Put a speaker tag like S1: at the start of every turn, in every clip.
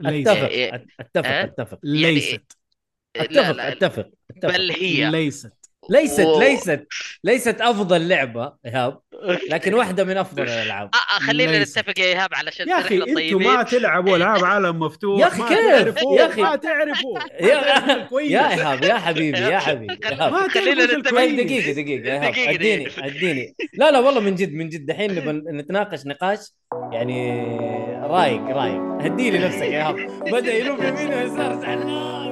S1: ليست
S2: أتفق.
S1: إيه.
S2: اتفق
S1: أه؟
S2: اتفق
S1: يعني-
S2: ليست
S1: لا، لا،
S2: اتفق
S1: لا.
S2: اتفق اتفق
S1: بل هي
S2: ليست ليست
S1: و-
S2: ليست ليست افضل لعبه ايهاب لكن واحده من افضل الالعاب
S1: آه، آه، خلينا
S3: ليست.
S1: نتفق يا ايهاب علشان
S3: يا اخي
S1: احنا
S3: انتم
S1: طيبين
S3: ما تلعبوا العاب عالم مفتوح
S2: يا أخي
S3: ما
S2: كيف؟
S3: تعرفوا
S2: يا أخي.
S3: ما تعرفوا
S2: يا-
S3: كويس
S2: يا ايهاب يا حبيبي يا حبيبي إيهاب.
S3: ما
S1: خلينا
S3: تعرفوا شو
S1: نتفق.
S2: طيب
S3: الكويس.
S2: دقيقة دقيقة يا إيهاب،
S1: دقيقة،
S2: اديني
S1: دقيقة.
S2: اديني لا لا والله من جد من جد دحين نبى نتناقش نقاش يعني رايق رايق هدي لي نفسك يا إيهاب بدأ يلوم يمين ويسار زعلان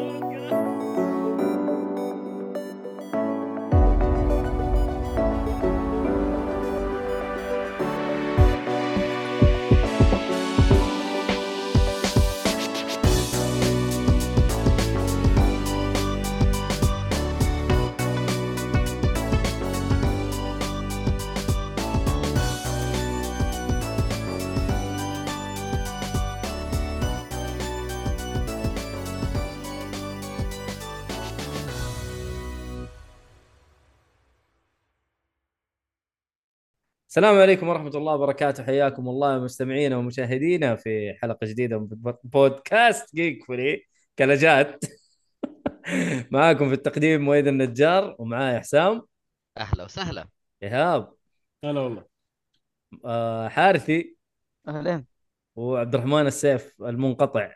S2: السلام عليكم ورحمة الله وبركاته حياكم الله مستمعينا ومشاهدينا في حلقة جديدة من بود- بودكاست جيك فري كلجات معاكم في التقديم مؤيد النجار ومعاي حسام
S1: اهلا وسهلا
S2: إيهاب
S3: هلا والله
S2: آه، حارثي
S4: اهلين
S2: وعبد الرحمن السيف المنقطع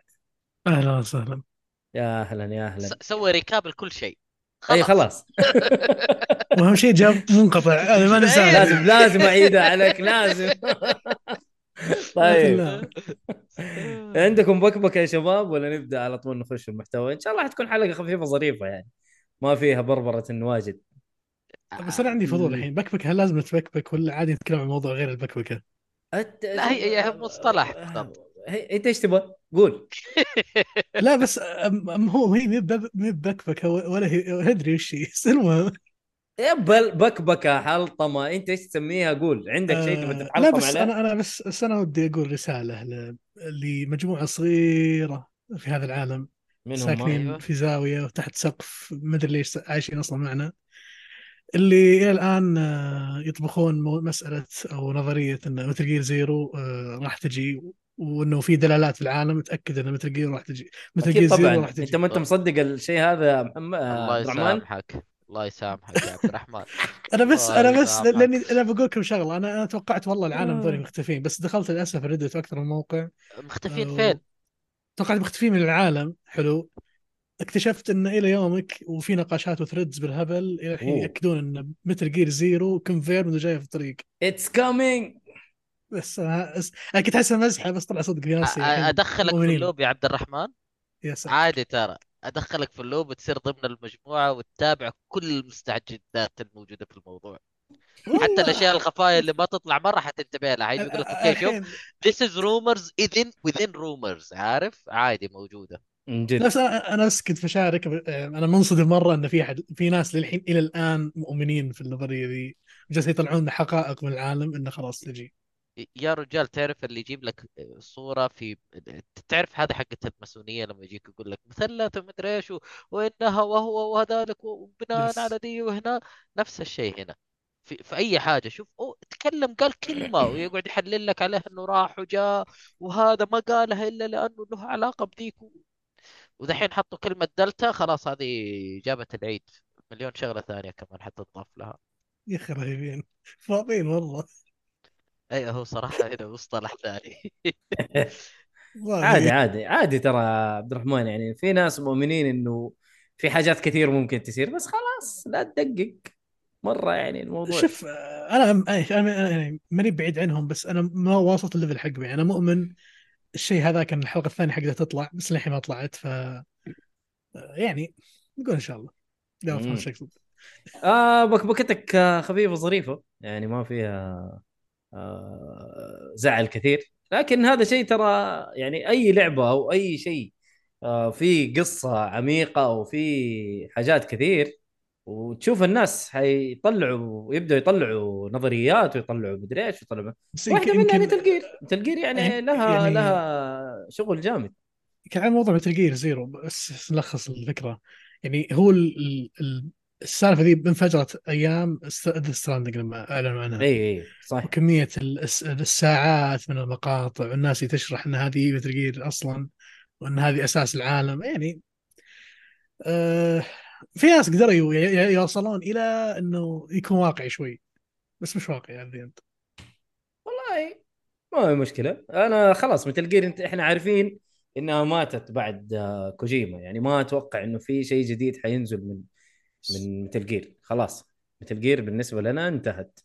S3: اهلا وسهلا
S2: يا اهلا يا اهلا
S1: س- سوي ركاب لكل شيء
S2: اي خلاص
S5: واهم شيء جاب منقطع انا ما ننساه
S2: لازم لازم اعيدها عليك لازم طيب
S5: لا.
S2: عندكم بكبكه يا شباب ولا نبدا على طول نخش في المحتوى ان شاء الله حتكون حلقه خفيفه ظريفه يعني ما فيها بربره واجد
S5: بس انا عندي
S1: أمم،
S5: فضول الحين بكبك هل لازم نتبكبك ولا عادي نتكلم عن موضوع غير البكبكه؟
S2: أت... آه،
S1: لا، هي- هي مصطلح بالضبط.
S2: هي- انت ايش تبغى؟ قول
S5: لا بس أم أم هو هي مي بب- مي بكبكه و- ولا هي ادري وش هي بس المهم
S2: يا بل بكبكه حلطمه انت ايش تسميها قول عندك شيء
S5: آه،
S2: تبغى
S5: لا
S2: تتحلطم
S5: بس
S2: عليه؟
S5: انا انا بس, بس انا ودي اقول رساله ل- لمجموعه صغيره في هذا العالم
S2: منهم ما-
S5: ساكنين
S1: أيوة.
S5: في زاويه وتحت سقف ما ادري ليش عايشين اصلا معنا اللي الى الان آه، يطبخون مو- مساله او نظريه ان متل جير زيرو آه، راح تجي وانه في دلالات في العالم تاكد ان متل جير راح تجي متل
S2: اكيد
S5: جير زيرو
S2: طبعا
S5: راح
S2: انت
S5: تجي
S2: ما انت مصدق الشيء هذا يا محمد آه،
S1: الله
S2: عبد الرحمن
S1: يسامحك الله يسامحك يا عبد الرحمن
S5: انا بس
S1: الله
S5: انا بس
S1: يسامحك.
S5: لاني انا بقول لكم شغله انا انا توقعت والله العالم ذولي مختفين بس دخلت للاسف ريدت اكثر من موقع
S1: مختفين
S5: أو-
S1: فين؟
S5: توقعت مختفي من العالم حلو اكتشفت انه الى يومك وفي نقاشات وثريدز بالهبل الى الحين
S2: أوه.
S5: ياكدون ان متل جير زيرو كونفير انه جايه في الطريق
S2: اتس كامينج
S5: بس انا بس- أنا كنت احسها مزحه بس طلع صدق في
S1: أ-
S5: نفسي
S1: أ- ادخلك في
S5: مؤمنين.
S1: اللوب يا عبد الرحمن
S5: يا سلام
S1: عادي ترى ادخلك في اللوب وتصير ضمن المجموعه وتتابع كل المستجدات الموجوده في الموضوع حتى الاشياء الخفايا اللي ما تطلع مره حتنتبه لها
S5: أه،
S1: حيجي يقول لك اوكي شوف this is rumors within within rumors عارف عادي موجوده
S2: من جد
S5: نفس انا أنا بس كنت بشارك ب- انا منصدم مره ان في احد في ناس للحين الى الان مؤمنين في النظريه ذي جالس يطلعون حقائق من العالم انه خلاص تجي
S1: يا رجال تعرف اللي يجيب لك صورة في تعرف هذا حقة الماسونية لما يجيك يقول لك مثلث ومدري ايش و- وانها وهو وذلك وبناء
S5: Yes.
S1: على دي وهنا نفس الشيء هنا في, في اي حاجة شوف أو تكلم قال كلمة ويقعد يحلل لك عليها انه راح وجاء وهذا ما قالها الا لانه له علاقة بذيك و- ودحين حطوا كلمة دلتا خلاص هذه جابت العيد مليون شغلة ثانية كمان حتضاف لها
S5: يا اخي رهيبين فاضيين والله
S1: اي هو صراحة هنا مصطلح ثاني
S2: عادي عادي عادي ترى عبد الرحمن يعني في ناس مؤمنين انه في حاجات كثير ممكن تصير بس خلاص لا تدقق مره يعني الموضوع
S5: شوف انا انا يعني ماني بعيد عنهم بس انا ما واصلت الليفل حقهم يعني انا مؤمن الشيء هذا كان الحلقه الثانيه حقها تطلع بس للحين ما طلعت ف يعني نقول ان شاء الله لا
S2: مم.
S5: فهمت ايش اقصد
S2: آه بكبكتك آه، خفيفه ظريفه يعني ما فيها آه زعل كثير لكن هذا شيء ترى يعني اي لعبه او اي شيء آه في قصه عميقه او في حاجات كثير وتشوف الناس حيطلعوا يبداوا يطلعوا نظريات ويطلعوا مدري ايش ويطلعوا
S5: بس
S2: واحده
S5: يمكن-
S2: منها
S5: يمكن-
S2: مثل جير مثل جير يعني
S5: يعني-
S2: لها
S5: يعني-
S2: لها شغل جامد
S5: كان على موضوع متل جير زيرو بس نلخص الفكره يعني هو ال... ال- ال... السالفه ذي انفجرت ايام ذا ستراندنج لما اعلنوا عنها
S2: اي اي صح
S5: وكمية ال- الس- الساعات من المقاطع والناس اللي تشرح ان هذه متل جير اصلا وان هذه اساس العالم يعني آه في ناس قدروا يو- ي- ي- يوصلون الى انه يكون واقعي شوي بس مش واقعي يعني. على الذنب
S2: والله ما هي مشكله انا خلاص مثل جير انت احنا عارفين انها ماتت بعد آه، كوجيما يعني ما اتوقع انه في شيء جديد حينزل من من مثل جير خلاص مثل جير بالنسبه لنا انتهت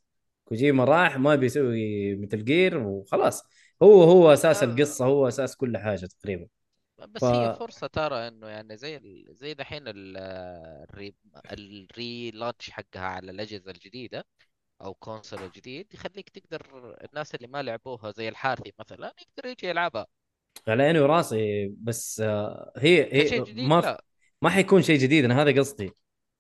S2: كوجيما راح ما بيسوي مثل جير وخلاص هو هو اساس
S6: لا.
S2: القصه هو اساس كل حاجه تقريبا
S6: بس
S2: ف-
S6: هي فرصة ترى انه يعني زي ال- زي دحين ال- الري الري لانش حقها على الأجهزة الجديدة أو كونسول الجديد يخليك تقدر الناس اللي ما لعبوها زي الحارثي مثلا يقدر يجي يلعبها
S2: على عيني وراسي بس آه، هي هي
S6: كشيء جديد
S2: ما
S6: لا
S2: ما حيكون شيء جديد انا هذا قصدي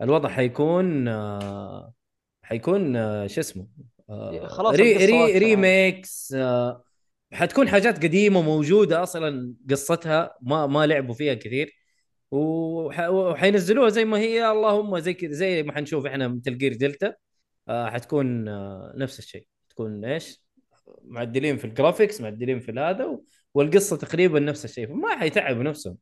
S2: الوضع حيكون آه، حيكون آه، شو اسمه آه،
S6: خلاص
S2: ري
S6: القصة
S2: ري
S6: واضحة.
S2: ريميكس آه، حتكون حاجات قديمه موجوده اصلا قصتها ما ما لعبوا فيها كثير وح- وحينزلوها زي ما هي اللهم زي كذا زي ما حنشوف احنا مثل جير دلتا آه، حتكون آه، نفس الشيء تكون ايش معدلين في الجرافيكس معدلين في هذا و- والقصه تقريبا نفس الشيء فما حيتعبوا نفسهم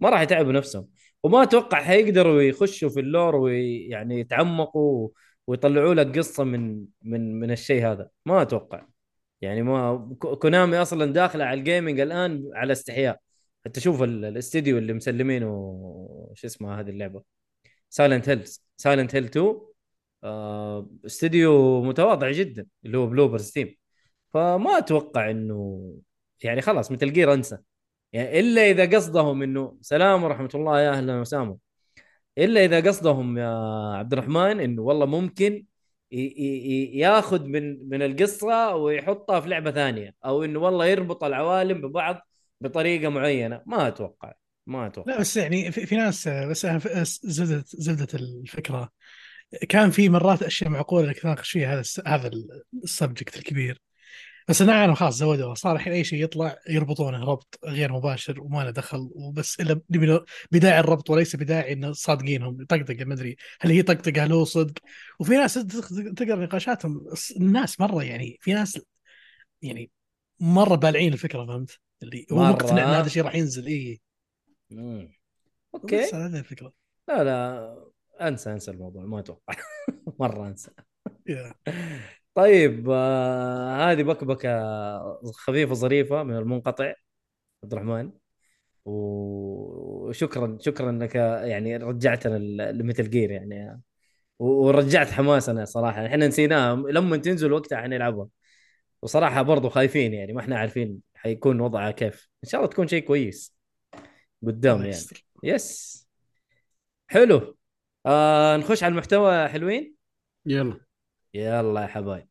S2: ما راح يتعبوا نفسهم وما اتوقع حيقدروا يخشوا في اللور ويعني يتعمقوا ويطلعوا لك قصه من من من الشيء هذا ما اتوقع يعني ما كو- كونامي اصلا داخله على الجيمنج الان على استحياء حتى شوف ال- الاستديو اللي مسلمينه شو اسمها هذه اللعبه سايلنت هيلز سايلنت هيل 2 آه، استديو متواضع جدا اللي هو بلوبرز تيم فما اتوقع انه يعني خلاص مثل جير انسى يعني الا اذا قصدهم انه سلام ورحمه الله يا اهلا وسهلا الا اذا قصدهم يا عبد الرحمن انه والله ممكن ي- ي- ي- ياخذ من من القصه ويحطها في لعبه ثانيه او انه والله يربط العوالم ببعض بطريقه معينه ما اتوقع ما اتوقع
S5: لا بس يعني في, في ناس آه، بس أنا في- أس- زبده زبده الفكره كان في مرات اشياء معقوله انك تناقش فيها هذا الس- هذا السبجكت الكبير بس انا عارف خلاص زودوها صار الحين اي شيء يطلع يربطونه ربط غير مباشر وما له دخل وبس الا نبي له- بداعي الربط وليس بداعي ان صادقينهم طقطقه ما ادري هل هي طقطقه هل هو صدق وفي ناس تخ- تقرا نقاشاتهم الس- الناس مره يعني في ناس يعني مره بالعين الفكره فهمت؟ اللي هو
S2: مرة.
S5: مقتنع ان هذا الشيء راح ينزل إيه. اي
S2: مم. اوكي
S5: بس هذه الفكره
S2: لا لا انسى انسى الموضوع ما اتوقع مره انسى
S5: يا.
S2: طيب آه هذه بكبكه خفيفه ظريفه من المنقطع عبد الرحمن و- وشكرا شكرا انك آه، يعني رجعتنا ل- لمثل جير يعني آه، و- ورجعت حماسنا صراحه احنا نسيناها لما تنزل وقتها حنلعبها وصراحه برضو خايفين يعني ما احنا عارفين حيكون وضعها كيف ان شاء الله تكون شيء كويس قدام
S5: الله
S2: يعني
S5: يستر.
S2: يس حلو آه نخش على المحتوى يا حلوين
S7: يلا
S2: يلا يا حبايب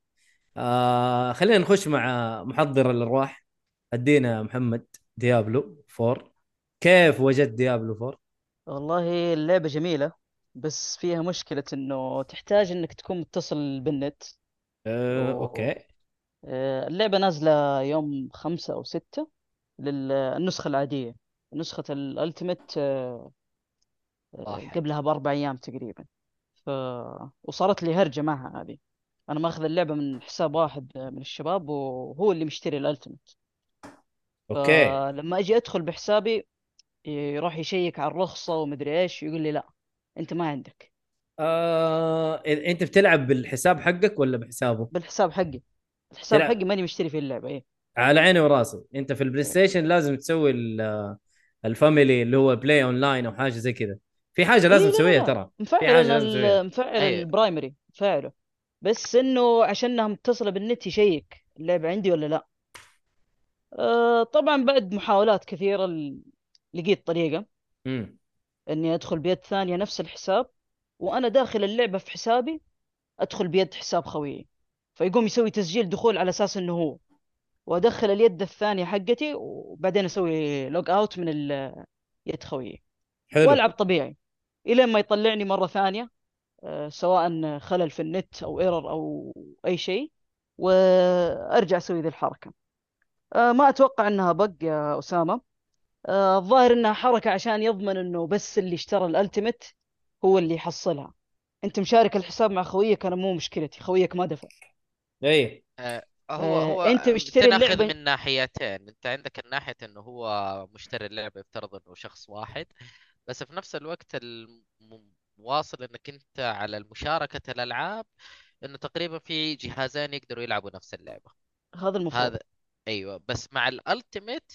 S2: آه خلينا نخش مع محضر الارواح ادينا محمد ديابلو 4 كيف وجدت ديابلو 4
S8: والله اللعبة جميلة بس فيها مشكلة انه تحتاج انك تكون متصل بالنت
S2: آه
S8: أوه.
S2: اوكي
S8: آه، اللعبة نازلة يوم خمسة او ستة للنسخة العادية نسخة الالتيميت
S6: راح.
S8: قبلها باربع ايام تقريبا ف... وصارت لي هرجة معها هذه انا ماخذ اللعبة من حساب واحد آه، من الشباب وهو اللي مشتري الالتيميت
S2: اوكي
S8: فلما اجي ادخل بحسابي يروح يشيك على الرخصة ومدري ايش يقول لي لا انت ما عندك
S2: آه إن- انت بتلعب بالحساب حقك ولا بحسابه؟
S8: بالحساب حقي الحساب
S2: تلعب.
S8: حقي ماني مشتري فيه اللعبة ايه
S2: على عيني وراسي انت في البلاي ستيشن لازم تسوي ال- آه، الفاميلي اللي هو بلاي اون لاين او حاجه زي كذا في حاجه لازم
S8: إيه، لا،
S2: تسويها
S8: لا.
S2: ترى
S8: مفعل
S2: حاجة
S8: انا
S2: لازم تسويها.
S8: ال- مفعل
S6: أيوة.
S8: البرايمري مفعله بس انه عشانها متصلة بالنت يشيك اللعبة عندي ولا لا أه طبعا بعد محاولات كثيرة ال- لقيت طريقة
S2: امم
S8: اني ادخل بيد ثانية نفس الحساب وانا داخل اللعبة في حسابي ادخل بيد حساب خويي فيقوم يسوي تسجيل دخول على اساس انه هو وادخل اليد الثانية حقتي وبعدين اسوي لوج اوت من ال- يد خويي والعب
S2: حلو
S8: طبيعي الين ما يطلعني مرة ثانية آه، سواء خلل في النت او ايرور او اي شيء وارجع اسوي ذي الحركة آه، ما اتوقع انها بق يا اسامة آه، الظاهر انها حركة عشان يضمن انه بس اللي اشترى الالتيميت هو اللي يحصلها
S2: إيه.
S8: انت مشارك الحساب مع خويك انا مو مشكلتي خويك ما دفع
S2: اي
S1: هو
S8: آه،
S1: هو
S8: أنت مشتري
S1: تناخذ
S8: اللعبة-
S1: من ناحيتين انت عندك الناحية انه هو مشتري اللعبة يفترض انه شخص واحد بس في نفس الوقت الم- واصل انك انت على مشاركة الالعاب انه تقريبا في جهازين يقدروا يلعبوا نفس اللعبة
S8: هذا المفروض
S1: هذا ايوه بس مع الالتيميت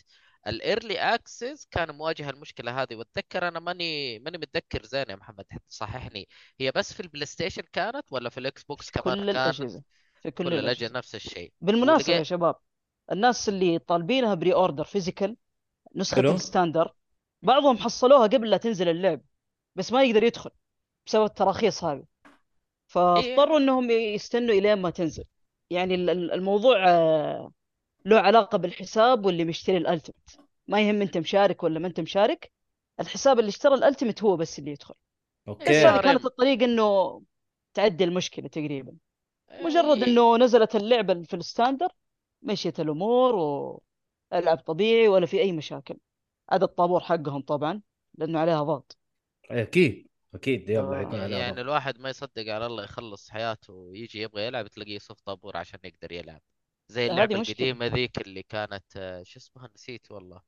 S1: الايرلي اكسس كان مواجه المشكله هذه واتذكر انا ماني ماني متذكر زين يا محمد حتى صححني هي بس في البلاي ستيشن كانت ولا في الاكس بوكس كمان
S8: كل
S1: كان
S8: الأجهزة في كل الأجهزة
S1: الاجهزه نفس الشيء
S8: بالمناسبة يا
S1: ولقيت-
S8: شباب الناس اللي طالبينها بري اوردر فيزيكال نسخة
S2: حلو.
S8: الستاندر بعضهم حصلوها قبل لا تنزل اللعبة بس ما يقدر يدخل بسبب التراخيص هذه فاضطروا انهم يستنوا الين ما تنزل يعني ال- ال- الموضوع آه، له علاقة بالحساب واللي مشتري الالتيميت ما يهم انت مشارك ولا ما انت مشارك الحساب اللي اشترى الالتيميت هو بس اللي يدخل بس
S1: إيه.
S8: هذه
S2: اوكي
S8: كانت الطريقة انه تعدي المشكلة تقريبا مجرد
S1: إيه.
S8: انه نزلت اللعبه في الستاندر مشيت الامور والعب طبيعي ولا في اي مشاكل هذا الطابور حقهم طبعا لانه عليها ضغط
S2: اكيد اكيد يلا
S8: آه،
S2: يكون على
S1: يعني
S2: بعض.
S1: الواحد ما يصدق على الله يخلص حياته ويجي يبغى يلعب تلاقيه يصف طابور عشان يقدر يلعب زي
S8: هذه
S1: اللعبة
S8: مشكلة.
S1: القديمة ذيك اللي كانت آه، شو اسمها نسيت والله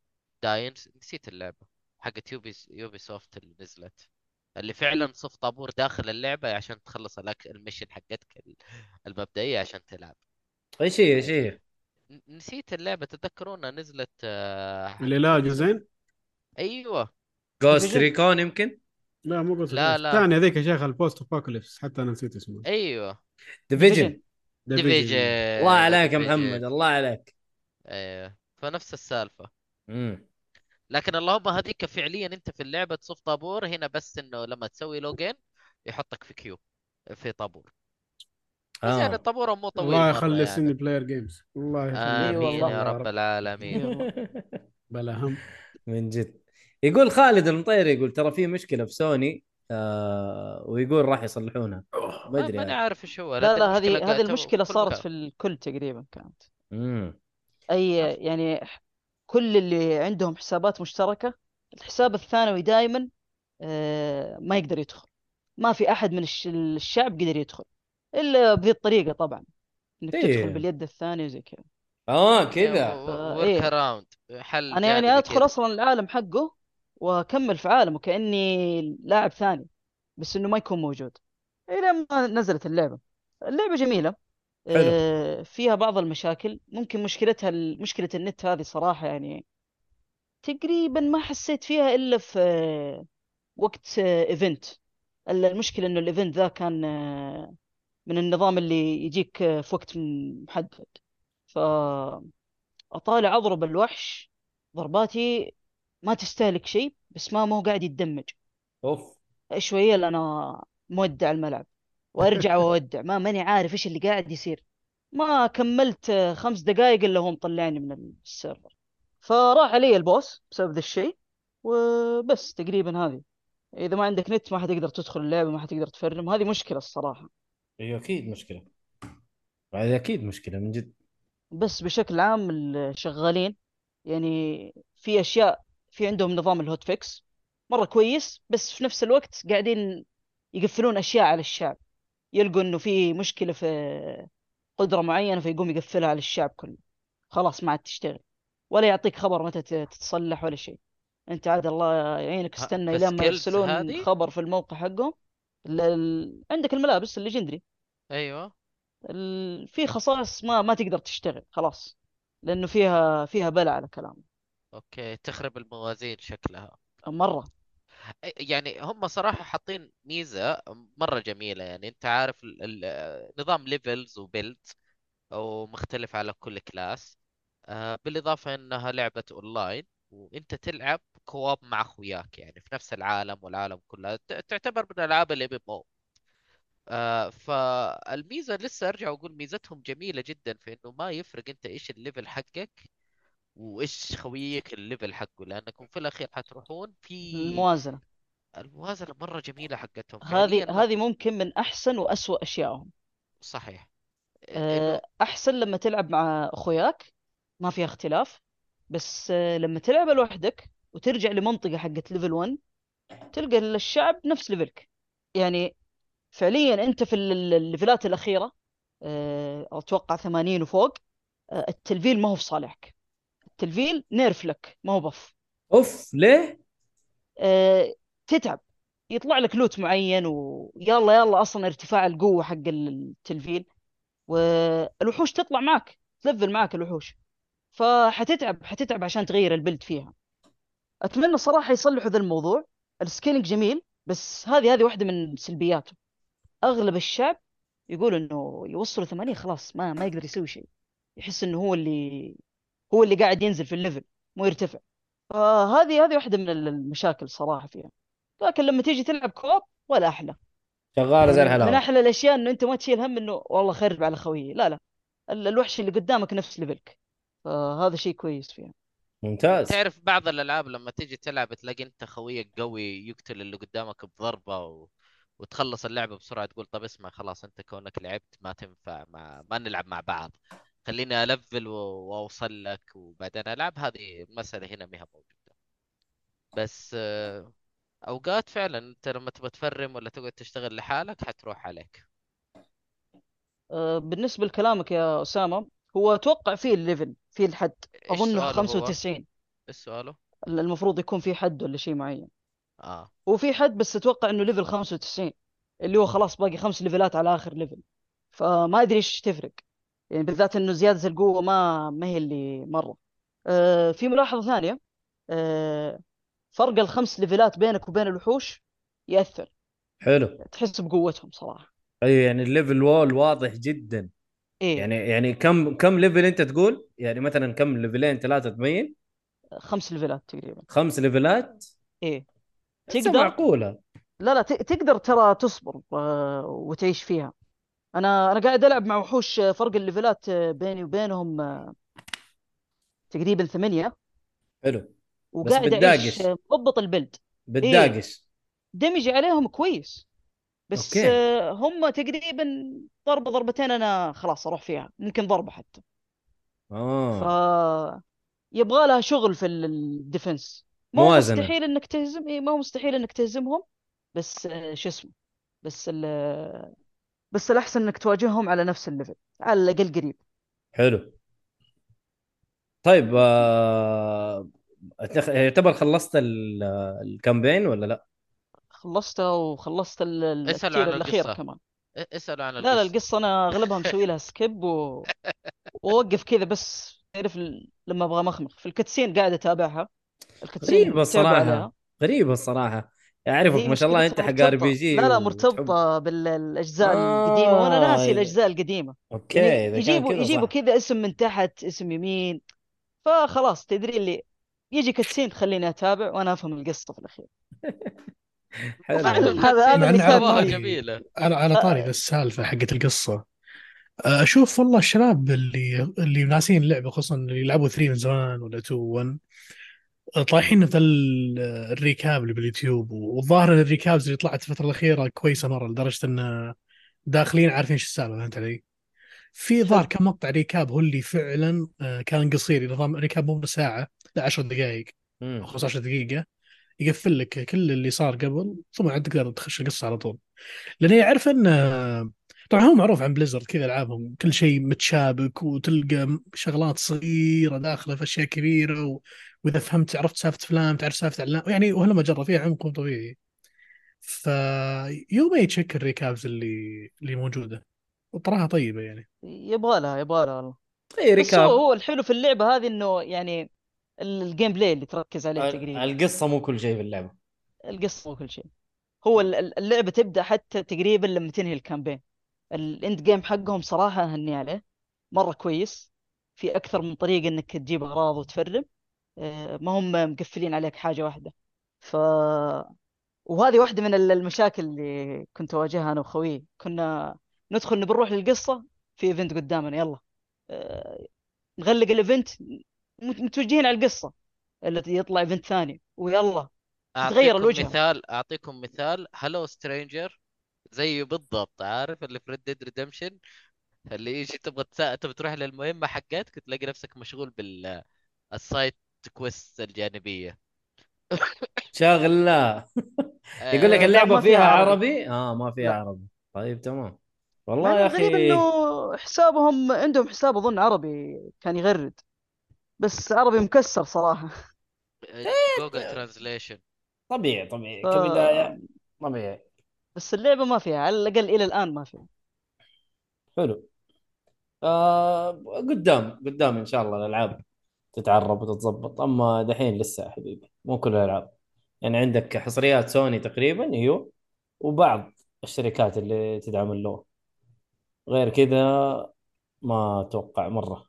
S1: داين نسيت اللعبة حقت يوبي يوبي سوفت اللي نزلت اللي فعلا صف طابور داخل اللعبة عشان تخلص الأك- المشن حقتك ال- المبدئية عشان تلعب
S2: ايش هي ايش هي؟
S1: ن- نسيت اللعبة تذكرونها نزلت آه، حق-
S7: اللي لا جزئين
S1: ايوه
S2: جوست ريكون يمكن؟
S7: لا مو قلت
S1: لا، لا.
S7: الثانية ذيك يا شيخ البوست ابوكاليبس حتى انا نسيت اسمه
S1: ايوه
S2: ديفيجن
S1: ديفيجن
S2: الله
S1: آه،
S2: عليك يا محمد الله عليك
S1: ايوه فنفس السالفة
S2: امم
S1: لكن اللهم هذيك فعليا انت في اللعبه تصف طابور هنا بس انه لما تسوي لوجين يحطك في كيو في طابور بس يعني
S2: آه.
S1: الطابور مو طويل
S7: الله
S1: مرة
S7: يخلي
S1: يعني.
S7: سني بلاير جيمز الله يخلي
S8: إي
S1: امين
S8: والله.
S1: يا رب العالمين
S7: بلا هم
S2: من جد يقول خالد المطيري يقول ترى في مشكله في سوني آه ويقول راح يصلحونها ما يعني.
S1: ما-
S2: ادري
S1: ماني
S2: عاد.
S1: عارف ايش هو
S8: يعني. لا
S1: لكن
S8: لا هذه
S1: المشكلة
S8: هذه
S1: قاعدة
S8: المشكله
S1: في كل
S8: صارت
S1: مكان.
S8: في الكل تقريبا كانت
S2: امم
S8: اي
S1: عف-
S8: يعني كل اللي عندهم حسابات مشتركه الحساب الثانوي دائما ما يقدر يدخل ما في احد من الش- الشعب قدر يدخل الا بذي الطريقه طبعا انك
S2: إيه.
S8: تدخل باليد الثانيه وزي كذا
S2: اه كذا
S1: و-
S8: إيه.
S1: ورك اراوند حل
S8: انا يعني
S1: جانبي
S8: ادخل
S1: كذا.
S8: اصلا العالم حقه واكمل في عالمه كاني لاعب ثاني بس انه ما يكون موجود الى ما نزلت اللعبه اللعبه جميله
S2: حلو.
S8: آه، فيها بعض المشاكل ممكن مشكلتها ال- مشكله النت هذه صراحه يعني تقريبا ما حسيت فيها الا في آه، وقت آه، ايفنت المشكله انه الايفنت ذا كان آه، من النظام اللي يجيك آه، في وقت م- محدد ف اطالع اضرب الوحش ضرباتي ما تستهلك شيء بس ما ما هو قاعد يتدمج
S2: اوف
S8: شويه لأ انا مودع الملعب وارجع واودع ما ماني عارف ايش اللي قاعد يصير ما كملت آه، خمس دقائق الا هو مطلعني من السيرفر فراح علي البوس بسبب ذا الشيء وبس تقريبا هذه اذا ما عندك نت ما حتقدر تدخل اللعبه ما حتقدر تفرم هذه مشكله الصراحه
S2: اي اكيد مشكله أيوة، هذه اكيد مشكله من جد
S8: بس بشكل عام الشغالين يعني في اشياء في عندهم نظام الهوت فيكس مره كويس بس في نفس الوقت قاعدين يقفلون اشياء على الشعب يلقوا انه في مشكله في قدره معينه فيقوم يقفلها على الشعب كله خلاص ما عاد تشتغل ولا يعطيك خبر متى ت- تتصلح ولا شيء انت عاد الله يعينك
S1: ها،
S8: استنى الين ما
S1: بالskills
S8: يرسلون
S1: هذه؟
S8: خبر في الموقع حقهم ال- ال- عندك الملابس الليجندري
S1: ايوه
S8: ال- في خصائص ما ما تقدر تشتغل خلاص لانه فيها فيها بلع على كلامه
S1: اوكي تخرب الموازين شكلها
S8: مره
S1: أي- يعني هم صراحة حاطين ميزة مرة جميلة يعني انت عارف ال- ال- نظام ليفلز وبيلد ومختلف على كل كلاس آه، بالإضافة انها لعبة اونلاين وانت تلعب كواب مع اخوياك يعني في نفس العالم والعالم كله ت- تعتبر من الالعاب الام ام او آه، فالميزة لسه ارجع واقول ميزتهم جميلة جدا في انه ما يفرق انت ايش الليفل حقك وايش خويك الليفل حقه لانكم في الاخير حتروحون في
S8: الموازنه
S1: الموازنة مرة جميلة حقتهم فعليا
S8: هذه
S1: ما-
S8: هذه ممكن من احسن واسوأ اشيائهم
S1: صحيح
S8: آه،
S1: انه
S8: احسن لما تلعب مع اخوياك ما فيها اختلاف بس آه، لما تلعب لوحدك وترجع لمنطقه حقت ليفل 1 تلقى الشعب نفس ليفلك يعني فعليا انت في ال- ال- الليفلات الاخيره آه، اتوقع 80 وفوق آه، التلفيل ما هو في صالحك التلفيل نيرف لك ما هو بف
S2: اوف ليه؟
S8: آه، تتعب يطلع لك لوت معين ويلا يلا اصلا ارتفاع القوه حق التلفيل والوحوش تطلع معك تلفل معك الوحوش فحتتعب حتتعب عشان تغير البلد فيها اتمنى صراحه يصلحوا ذا الموضوع السكيلينج جميل بس هذه هذه واحده من سلبياته اغلب الشعب يقول انه يوصلوا 80 خلاص ما ما يقدر يسوي شيء يحس انه هو اللي هو اللي قاعد ينزل في الليفل مو يرتفع فهذه هذه واحده من المشاكل صراحه فيها لكن لما تيجي تلعب كوب ولا احلى
S2: شغاله
S1: آه،
S2: زي
S8: من
S2: الحلاوه
S8: احلى الاشياء انه انت ما تشيل هم انه والله خرب على خويي لا لا ال- الوحش اللي قدامك نفس ليفلك فهذا شيء كويس فيها
S2: ممتاز
S6: تعرف بعض الالعاب لما تيجي تلعب تلاقي انت خويك قوي يقتل اللي قدامك بضربه و... وتخلص اللعبه بسرعه تقول طب اسمع خلاص انت كونك لعبت ما تنفع ما, ما نلعب مع بعض خليني الفل و... واوصل لك وبعدين العب هذه المساله هنا ما هي موجوده بس آه، اوقات فعلا انت لما تبغى تفرم ولا تقعد تشتغل لحالك حتروح عليك
S8: آه، بالنسبه لكلامك يا اسامه هو اتوقع فيه الليفل فيه الحد
S6: إيش
S8: اظنه
S6: سؤاله هو؟
S8: 95
S6: ايش سؤاله؟
S8: ال- المفروض يكون في حد ولا شيء معين
S6: اه
S8: وفي حد بس اتوقع انه ليفل 95 اللي هو خلاص باقي خمس ليفلات على اخر ليفل فما ادري ايش تفرق يعني بالذات انه زياده القوه ما ما هي اللي مره آه، في ملاحظه ثانيه آه، فرق الخمس ليفلات بينك وبين الوحوش ياثر
S2: حلو
S8: تحس بقوتهم صراحه
S2: ايوه يعني الليفل وول واضح جدا
S8: ايه
S2: يعني يعني كم كم ليفل انت تقول؟ يعني مثلا كم ليفلين ثلاثه تبين؟
S8: خمس ليفلات تقريبا
S2: خمس ليفلات
S8: ايه
S2: تحسها
S8: تقدر-
S2: معقوله
S8: لا لا ت- تقدر ترى تصبر آه، وتعيش فيها انا انا قاعد العب مع وحوش آه، فرق الليفلات آه، بيني وبينهم آه، تقريبا ثمانية
S2: حلو
S8: وقاعد
S2: بتداقش.
S8: اعيش آه، مضبط البلد
S2: بتداقش
S8: دمجي عليهم كويس بس
S2: أوكي.
S8: آه، هم تقريبا ضربة ضربتين انا خلاص اروح فيها ممكن ضربة حتى ف
S2: اه
S8: يبغى لها شغل في ال- الديفنس ما هو
S2: موازنة.
S8: مستحيل انك تهزم اي ما هو مستحيل انك تهزمهم بس آه، شو اسمه بس ال بس الاحسن انك تواجههم على نفس الليفل على الاقل قريب
S2: حلو طيب آه... أتخ- يعتبر خلصت ال- الكامبين ولا لا؟
S8: خلصته وخلصت ال- ال-
S6: اسألوا
S8: التير
S6: عن
S8: الاخير
S6: القصة.
S8: كمان
S6: إيه- اسألوا عن
S8: لا لا القصه انا اغلبها مسوي لها سكيب و... واوقف كذا بس تعرف ال- لما ابغى مخمخ في الكتسين قاعد اتابعها الكتسين
S2: غريبة
S8: متابع
S2: الصراحة.
S8: عليها
S2: غريبة الصراحة
S8: هي
S2: اعرفك
S8: إيه،
S2: ما شاء الله انت
S8: مشكلتها
S2: حق ار
S8: مرتبطة
S2: بي جي
S8: لا لا
S2: وتحب-
S8: مرتبطة بالاجزاء
S2: آه،
S8: القديمة وانا ناسي
S2: إذا-
S8: الاجزاء القديمة
S2: اوكي اذا
S8: يعني
S2: كان
S8: يجيبوا
S2: كذا
S8: يجيبوا
S2: صح.
S8: كذا اسم من تحت اسم يمين فخلاص تدري اللي يجي كتسين خليني اتابع وانا افهم القصة في الاخير
S2: حلو
S8: فعلا هذا
S5: مع
S8: هذا اللي
S5: إنه
S8: كان
S5: أبغاها
S6: سواها
S5: طيب.
S8: فيه
S6: يعني جميلة
S5: على على طاري ذا السالفه حقت القصه آه، اشوف والله الشباب اللي اللي ناسين اللعبه خصوصا اللي يلعبوا 3 من زمان ولا 2 1 آه، طايحين في ال- الريكاب اللي باليوتيوب والظاهر ان الريكابز اللي طلعت الفتره الاخيره كويسه مره لدرجه ان داخلين عارفين شو السالفه فهمت علي؟ في ظهر كم مقطع ريكاب هو اللي فعلا آه، كان قصير نظام ريكاب مو بساعه لا 10 دقائق
S2: مم.
S5: او 15 دقيقة يقفل لك كل اللي صار قبل ثم عاد تقدر تخش القصة على طول لأن هي عارفة أن طبعا هو معروف عن بليزرد كذا ألعابهم كل شيء متشابك وتلقى شغلات صغيرة داخلة في أشياء كبيرة و... وإذا فهمت عرفت سالفة فلان تعرف سالفة علان يعني وهلما جرى فيها عمق مو طبيعي فيوم يتشك الريكابز اللي اللي موجودة وطراها طيبة يعني
S8: يبغى لها يبغى لها والله
S2: اي
S8: بس هو
S2: ريكاب
S8: هو الحلو في اللعبة هذه انه يعني ال- الجيم بلاي اللي تركز
S2: آه،
S8: عليه تقريبا
S2: القصة مو كل شيء في اللعبة
S8: القصة وكل شيء هو ال- ال- اللعبة تبدأ حتى تقريبا لما تنهي الكامبين الاند جيم حقهم صراحة أهني عليه مرة كويس في أكثر من طريقة إنك تجيب أغراض وتفرم آه، ما هم مقفلين عليك حاجة واحدة ف وهذه واحدة من ال- المشاكل اللي كنت أواجهها أنا وخويي كنا ندخل نبي نروح للقصة في ايفنت قدامنا يلا آه، نغلق الايفنت مت- متوجهين على القصة التي يطلع ايفنت ثاني ويلا تتغير
S6: أعطيكم
S8: الوجهة.
S6: مثال أعطيكم مثال هلو سترينجر زيه بالضبط عارف اللي في ريد ديد ريدمشن اللي يجي تبغى تسا... تبغى تروح للمهمة حقتك تلاقي نفسك مشغول بال السايد كويست الجانبية
S2: شاغل لا يقول
S6: آه،
S2: لك
S8: لا،
S2: اللعبة
S8: آه، ما فيها
S2: فيها
S8: عربي.
S2: عربي اه ما فيها
S8: لا.
S2: عربي طيب تمام
S8: مع
S2: والله
S8: إنه
S2: يا
S8: الغريب
S2: اخي
S8: انه حسابهم عندهم حساب اظن عربي كان يغرد بس عربي مكسر صراحه
S6: آه، جوجل ترانزليشن
S2: طبيعي طبيعي
S8: آه.
S2: كبدايه طبيعي
S8: بس اللعبه ما فيها على الاقل الى الان ما فيها
S2: حلو آه قدام قدام ان شاء الله الالعاب تتعرب وتتظبط اما دحين لسه يا حبيبي مو كل الالعاب يعني عندك حصريات سوني تقريبا ايوه وبعض الشركات اللي تدعم اللغه غير كذا ما اتوقع مره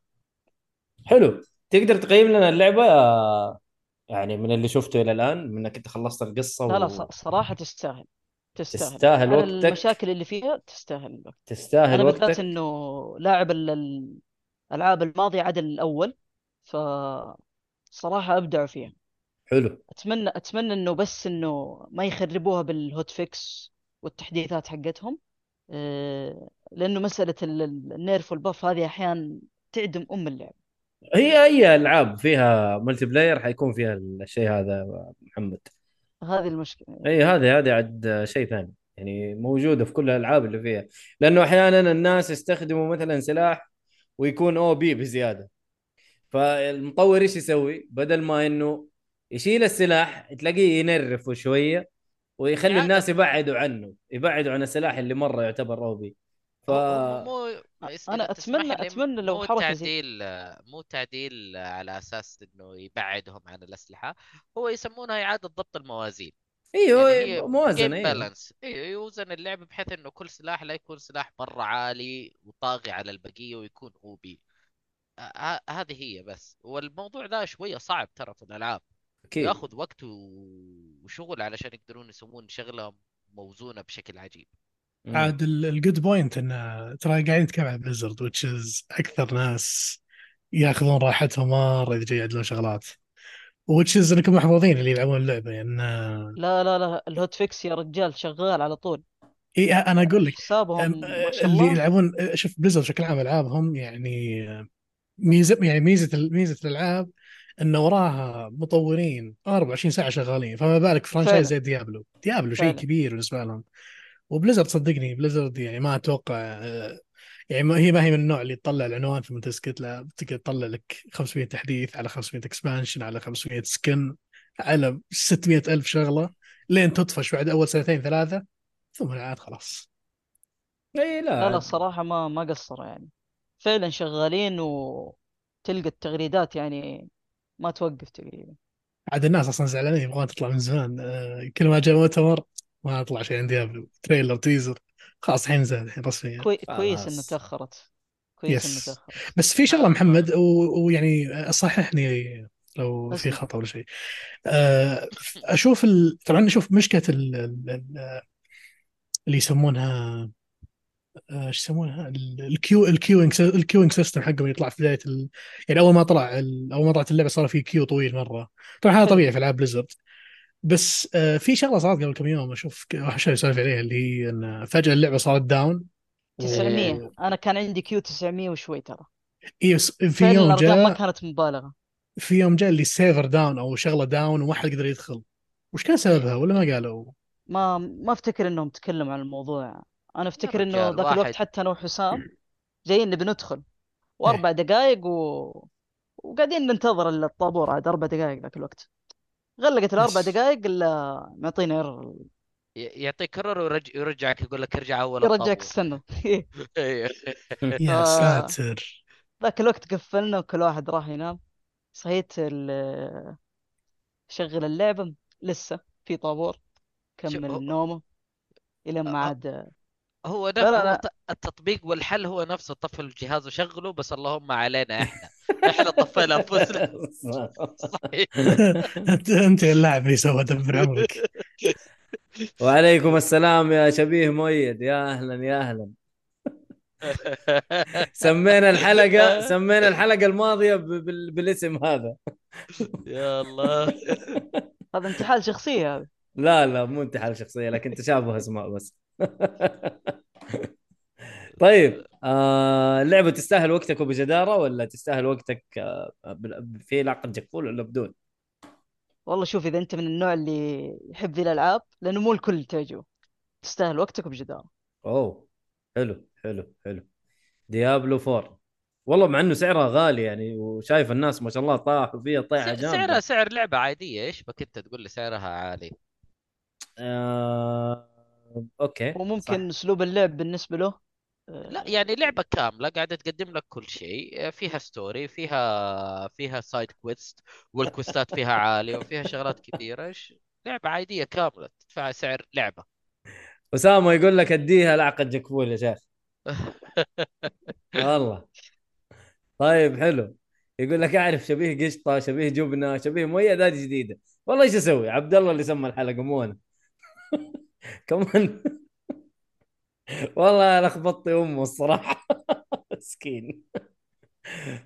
S2: حلو تقدر تقيم لنا اللعبه آه، يعني من اللي شفته الى الان منك انت خلصت القصه
S8: لا لا
S2: و-
S8: ص- صراحه تستاهل تستاهل
S2: تستاهل
S8: على
S2: وقتك.
S8: المشاكل اللي فيها تستاهل الوقت
S2: تستاهل
S8: انا بالذات
S2: وقتك
S8: انه لاعب ال- ال- الالعاب الماضيه عدا الاول ف صراحه ابدعوا فيها
S2: حلو
S8: اتمنى اتمنى انه بس انه ما يخربوها بالهوت فيكس والتحديثات حقتهم آه، لانه مساله ال- ال- النيرف والباف هذه احيانا تعدم ام اللعب
S2: هي اي العاب فيها ملتي بلاير حيكون فيها الشيء هذا محمد
S8: هذه المشكله
S2: اي هذه هذه عاد شيء ثاني يعني موجوده في كل الالعاب اللي فيها لانه احيانا الناس يستخدموا مثلا سلاح ويكون او بي بزياده فالمطور ايش يسوي؟ بدل ما انه يشيل السلاح تلاقيه ينرفه شويه ويخلي
S6: إعادة.
S2: الناس يبعدوا عنه يبعدوا عن السلاح اللي مره يعتبر او بي ف
S8: آه،
S6: مو
S8: انا اتمنى اتمنى لو
S6: مو
S8: حركه زي
S6: تعديل مو تعديل على اساس انه يبعدهم عن الاسلحه هو يسمونها اعاده ضبط الموازين
S2: ايوه
S6: يعني هي
S2: موازنه
S6: جيم
S2: ايوه
S6: بالانس ايوه يوزن اللعب بحيث انه كل سلاح لا يكون سلاح مره عالي وطاغي على البقيه ويكون او بي ه- هذه هي بس والموضوع ده شويه صعب ترى في الالعاب
S2: اكيد
S6: وياخذ وقت و- وشغل علشان يقدرون يسوون شغله موزونه بشكل عجيب
S2: مم.
S5: عاد الجود بوينت انه ترى قاعدين نتكلم عن بليزرد which is اكثر ناس ياخذون راحتهم مره اذا جاي يعدلون شغلات which is انكم محظوظين اللي يلعبون اللعبه يعني آه،
S8: لا لا لا الهوت فيكس يا رجال شغال على طول
S5: اي انا اقول إيه، لك
S8: حسابهم ما شاء
S5: اللي
S8: الله
S5: يلعبون شوف بليزرد بشكل عام العابهم يعني ميزه يعني ميزه ميزه الالعاب ان وراها مطورين 24 ساعه شغالين فما بالك فرانشايز زي ديابلو ديابلو شيء
S8: فعلا.
S5: كبير بالنسبه لهم وبليزرد صدقني بليزرد يعني ما اتوقع آه، يعني ما هي ما هي من النوع اللي تطلع العنوان ثم تسكت لا تقدر تطلع لك 500 تحديث على 500 اكسبانشن على 500 سكن على 600 الف شغله لين تطفش بعد اول سنتين ثلاثه ثم العاد خلاص
S2: اي لا
S8: لا لا الصراحة ما ما قصروا يعني فعلا شغالين وتلقى التغريدات يعني ما توقف تقريبا
S5: عاد الناس اصلا زعلانين يبغون تطلع من زمان آه، كل ما جاء مؤتمر ما طلع شيء عن ديابلو تريلر تيزر خلاص الحين زاد الحين رسميا
S8: كوي... كويس انه
S2: خلاص.
S8: تأخرت كويس انه
S5: Yes.
S8: تأخرت
S5: بس في شغله محمد و- ويعني صححني لو في
S8: أسمع.
S5: خطا ولا شيء آه، اشوف ال... طبعا اشوف مشكله ال... ال- ال- اللي يسمونها آه، ايش يسمونها ال- الكيو الكيوينج الكيوينج سيستم حقهم يطلع في بدايه ال... يعني اول ما طلع ال... اول ما طلعت اللعبه صار في كيو طويل مره طبعا هذا
S8: حلو.
S5: طبيعي في العاب بليزرد بس آه، في شغله صارت قبل كم يوم اشوف ك- واحد شايف يسولف عليها اللي هي ان فجاه اللعبه صارت داون
S8: 900 انا كان عندي كيو 900 وشوي ترى
S5: إيه، في
S8: فعلا
S5: يوم
S8: الارقام ما
S5: جاء
S8: كانت مبالغة
S5: في يوم جاء اللي السيرفر داون او شغله داون وما حد قدر يدخل وش كان سببها ولا ما قالوا
S8: ما ما افتكر انهم تكلموا عن الموضوع انا افتكر انه
S6: رجال،
S8: ذاك
S6: واحد-
S8: الوقت حتى انا وحسام جايين نبي ندخل
S5: إيه.
S8: واربع دقائق و... وقاعدين ننتظر الطابور عاد اربع دقائق ذاك الوقت غلقت الاربع
S5: بس.
S8: دقائق الا معطينا ايرور
S6: ي- يعطيك كرر ويرج- ويرجعك يقول لك ارجع اول
S8: يرجعك
S6: الطابور.
S8: استنى
S6: إيه.
S5: يا
S8: آه.
S5: ساتر
S8: ذاك الوقت قفلنا وكل واحد راح ينام صحيت ال- شغل اللعبة لسه في طابور
S6: شو-
S8: كمل نومه إلى ما
S6: آه.
S8: عاد
S6: هو نفس
S8: لا، لا.
S6: هو ط- التطبيق والحل هو نفسه طفل الجهاز وشغله بس اللهم علينا احنا احنا طفينا انفسنا صحيح
S5: انت انت اللاعب اللي سوى دبر عمرك
S2: وعليكم السلام يا شبيه مؤيد يا اهلا يا اهلا سمينا الحلقه سمينا الحلقه الماضيه ب- بال- بالاسم هذا
S6: يا الله
S8: هذا انتحال شخصية هذا
S2: لا لا مو انتحال شخصيه لكن تشابه اسماء بس طيب آه اللعبه تستاهل وقتك وبجداره ولا تستاهل وقتك آه بال- في عقد جقفول ولا بدون؟
S8: والله شوف إذا أنت من النوع اللي يحب ذي الألعاب لأنه مو الكل تعجبه تستاهل وقتك بجدارة
S2: اوه حلو حلو حلو ديابلو 4 والله مع انه سعرها غالي يعني وشايف الناس ما شاء الله طاحوا فيها طيحه
S6: س-
S2: جامده
S6: سعرها سعر لعبة عادية ايش بك انت تقول لي سعرها عالي
S2: آه... اوكي
S8: وممكن اسلوب اللعب بالنسبه له آه،
S6: إيه، لا يعني لعبة كاملة قاعدة تقدم لك كل شيء فيها ستوري فيها فيها سايد كويست والكوستات فيها عالية وفيها شغلات كثيرة إيش- لعبة عادية كاملة تدفع سعر لعبة
S2: صح. اسامه يقول لك اديها لعقه جكفول يا شيخ والله طيب حلو يقول لك اعرف شبيه قشطه شبيه جبنه شبيه مؤيد هذه جديده والله ايش اسوي عبد الله اللي سمى الحلقه مو انا كمان والله لخبطت امه الصراحه مسكين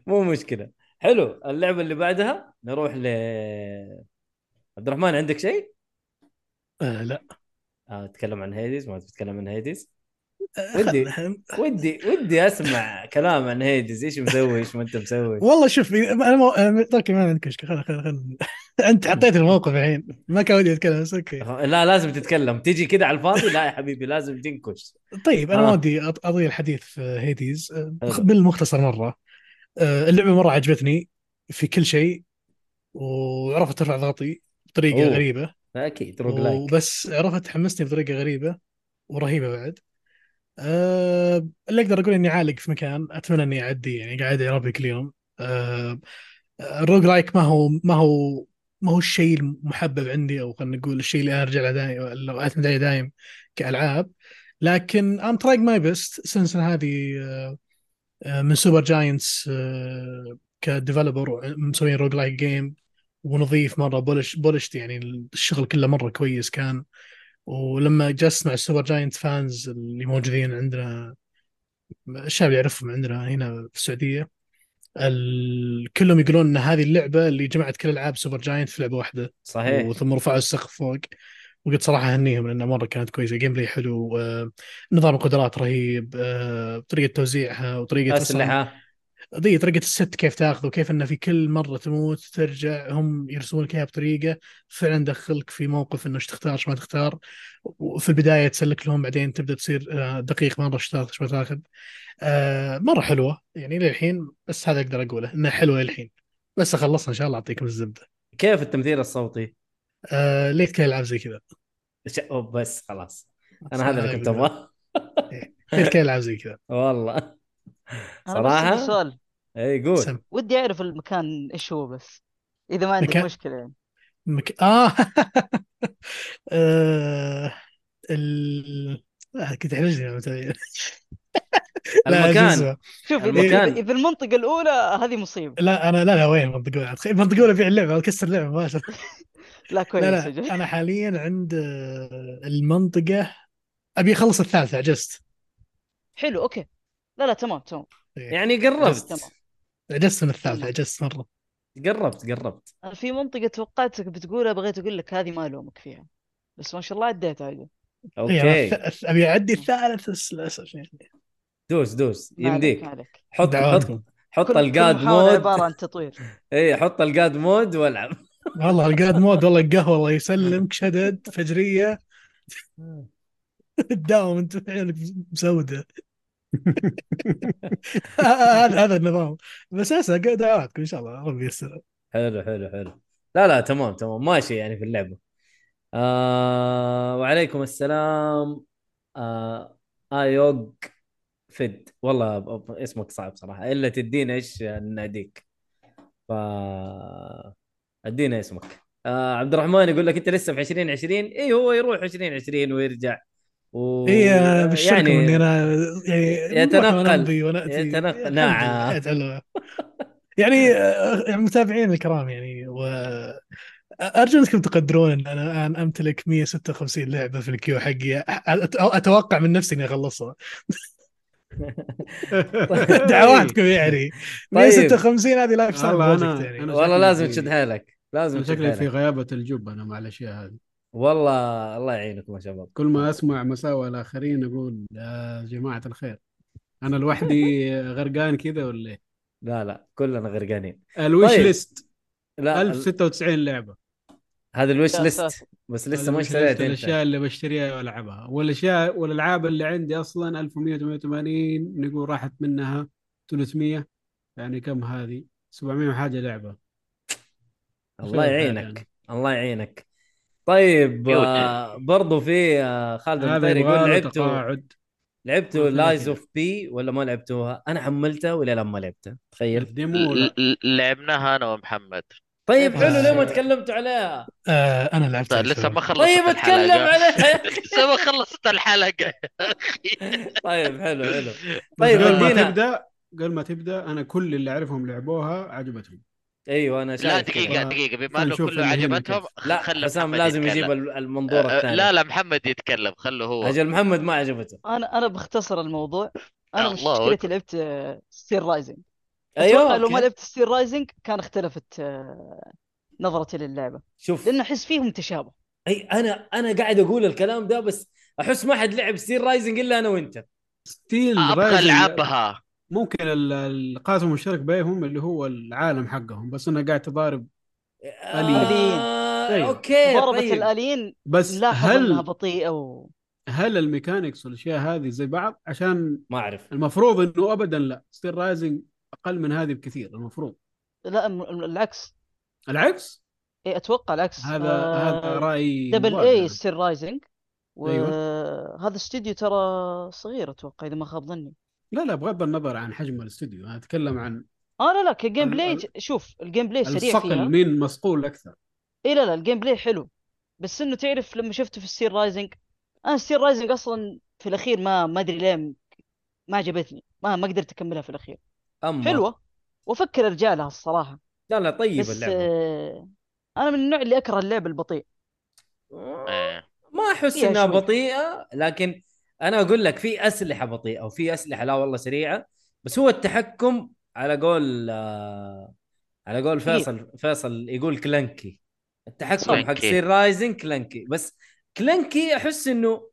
S2: مو مشكله حلو اللعبه اللي بعدها نروح ل عبد الرحمن عندك شيء؟
S5: آه لا
S2: آه، تتكلم عن هيديز ما تتكلم عن هيديز
S5: آه،
S2: ودي.
S5: خلنا-
S2: ودي ودي اسمع كلام عن هيديز ايش مسوي ايش ما انت مسوي
S5: والله شوف إذا- انا مو... أنا طيب ما عندي مشكله خل خل خل انت حطيت الموقف الحين ما كان ودي اتكلم بس اوكي
S2: لا لازم تتكلم تيجي كده على الفاضي لا يا حبيبي لازم تنكش
S5: طيب انا ما
S2: آه.
S5: ودي أط- اضيع الحديث في هيديز آه،
S2: حلو.
S5: بالمختصر مره آه، اللعبه مره عجبتني في كل شيء وعرفت ترفع ضغطي بطريقه
S2: أوه.
S5: غريبه
S2: اكيد روج لايك
S5: وبس عرفت حمستني بطريقه غريبه ورهيبه بعد أه اللي اقدر اقول اني عالق في مكان اتمنى اني اعدي يعني قاعد اعرفه كل يوم أه الروج لايك ما هو ما هو ما هو الشيء المحبب عندي او خلينا نقول الشيء اللي انا ارجع له دايم او اعتمد عليه دايم كالعاب لكن ام ترايك ماي بيست سنس إن هذه آه، آه، من سوبر جاينتس كديفلوبر مسوين روج لايك جيم ونظيف مره بولش بولشت يعني الشغل كله مره كويس كان ولما جلست مع السوبر جاينت فانز اللي موجودين عندنا الشعب يعرفهم عندنا هنا في السعوديه ال... كلهم يقولون ان هذه اللعبه اللي جمعت كل العاب سوبر جاينت في لعبه واحده
S2: صحيح
S5: وثم رفعوا السقف فوق وقلت صراحه اهنيهم لانها مره كانت كويسه جيم بلاي حلو آه، نظام القدرات رهيب آه، طريقه توزيعها وطريقه أصلاً
S2: اسلحه
S5: دي طريقة الست كيف تاخذه وكيف انه في كل مرة تموت ترجع هم يرسمون لك اياها بطريقة فعلا دخلك في موقف انه ايش تختار ايش ما تختار وفي البداية تسلك لهم بعدين تبدا تصير آه، دقيق مرة ايش تاخذ ايش ما تاخذ آه، مرة حلوة يعني للحين بس هذا اقدر اقوله انها حلوة للحين بس اخلصها ان شاء الله اعطيكم الزبدة
S2: كيف التمثيل الصوتي؟
S5: آه، ليت كل العاب زي كذا
S2: ش- أوه، بس خلاص انا هذا اللي كنت ابغاه
S5: ليت كل العاب زي كذا
S2: والله
S8: انا بس عندي
S2: صراحه
S8: سؤال
S2: اي قول
S5: سم.
S8: ودي اعرف المكان ايش هو بس اذا ما عندك
S5: مكان-
S8: مشكله يعني
S5: مك... اه آه، ال آه، كنت احرجني لما تبين. لا، شو
S2: المكان
S5: اسمه؟
S8: شوف إذا-
S2: المكان.
S8: اذا إذا المنطقه الاولى هذه مصيبه
S5: لا انا لا لا وين منطقة ولا تخيل منطقة ولا بيع اللعبة اكسر اللعبة مباشرة
S8: لا كويس
S5: لا
S8: أجل.
S5: لا انا حاليا عند آه، المنطقة ابي اخلص الثالثة عجزت
S8: حلو اوكي لا لا تمام تمام
S2: يعني قربت
S8: تمام
S5: عجزت من الثالثة عجزت مرة
S2: قربت قربت
S8: انا في منطقه توقعتك بتقولها بغيت اقول لك هذه ما الومك فيها بس ما شاء الله عديتها أجل.
S5: إي، إيه، أنا
S2: اوكي
S5: الث- ابي اعدي الثالث بس للاسف يعني
S2: دوس دوس
S8: ما عليك ما
S2: يمديك
S8: عليك
S2: حط حط
S5: دعواتكم
S2: حط
S8: كل- كل
S2: الجاد
S8: محاولة
S2: مود
S8: عباره عن تطوير
S2: اي إيه، حط الجاد مود والعب
S5: والله القاد مود والله القهوة الله يسلمك شدد فجرية تداوم انت عينك مسودة هذا هذا النظام بس اسا دعواتكم ان شاء الله ربي يسر
S2: حلو حلو حلو لا لا تمام تمام ماشي يعني في اللعبه آه وعليكم السلام آه ايوغ فد والله ب- ب- اسمك صعب صراحه الا تدينا ايش ناديك ف ادينا اسمك آه عبد الرحمن يقول لك انت لسه في 2020 اي هو يروح 2020 ويرجع و...
S7: إيه،
S5: اي ابشركم
S2: يعني-
S5: اني انا يعني
S2: يتنقل.
S5: وانا امضي وانا اتي
S2: يتنقل.
S5: الحمد
S2: نعم.
S5: لله، حياة حلوة. يعني آه، متابعين الكرام يعني و ارجو انكم تقدرون ان انا الان امتلك 156 لعبه في الكيو حقي أ- أت- اتوقع من نفسي اني اخلصها
S2: إيه.
S5: دعواتكم
S2: طيب.
S5: يعني 156 هذه لايف ستايل
S7: إيه. والله أنا-
S5: بروجكت يعني
S7: أنا-
S2: والله
S7: شكلي
S2: لازم
S7: في-
S2: تشد حيلك لازم
S7: انا
S2: تشد
S7: شكلي في
S2: حيلك
S7: غيابه الجب انا مع الاشياء هذه
S2: والله الله يعينكم يا شباب
S7: كل ما اسمع مساوئ الاخرين اقول يا جماعه الخير انا لوحدي غرقان كذا ولا ايه؟
S2: لا لا كلنا غرقانين
S7: الويش
S2: طيب.
S7: ليست
S2: لا
S7: 1096 لعبه
S2: هذا الويش
S8: يا
S2: ليست
S8: ساتر.
S2: بس لسه
S7: ولا
S2: ما
S7: مش
S2: اشتريت انت
S7: لست الاشياء اللي بشتريها والعبها والاشياء والالعاب اللي عندي اصلا 1188 نقول راحت منها 300 يعني كم هذه 700 وحاجه لعبه
S2: الله
S7: شغل حالي
S2: يعينك الله يعينك طيب
S1: يوه.
S2: آه برضو في آه خالد
S7: هذا
S2: المطير يقول
S7: يبغى له
S2: لعبتوا
S7: تقاعد
S2: لعبتوا
S7: ما فيها
S2: لايز
S7: كذا.
S2: اوف بي ولا ما لعبتوها؟ انا حملتها ولا لا ما لعبتها تخيل
S7: الديمو ولا-
S1: ل- ل- لعبناها انا ومحمد
S2: طيب حلو ليه ما
S5: آه.
S2: تكلمتوا عليها؟
S5: آه انا لعبت
S1: طيب لسه ما خلصت
S2: طيب
S1: الحلقة
S2: اتكلم عليها يا أخي.
S1: لسه ما خلصت الحلقة يا اخي
S2: طيب حلو حلو طيب
S7: طيب قبل ما
S2: ودينا
S7: تبدا قبل ما تبدا انا كل اللي اعرفهم لعبوها عجبتهم
S2: ايوه انا
S1: لا
S2: شايف كذا.
S1: دقيقة دقيقة بما انه
S7: فنشوف
S1: كله
S7: اللي هنا
S1: عجبتهم
S2: لا
S1: خلي
S2: حسام
S1: محمد
S2: لازم
S1: يتكلم.
S2: يجيب ال- المنظور
S1: أه،
S2: الثاني
S1: لا لا محمد يتكلم خله هو
S2: اجل محمد ما عجبته
S8: انا انا بختصر الموضوع انا
S1: الله
S8: مشكلتي
S1: أكبر.
S8: لعبت ستير رايزنج
S2: ايوه
S8: اتوقع لو ما
S2: أوكي.
S8: لعبت ستير رايزنج كان اختلفت آه، نظرتي للعبه
S2: شوف
S8: لان احس فيهم تشابه
S2: اي انا انا قاعد اقول الكلام ده بس احس ما حد لعب ستيل رايزنج الا انا وانت
S7: ستيل
S1: ابغى
S7: رايزن
S1: العبها
S7: ممكن ال- القاسم المشترك بينهم اللي هو العالم حقهم بس انا قاعد تضارب
S2: آه
S7: طيب.
S2: اوكي
S8: ضربة
S2: آه، طيب
S8: الاليين
S7: بس
S8: لاحظ انها
S7: هل
S8: بطيئه و...
S7: هل الميكانكس والاشياء هذه زي بعض عشان
S2: ما اعرف
S7: المفروض انه ابدا لا ستيل رايزنج اقل من هذه بكثير المفروض
S8: لا م- م- العكس
S7: العكس
S8: إيه اتوقع العكس
S7: هذا
S8: آه،
S7: هذا رايي
S8: دبل
S7: مضاد
S8: اي
S7: يعني.
S8: ستير رايزنج
S7: أيوة.
S8: وهذا استوديو ترى صغير اتوقع اذا ما خاب ظني
S7: لا لا بغض النظر عن حجم الاستوديو انا اتكلم عن
S8: اه لا لا كجيم بلاي
S7: ال-
S8: ج- شوف الجيم بلاي سريع فيها
S7: الصقل مين مصقول اكثر
S8: اي لا لا الجيم بلاي حلو بس انه تعرف لما شفته في ستير رايزنج انا ستير رايزنج اصلا في الاخير ما ما ادري ليه م- ما عجبتني ما ما قدرت اكملها في الاخير
S7: نعم.
S2: اما
S8: حلوه وافكر ارجع لها الصراحه
S2: لا لا طيب
S8: بس
S2: اللعبه
S8: آه، انا من النوع اللي اكره اللعب البطيء آه،
S1: إيه.
S2: ما احس
S8: فيها
S2: انها
S8: شوي.
S2: بطيئه لكن انا اقول لك في اسلحه بطيئه وفي اسلحه لا والله سريعه بس هو التحكم على قول آه، على قول
S8: بطيء.
S2: فيصل فيصل يقول كلنكي التحكم
S1: صح.
S2: حق
S1: كلنكي.
S2: سير رايزن كلنكي بس كلنكي احس انه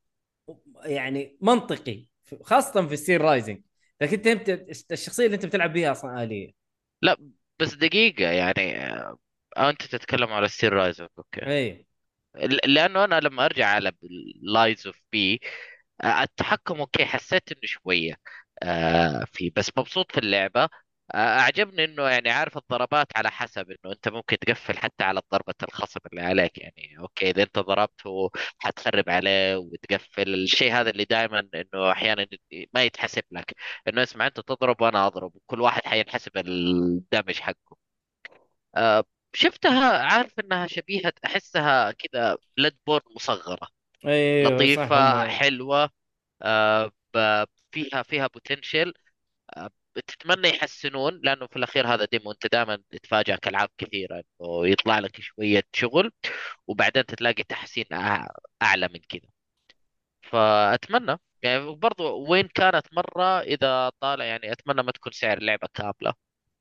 S2: يعني منطقي خاصه في سير رايزنج لكن انت انت الشخصيه اللي انت بتلعب بيها اصلا اليه
S1: لا بس دقيقة يعني آه، انت تتكلم على ستيل رايزنج اوكي
S2: اي
S1: ل- لانه انا لما ارجع على لايز اوف بي آه، التحكم اوكي حسيت انه شويه آه، في بس مبسوط في اللعبه آه، اعجبني انه يعني عارف الضربات على حسب انه انت ممكن تقفل حتى على ضربه الخصم اللي عليك يعني اوكي اذا انت ضربته حتخرب عليه وتقفل الشيء هذا اللي دائما انه احيانا ما يتحسب لك انه اسمع انت تضرب وانا اضرب وكل واحد حينحسب الدمج حقه آه، شفتها عارف انها شبيهه احسها كذا بلاد بورن مصغره
S2: ايوه صح
S1: لطيفة
S2: هم-
S1: حلوة آه، ب- فيها فيها بوتنشل تتمنى يحسنون لأنه في الأخير هذا ديمو أنت دائما تتفاجأ كألعاب كثيرة إنه يطلع لك شوية شغل وبعدين تلاقي تحسين أع- أعلى من كذا فأتمنى يعني برضو وين كانت مرة إذا طالع يعني أتمنى ما تكون سعر اللعبة كاملة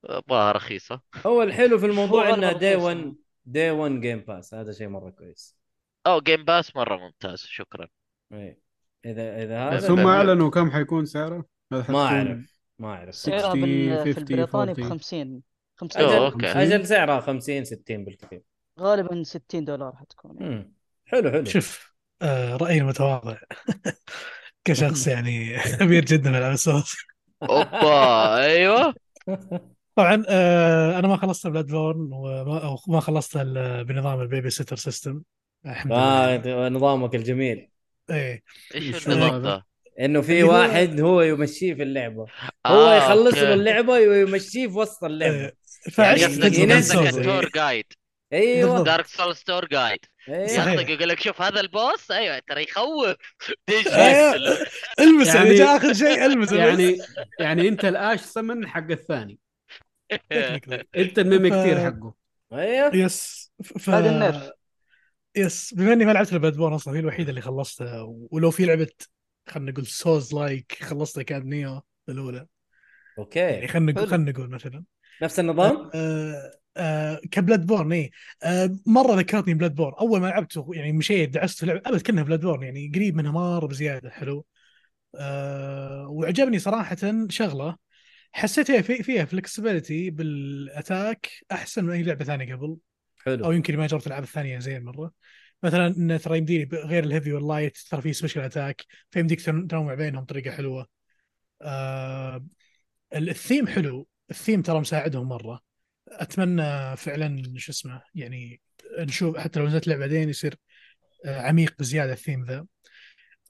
S1: أبغاها رخيصة
S2: هو الحلو في الموضوع
S8: هو
S2: انه
S8: غير
S2: دي
S8: رخيص،
S2: 1 دي 1 جيم باس هذا شيء مره كويس
S1: أو جيم باس مرة ممتاز شكرا
S2: إيه. اذا اذا هذا
S7: بس هم
S1: بقول-
S7: اعلنوا كم حيكون سعره هل
S2: ما
S7: حتكون
S2: اعرف ما اعرف
S7: سعر.
S8: سعرها
S7: 60،
S8: إيه، آه، بال... في
S7: 50،
S8: البريطاني
S7: 40.
S8: ب 50 50
S1: أوه
S2: أجل.
S1: أوكي
S2: اجل سعرها 50 60 بالكثير
S8: غالبا 60 دولار حتكون يعني.
S2: مم. حلو حلو
S5: شوف آه رايي المتواضع كشخص يعني خبير جدا بالالعاب الصوت
S1: أوبا أيوه
S5: طبعا آه انا ما خلصت بلاد بورن وما أو ما خلصت ال- بنظام البيبي سيتر سيستم الحمد لله
S2: آه أنت- نظامك الجميل
S5: ايه
S1: إيش
S7: شو
S1: النظام
S7: هذا؟
S1: ده؟
S2: انه في
S5: اللي هو-
S2: واحد هو يمشيه في اللعبه هو
S1: آه،
S2: يخلص
S1: أوكي.
S2: له اللعبه ويمشيه في وسط اللعبه
S5: آه،
S1: يعني
S5: فعشت
S1: قصدك
S5: تجربة
S2: ينزل
S1: قصدك
S5: Souls، إيه.
S1: التور جايد
S2: ايوه
S5: بالضبط.
S1: دارك سول ستور جايد
S2: ايوه
S5: صحيح.
S1: ياخذك يقول لك شوف هذا البوس ايوه ترى يخوف دش
S5: أيوة.
S1: دش.
S5: المسه
S7: يعني-
S5: يعني... جاء اخر شيء المسه
S7: يعني يعني انت الاش سمن حق الثاني
S1: إيه.
S5: Technically.
S7: انت الميمكتير
S5: ف-
S7: حقه
S2: ايوه
S5: يس ف- ف...
S8: هذا النيرف
S5: يس بما اني ما لعبت البلاد بورن اصلا هي الوحيده اللي خلصتها ولو في لعبه خلينا نقول سوز لايك خلصتها كانت نيو الاولى يعني
S2: اوكي
S5: خلينا نقول
S8: حلو.
S5: خلينا نقول مثلا
S2: نفس النظام
S5: آه، آه، كبلاد بورن اي آه، مره ذكرتني بلاد بورن اول ما لعبته يعني مشيت دعست في لعبه ابد كانها بلاد بورن يعني قريب منها مره بزياده حلو آه، وعجبني صراحه شغله حسيت فيها في فيها فلكسبيتي بالاتاك احسن من اي لعبه ثانيه قبل او
S2: حلو
S5: يمكن ما جربت العاب الثانيه زين مره مثلا انه ترى يمديني ب- غير الهيفي واللايت ترى في سبيشل اتاك فيمديك تن- تنوع بينهم بطريقه حلوه آه ال- الثيم حلو الثيم ترى مساعدهم مره اتمنى فعلا شو اسمه يعني نشوف حتى لو نزلت لعبه بعدين يصير آه، عميق بزياده الثيم ذا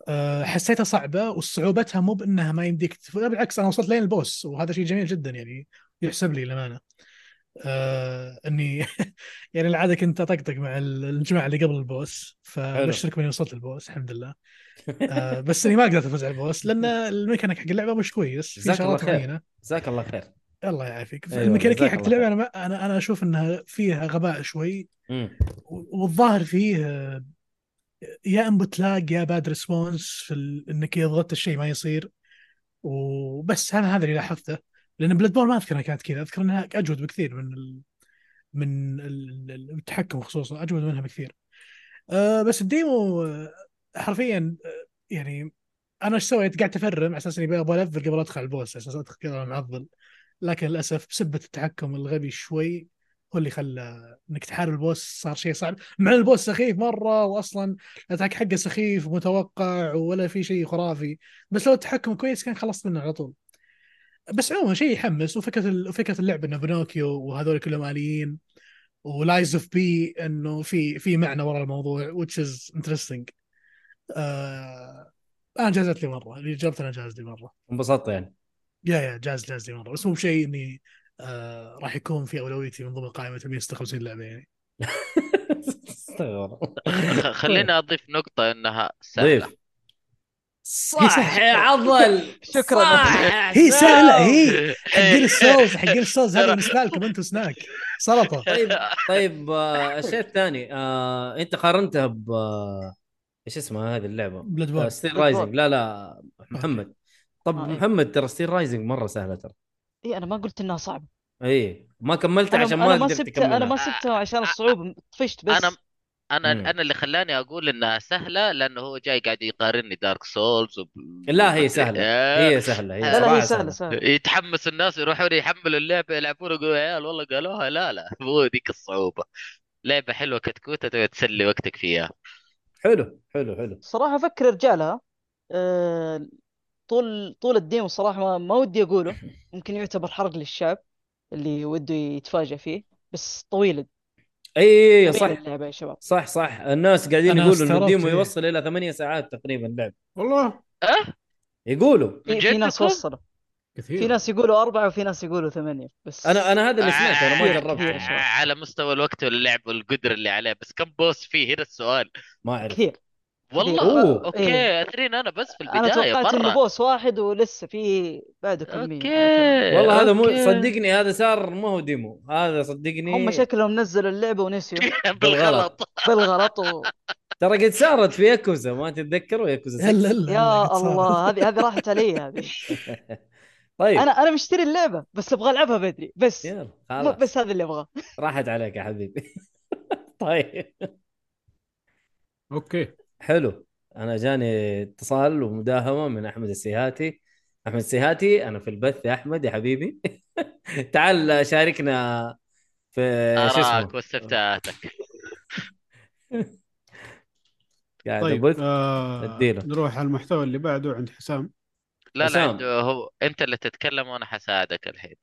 S5: آه، حسيتها صعبه وصعوبتها مو بانها ما يمديك تف- لا بالعكس انا وصلت لين البوس وهذا شيء جميل جدا يعني يحسب لي للامانه آه اني يعني العاده كنت اطقطق مع ال- الجماعه اللي قبل البوس فبشرك اني وصلت البوس الحمد لله آه بس اني ما قدرت افوز على البوس لان الميكانيك حق اللعبه مش كويس في
S2: جزاك الله
S5: شغلات
S2: خير.
S5: معينه
S2: جزاك الله خير
S5: الله يعافيك
S2: أيوة،
S5: الميكانيكيه
S2: جزاك
S5: حق
S2: الله
S5: اللعبه انا ما- انا انا اشوف انها فيها غباء شوي
S2: مم.
S5: و- والظاهر فيه آه، يا انبوت لاج يا باد ريسبونس في ال... انك اذا ضغطت الشيء ما يصير وبس هذا هذا اللي لاحظته لان بلاد بول ما اذكر انها كانت كذا اذكر انها اجود بكثير من ال... من ال- ال- التحكم خصوصا اجود منها بكثير أه بس الديمو آه، حرفيا آه، يعني انا ايش سويت؟ قاعد افرم على اساس اني ابغى الفل قبل ادخل على البوس على اساس ادخل كذا معضل لكن للاسف بسبه التحكم الغبي شوي هو اللي خلى انك تحارب البوس صار شيء صعب مع إن البوس سخيف مره واصلا الاتاك حقه سخيف ومتوقع ولا في شيء خرافي بس لو التحكم كويس كان خلصت منه على طول بس عموما شيء يحمس وفكره ال- وفكره اللعبه انه بنوكيو وهذول كلهم اليين ولايز اوف بي انه في في معنى ورا الموضوع which is interesting آه انا جازت لي مره اللي جربت انا جاز لي مره
S2: انبسطت يعني
S5: يا يا جاز جاز لي مره بس مو بشيء اني آه راح يكون في اولويتي من ضمن قائمه 156 لعبه يعني
S2: استغفر الله.
S6: خ- خليني اضيف نقطة انها سهلة
S2: ضيف صح يا عضل
S8: شكراً.
S2: صح يا
S5: هي سهله
S2: عسام.
S5: هي حقين السولز حقين السولز هذا بالنسبه لكم انتم سناك سلطه
S2: طيب طيب آه، الشيء الثاني آه، انت قارنتها ب آه، ايش اسمها هذه اللعبه؟
S5: بلاد
S2: آه،
S5: بورن
S2: ستيل
S8: Bloodborne.
S2: رايزنج لا لا محمد طب
S8: آه، إيه.
S2: محمد ترى ستيل رايزنج مره سهله ترى
S8: اي انا ما قلت انها صعبه
S2: اي ما كملتها
S8: انا
S2: عشان
S8: أنا
S2: ما
S8: ما
S2: قدرت آه.
S8: سبتها انا ما
S2: اكملها
S8: سبتها عشان الصعوبه طفشت بس
S6: انا انا
S2: مم.
S6: انا اللي خلاني اقول انها سهله لانه هو جاي قاعد يقارني دارك سولز وب...
S2: لا هي سهله
S1: إيه،
S2: هي سهله هي
S8: لا لا
S2: صراحه
S8: هي سهله سهله
S6: يتحمس الناس يروحون يحملوا اللعبه يلعبون يقولوا يا عيال والله قالوها لا لا مو ذيك الصعوبه لعبه حلوه كتكوته تبي تسلي وقتك فيها
S2: حلو حلو حلو
S8: صراحه افكر رجالها آه، طول طول الديمو صراحه ما, ما ودي اقوله ممكن يعتبر حرق للشعب اللي وده يتفاجئ فيه بس طويل
S2: اي
S8: طويل
S2: إيه، صح
S8: اللعبه يا شباب
S2: صح صح الناس قاعدين
S5: أنا
S2: يقولوا انه
S5: استغربت
S2: الديمو
S5: إيه.
S2: يوصل الى ثمانية ساعات تقريبا لعب
S7: والله
S6: اه
S2: يقولوا
S6: من
S8: في,
S6: جد
S8: في ناس
S6: تقول؟
S8: وصلوا
S7: كثير
S2: إيه.
S8: في ناس يقولوا اربعه وفي ناس يقولوا ثمانيه بس
S2: انا انا هذا اللي سمعته انا ما
S8: كثير،
S2: جربت
S8: كثير يا شباب.
S6: على مستوى الوقت واللعب والقدر اللي عليه بس كم بوس فيه هنا السؤال
S2: ما اعرف
S8: كثير
S6: والله
S2: أوه. إيه.
S6: اوكي اثرين انا بس في
S8: انا
S6: البدايه
S8: توقعت انه
S6: مره
S8: بوس واحد ولسه في بعده كميه
S6: اوكي
S2: والله هذا مو
S6: أوكي.
S2: صدقني هذا صار ما هو ديمو هذا صدقني
S1: إيه.
S8: هم شكلهم نزلوا اللعبه ونسيوا
S6: بالغلط
S8: بالغلط و...
S2: ترى قد صارت في ياكوزا ما تتذكروا ياكوزا
S5: هلا
S2: 6
S5: هلا
S8: يا الله هذه هذه راحت علي هذه
S2: طيب
S8: انا انا مشتري اللعبه بس ابغى العبها بدري بس
S2: يلا
S8: مو-
S2: خلاص
S8: بس هذا اللي ابغاه
S2: راحت عليك يا حبيبي طيب
S7: اوكي
S2: حلو انا جاني اتصال ومداهمه من احمد السيهاتي احمد السيهاتي انا في البث يا احمد يا حبيبي تعال شاركنا في
S6: آه،
S1: آه،
S2: شو
S6: اراك
S2: اسمه
S6: واستفتاتك
S2: قاعد
S7: طيب
S2: البث
S7: آه
S2: اديله.
S7: نروح على المحتوى اللي بعده عند حسام
S6: لا لا
S2: حسام.
S6: عنده هو انت اللي تتكلم وانا حساعدك الحين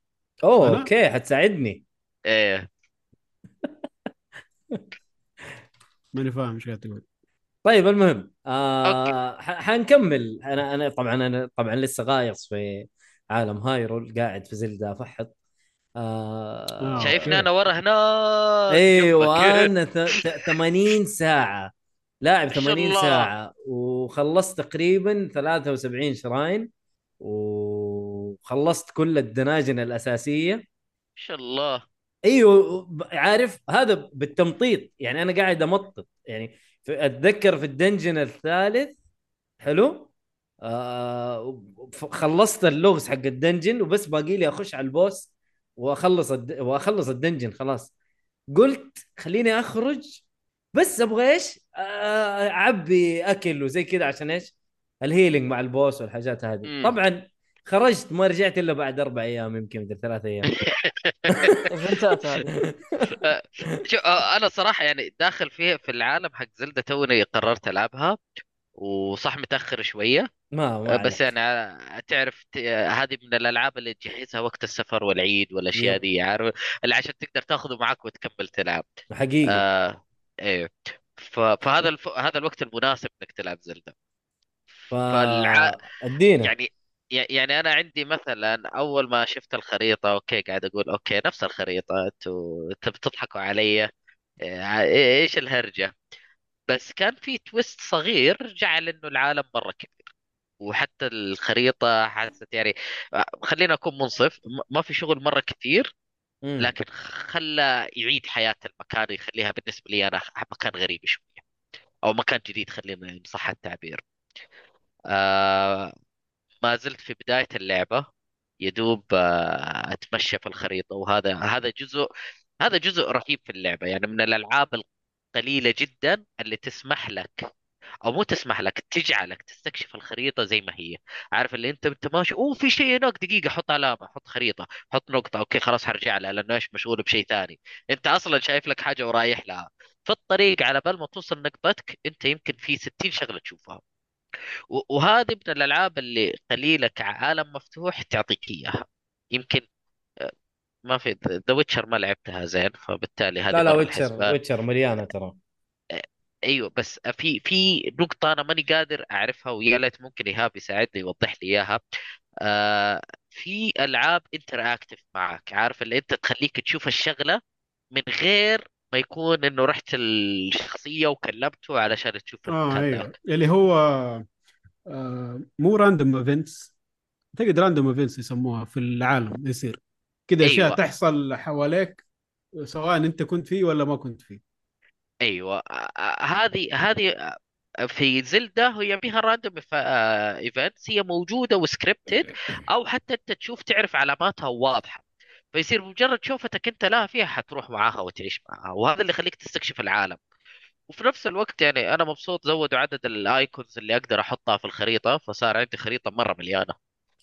S2: اوه
S7: أنا؟
S2: اوكي حتساعدني
S6: ايه
S7: ماني فاهم ايش قاعد تقول
S2: طيب المهم آه ح- حنكمل انا انا طبعا انا طبعا لسه غايص في عالم هايرول قاعد في زلدة افحط آه إيه.
S7: آه،
S6: شايفني
S7: أوكي.
S6: انا ورا هنا
S2: ايوه انا ث- ث- 80 ساعة لاعب
S6: ما شاء
S2: 80
S6: الله.
S2: ساعة وخلصت تقريبا 73 شراين وخلصت كل الدناجن الاساسية
S6: ما شاء الله
S2: ايوه ب- عارف هذا بالتمطيط يعني انا قاعد امطط يعني في- اتذكر في الدنجن الثالث حلو آه وب- ف- خلصت اللغز حق الدنجن وبس باقي لي اخش على البوس واخلص الد... واخلص الدنجن خلاص قلت خليني اخرج بس ابغى ايش؟ آه، اعبي اكل وزي كذا عشان ايش؟ الهيلينج مع البوس والحاجات هذه
S6: مم.
S2: طبعا خرجت ما رجعت الا بعد اربع ايام يمكن مدري ثلاث ايام
S8: ايفنتات هذه
S1: شو انا صراحه يعني داخل فيه في العالم حق زلدة توني قررت العبها وصح متاخر شويه
S2: ما, ما
S1: بس
S2: عليك.
S1: يعني ع- تعرف ت- آه، هذه من الالعاب اللي تجهزها وقت السفر والعيد والاشياء
S2: يب.
S1: دي عارف اللي عشان تقدر تاخذه معك وتكمل تلعب
S2: حقيقي
S1: آه ايه ف- فهذا الف... هذا الوقت المناسب انك تلعب زلدة
S2: ف...
S1: فالع...
S2: ادينا
S1: يعني ي- يعني انا عندي مثلا اول ما شفت الخريطه اوكي قاعد اقول اوكي نفس الخريطه انتوا تب- تضحكوا علي إيه، ع- ايش الهرجه بس كان في تويست صغير جعل انه العالم مره كبير وحتى الخريطه حسيت يعني خلينا اكون منصف م- ما في شغل مره كثير
S2: مم.
S1: لكن خلى يعيد حياه المكان يخليها بالنسبه لي انا مكان غريب شويه او مكان جديد خلينا ان صح التعبير آه ما زلت في بداية اللعبة يدوب آه، أتمشى في الخريطة وهذا هذا جزء هذا جزء رهيب في اللعبة يعني من الألعاب القليلة جدا اللي تسمح لك أو مو تسمح لك تجعلك تستكشف الخريطة زي ما هي عارف اللي أنت أنت ماشي أوه في شيء هناك دقيقة حط علامة حط خريطة حط نقطة أوكي خلاص حرجع لها لأنه إيش مشغول بشيء ثاني أنت أصلا شايف لك حاجة ورايح لها في الطريق على بال ما توصل نقطتك أنت يمكن في 60 شغلة تشوفها و- وهذه من الالعاب اللي قليله كعالم مفتوح تعطيك اياها يمكن آه، ما في ذا ويتشر ما لعبتها زين فبالتالي هذه
S2: لا لا
S1: برا
S2: ويتشر
S1: الحسبه
S2: ويتشر مليانه ترى
S1: ايوه بس في في نقطه انا ماني قادر اعرفها ويا ليت ممكن ايهاب يساعدني يوضح لي اياها آه في العاب انتراكتف معك عارف اللي انت تخليك تشوف الشغله من غير ما يكون انه رحت الشخصيه وكلمته علشان تشوف
S7: اه
S1: المكان
S7: ايوه
S1: ذاك
S7: اللي هو آه مو راندوم ايفنتس اعتقد راندوم ايفنتس يسموها في العالم يصير كذا اشياء
S1: أيوة.
S7: تحصل حواليك سواء انت كنت فيه ولا ما كنت فيه
S1: ايوه آه، آه، هذه هذه آه، في زلدة هي فيها راندوم ايفنتس هي موجوده وسكريبتد او حتى انت تشوف تعرف علاماتها واضحه فيصير مجرد شوفتك انت لا فيها حتروح معاها وتعيش معاها وهذا اللي يخليك تستكشف العالم وفي نفس الوقت يعني انا مبسوط زودوا عدد الايكونز اللي اقدر احطها في الخريطه فصار عندي خريطه مره مليانه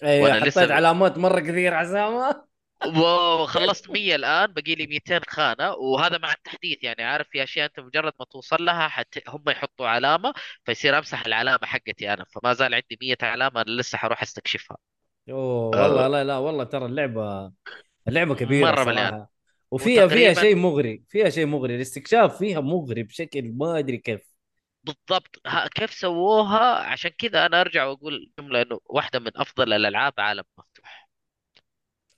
S2: ايوه
S1: وأنا
S2: حطيت
S1: لسه-
S2: علامات مره كثير عسامه
S1: واو خلصت 100 الان باقي لي 200 خانه وهذا مع التحديث يعني عارف في اشياء انت مجرد ما توصل لها حت... هم يحطوا علامه فيصير امسح العلامه حقتي انا فما زال عندي 100 علامه انا لسه حروح استكشفها
S2: اوه والله لا لا والله ترى اللعبه اللعبه كبيره
S1: آه. مرة
S2: مرة
S1: مليانة.
S2: صراحه وفيها فيها
S1: وتقريباً-
S2: شيء مغري فيها شيء مغري الاستكشاف فيها مغري بشكل ما ادري كيف
S1: بالضبط ها كيف سووها عشان كذا انا ارجع واقول جمله انه واحده من افضل الالعاب عالم مفتوح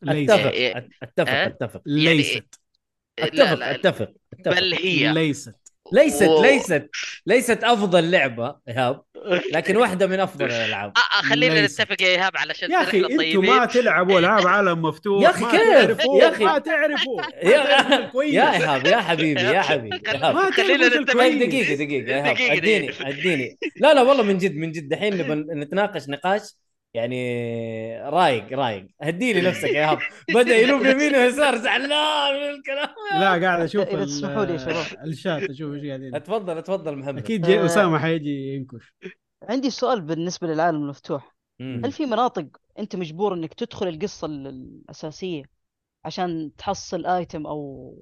S7: ليس
S2: اتفق
S1: إيه،
S2: أت- اتفق
S1: إيه؟
S2: اتفق
S1: يعني
S7: ليست
S1: لا
S2: اتفق
S1: لا
S2: اتفق اتفق
S1: بل
S2: إيه،
S1: هي
S7: ليست
S2: ليست
S1: و-
S2: ليست ليست افضل لعبه ايهاب لكن واحده من افضل الالعاب
S1: آه، آه، خلينا
S7: ليست.
S1: نتفق يا ايهاب علشان
S7: يا
S1: نصير
S7: اخي
S1: إحنا
S7: انتم
S1: طيبين
S7: ما تلعبوا العاب عالم مفتوح
S2: يا أخي
S7: ما
S2: كيف؟
S7: تعرفوا
S2: يا أخي.
S7: ما تعرفوا
S2: يا
S7: كويس.
S2: يا ايهاب يا حبيبي يا حبيبي يا إيهاب.
S7: ما
S1: خلينا
S7: تعرفوا
S1: نتفق
S2: طيب
S7: كويس.
S2: دقيقة دقيقة يا إيهاب،
S1: دقيقة،
S2: اديني
S1: دقيقة.
S2: اديني لا لا والله من جد من جد الحين نبى نتناقش نقاش يعني رايق رايق هديلي نفسك يا ايهاب بدا يلوم يمين ويسار زعلان من الكلام
S7: لا قاعد اشوف
S8: إذا
S7: ال-
S8: تسمحوا لي يا شباب.
S7: الشات اشوف ايش قاعدين
S2: اتفضل اتفضل محمد
S7: اكيد جي- اسامه حيجي ينكش
S8: عندي سؤال بالنسبه للعالم المفتوح
S2: مم.
S8: هل في مناطق انت مجبور انك تدخل القصه ال- الاساسيه عشان تحصل ايتم او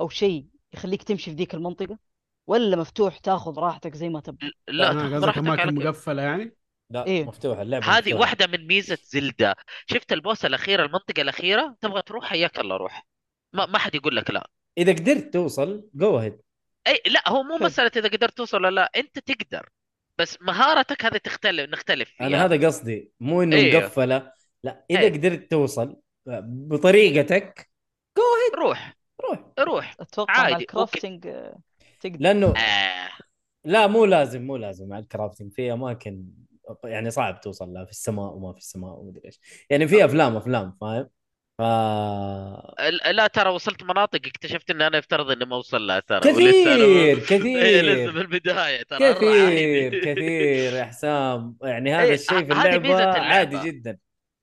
S8: او شيء يخليك تمشي في ذيك المنطقه ولا مفتوح تاخذ راحتك زي ما تبغى
S1: لا
S7: آه،
S1: تاخذ
S7: قصدك
S1: راحتك على
S7: اماكن
S1: كيف.
S7: مقفله يعني
S2: لا
S8: إيه.
S2: مفتوحة اللعبة
S1: هذه
S2: مفتوحة.
S1: واحدة من ميزة زلدة شفت البوس الأخيرة المنطقة الأخيرة تبغى تروح حياك الله روح ما ما حد يقول لك لا
S2: اذا قدرت توصل جو هيد
S1: أي لا هو مو
S2: طيب.
S8: حلو.
S1: مسألة إذا قدرت توصل ولا لا أنت تقدر بس مهارتك هذه تختلف نختلف فيها
S2: انا هذا قصدي مو انه
S1: إيه.
S2: مقفلة لا اذا
S1: إيه.
S2: قدرت توصل آه، بطريقتك
S1: روح
S2: روح
S1: روح
S8: اتوقع
S1: عادي،
S8: مع
S1: أوكي.
S8: الكرافتنج آه، تقدر
S2: لانه
S1: آه.
S2: لا مو لازم مو لازم مع الكرافتنج في اماكن يعني صعب توصل لها في السماء وما في السماء ومدري ايش يعني
S1: آه.
S2: في افلام افلام فاهم ف
S1: ال- لا ترى وصلت مناطق اكتشفت إن أنا يفترض إني ما أوصل لها ترى ولسه أنا
S2: كثير
S1: إيه، لسه
S2: كثير
S1: بالبداية ترى أنا
S2: كثير
S1: عادي.
S2: كثير يا حسام يعني هذا
S1: إيه،
S2: الشيء في
S1: ه- هذه
S2: اللعبة
S1: ميزة اللعبة.
S2: عادي جدا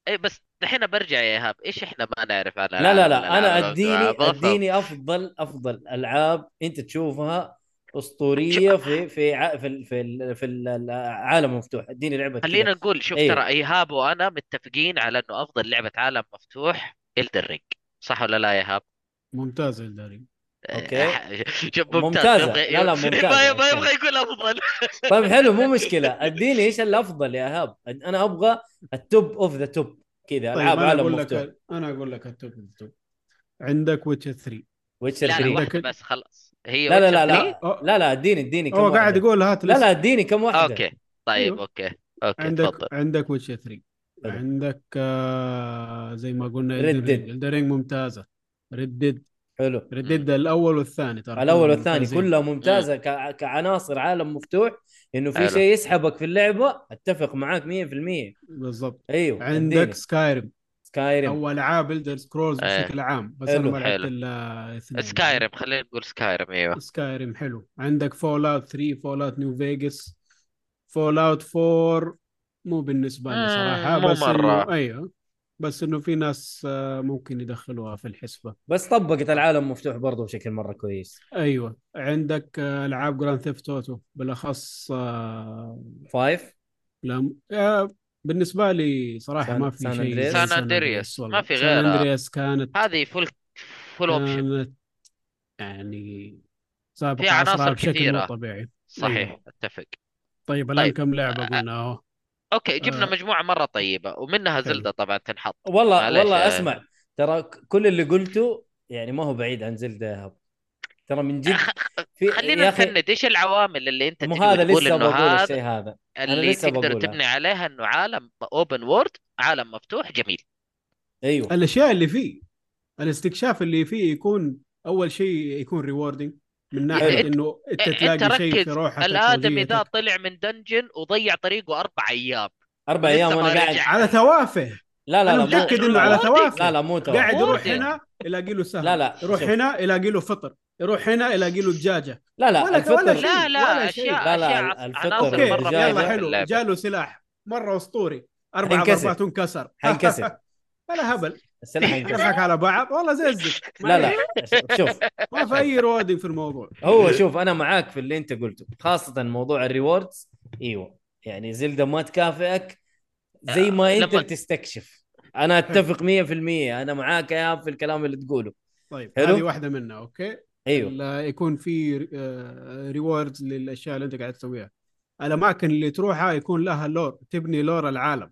S1: اي إيه، بس دحين برجع يا ايهاب ايش احنا ما نعرف عن
S2: لا لا
S1: العالم
S2: لا
S1: الألعاب
S2: انا اديني
S1: المفتوحة؟ بالضبط.
S2: اديني افضل افضل العاب انت تشوفها اسطوريه في في ع... في ال... في, ال... في ال- العالم المفتوح اديني لعبه كذا.
S1: خلينا نقول شوف
S2: أيوه.
S1: ترى ايهاب وانا متفقين على انه افضل لعبه عالم مفتوح الدر رينج صح ولا لا يا ايهاب؟
S7: ممتاز الداري
S2: أوكي.
S1: شوف ممتاز
S2: ممتازة.
S1: يبغى-
S2: لا، لا،
S1: ما-
S2: ممتازة.
S1: ما يبغى يقول افضل
S2: طيب حلو مو مشكله اديني ايش الافضل يا ايهاب انا ابغى التوب اوف ذا توب كذا العاب
S7: انا
S2: عالم
S7: اقول
S2: يعني مفتوح
S7: طيب، لك انا اقول لك التوب التوب عندك ويتشر 3
S2: ويتشر
S1: لا لا
S2: 3
S1: واحده بس خلاص هي
S2: لا لا
S1: Witcher
S2: لا
S1: 3.
S2: لا
S7: أو-
S2: لا لا اديني اديني كم
S7: هو قاعد
S2: واحدة.
S7: يقول هات
S2: لا
S7: لست.
S2: لا اديني كم واحده
S1: اوكي طيب
S7: أيوه.
S1: اوكي اوكي تفضل
S7: عندك عندك ويتشر 3
S2: حلو.
S7: عندك آه زي ما قلنا
S2: Red Dead.
S7: الدرينج ممتازه ريد
S2: حلو
S7: ريد الاول والثاني ترى
S2: الاول
S7: كلهم
S2: والثاني
S7: ممتازين.
S2: كلها ممتازه كع- كعناصر عالم مفتوح انه في
S1: حلو.
S2: شيء يسحبك في اللعبه اتفق معاك 100%
S7: بالضبط
S2: ايوه
S7: عندك سكايرم
S2: سكايرم
S7: او العاب الدر سكرولز
S1: إيه.
S7: بشكل عام بس
S2: حلو،
S7: انا ما لعبت
S1: حلو.
S7: الا اثنين
S1: سكايرم خلينا نقول سكايرم ايوه
S7: سكايرم حلو عندك فول اوت 3 فول اوت نيو فيجاس فول اوت 4 مو بالنسبه لي
S1: مم،
S7: صراحه
S1: آه، مو
S7: بس
S1: مرة.
S7: انه ايوه بس انه في ناس آه، ممكن يدخلوها في الحسبه
S2: بس طبقت العالم مفتوح برضه بشكل مره كويس
S7: ايوه عندك آه، العاب جراند ثيفت اوتو بالاخص آه،
S2: فايف
S7: لم... آه، بالنسبه لي صراحه
S2: سان-
S7: ما في
S2: سان
S7: شيء زي
S2: أندرياس؟
S1: سان أندرياس،
S7: والله.
S1: ما في
S7: سان
S1: غيرها.
S7: اندرياس كانت
S1: هذه فول فول اوبشن
S7: كانت يعني سابقة
S1: في عناصر
S7: عصرها بشكل مو
S1: كثيرة.
S7: طبيعي
S1: صحيح
S7: أيوه.
S1: اتفق
S7: طيب الآن
S1: طيب.
S7: كم لعبة قلنا أهو
S1: اوكي جبنا
S7: آه.
S1: مجموعه مره طيبه ومنها
S7: حلو.
S1: زلده طبعا تنحط
S2: والله
S1: معليش،
S2: والله
S1: آه.
S2: اسمع ترى ك- كل اللي قلته يعني ما هو بعيد عن زلده يا هب ترى من جد في
S1: خلينا
S2: يا أخي،
S1: نفند ايش العوامل اللي انت
S2: مو
S1: تقدر
S2: هذا
S1: تقول
S2: لسه
S1: انه
S2: بقول
S1: هذا
S2: الشيء هذا
S1: اللي
S2: لسه
S1: تقدر
S2: بقولها.
S1: تبني عليها انه عالم اوبن وورد عالم مفتوح جميل
S2: ايوه
S7: الأشياء اللي فيه الاستكشاف اللي فيه يكون أول شيء يكون ريوردينج من ناحية
S1: يعني
S7: إنه أنت
S1: أنت
S7: تلاقي شيء في
S1: ركز،
S7: روحك
S1: الادمي ذا
S7: وهويتك.
S1: طلع من دنجن وضيع طريقه اربع ايام
S2: اربع
S1: لسه
S2: ايام
S1: ما
S2: وانا قاعد
S1: رجع.
S7: على توافه
S2: لا لا لا
S7: أنا
S2: مو-
S7: متأكد
S1: لا،
S7: إنه على
S1: ريوردينج.
S7: توافه
S2: لا لا مو ترى.
S7: قاعد يروح
S1: ريوردينج.
S7: هنا يلاقي له سهم
S2: لا لا
S7: يروح
S2: شوف.
S7: هنا يلاقي له فطر يروح هنا يلاقي له دجاجة
S2: لا لا
S7: ولا-
S2: الفطر
S7: ولا شيء.
S1: لا لا
S7: ولا
S1: اشياء
S7: شيء.
S2: لا، لا،
S1: اشياء
S2: الفطر
S1: عناصر
S7: أوكي
S2: والرجال
S1: مره
S2: جاي-
S7: يلا
S1: مهمه
S2: جاي.
S1: في
S7: حلو
S1: اللعبة.
S7: جاله سلاح مرة أسطوري أربع
S2: حينكسر.
S7: ضربات وانكسر
S2: حينكسر.
S7: ولا هبل
S2: السلاح ينكسر
S7: نضحك على بعض والله زي الزفت
S2: لا لا شوف
S7: ما في اي روادي في الموضوع
S2: هو
S1: إيه.
S2: شوف انا معاك في اللي انت قلته خاصه موضوع الريوردز ايوه يعني زلده ما تكافئك زي ما
S1: آه،
S2: انت
S1: لما-
S2: بتستكشف انا اتفق 100% انا معاك يا هاب في الكلام اللي تقوله
S7: طيب
S2: حلو.
S7: هذه واحده منها اوكي
S2: ايوه
S1: أيوه.
S7: لا يكون في ريوردز للاشياء اللي انت قاعد تسويها الاماكن اللي تروحها يكون لها لور تبني لور العالم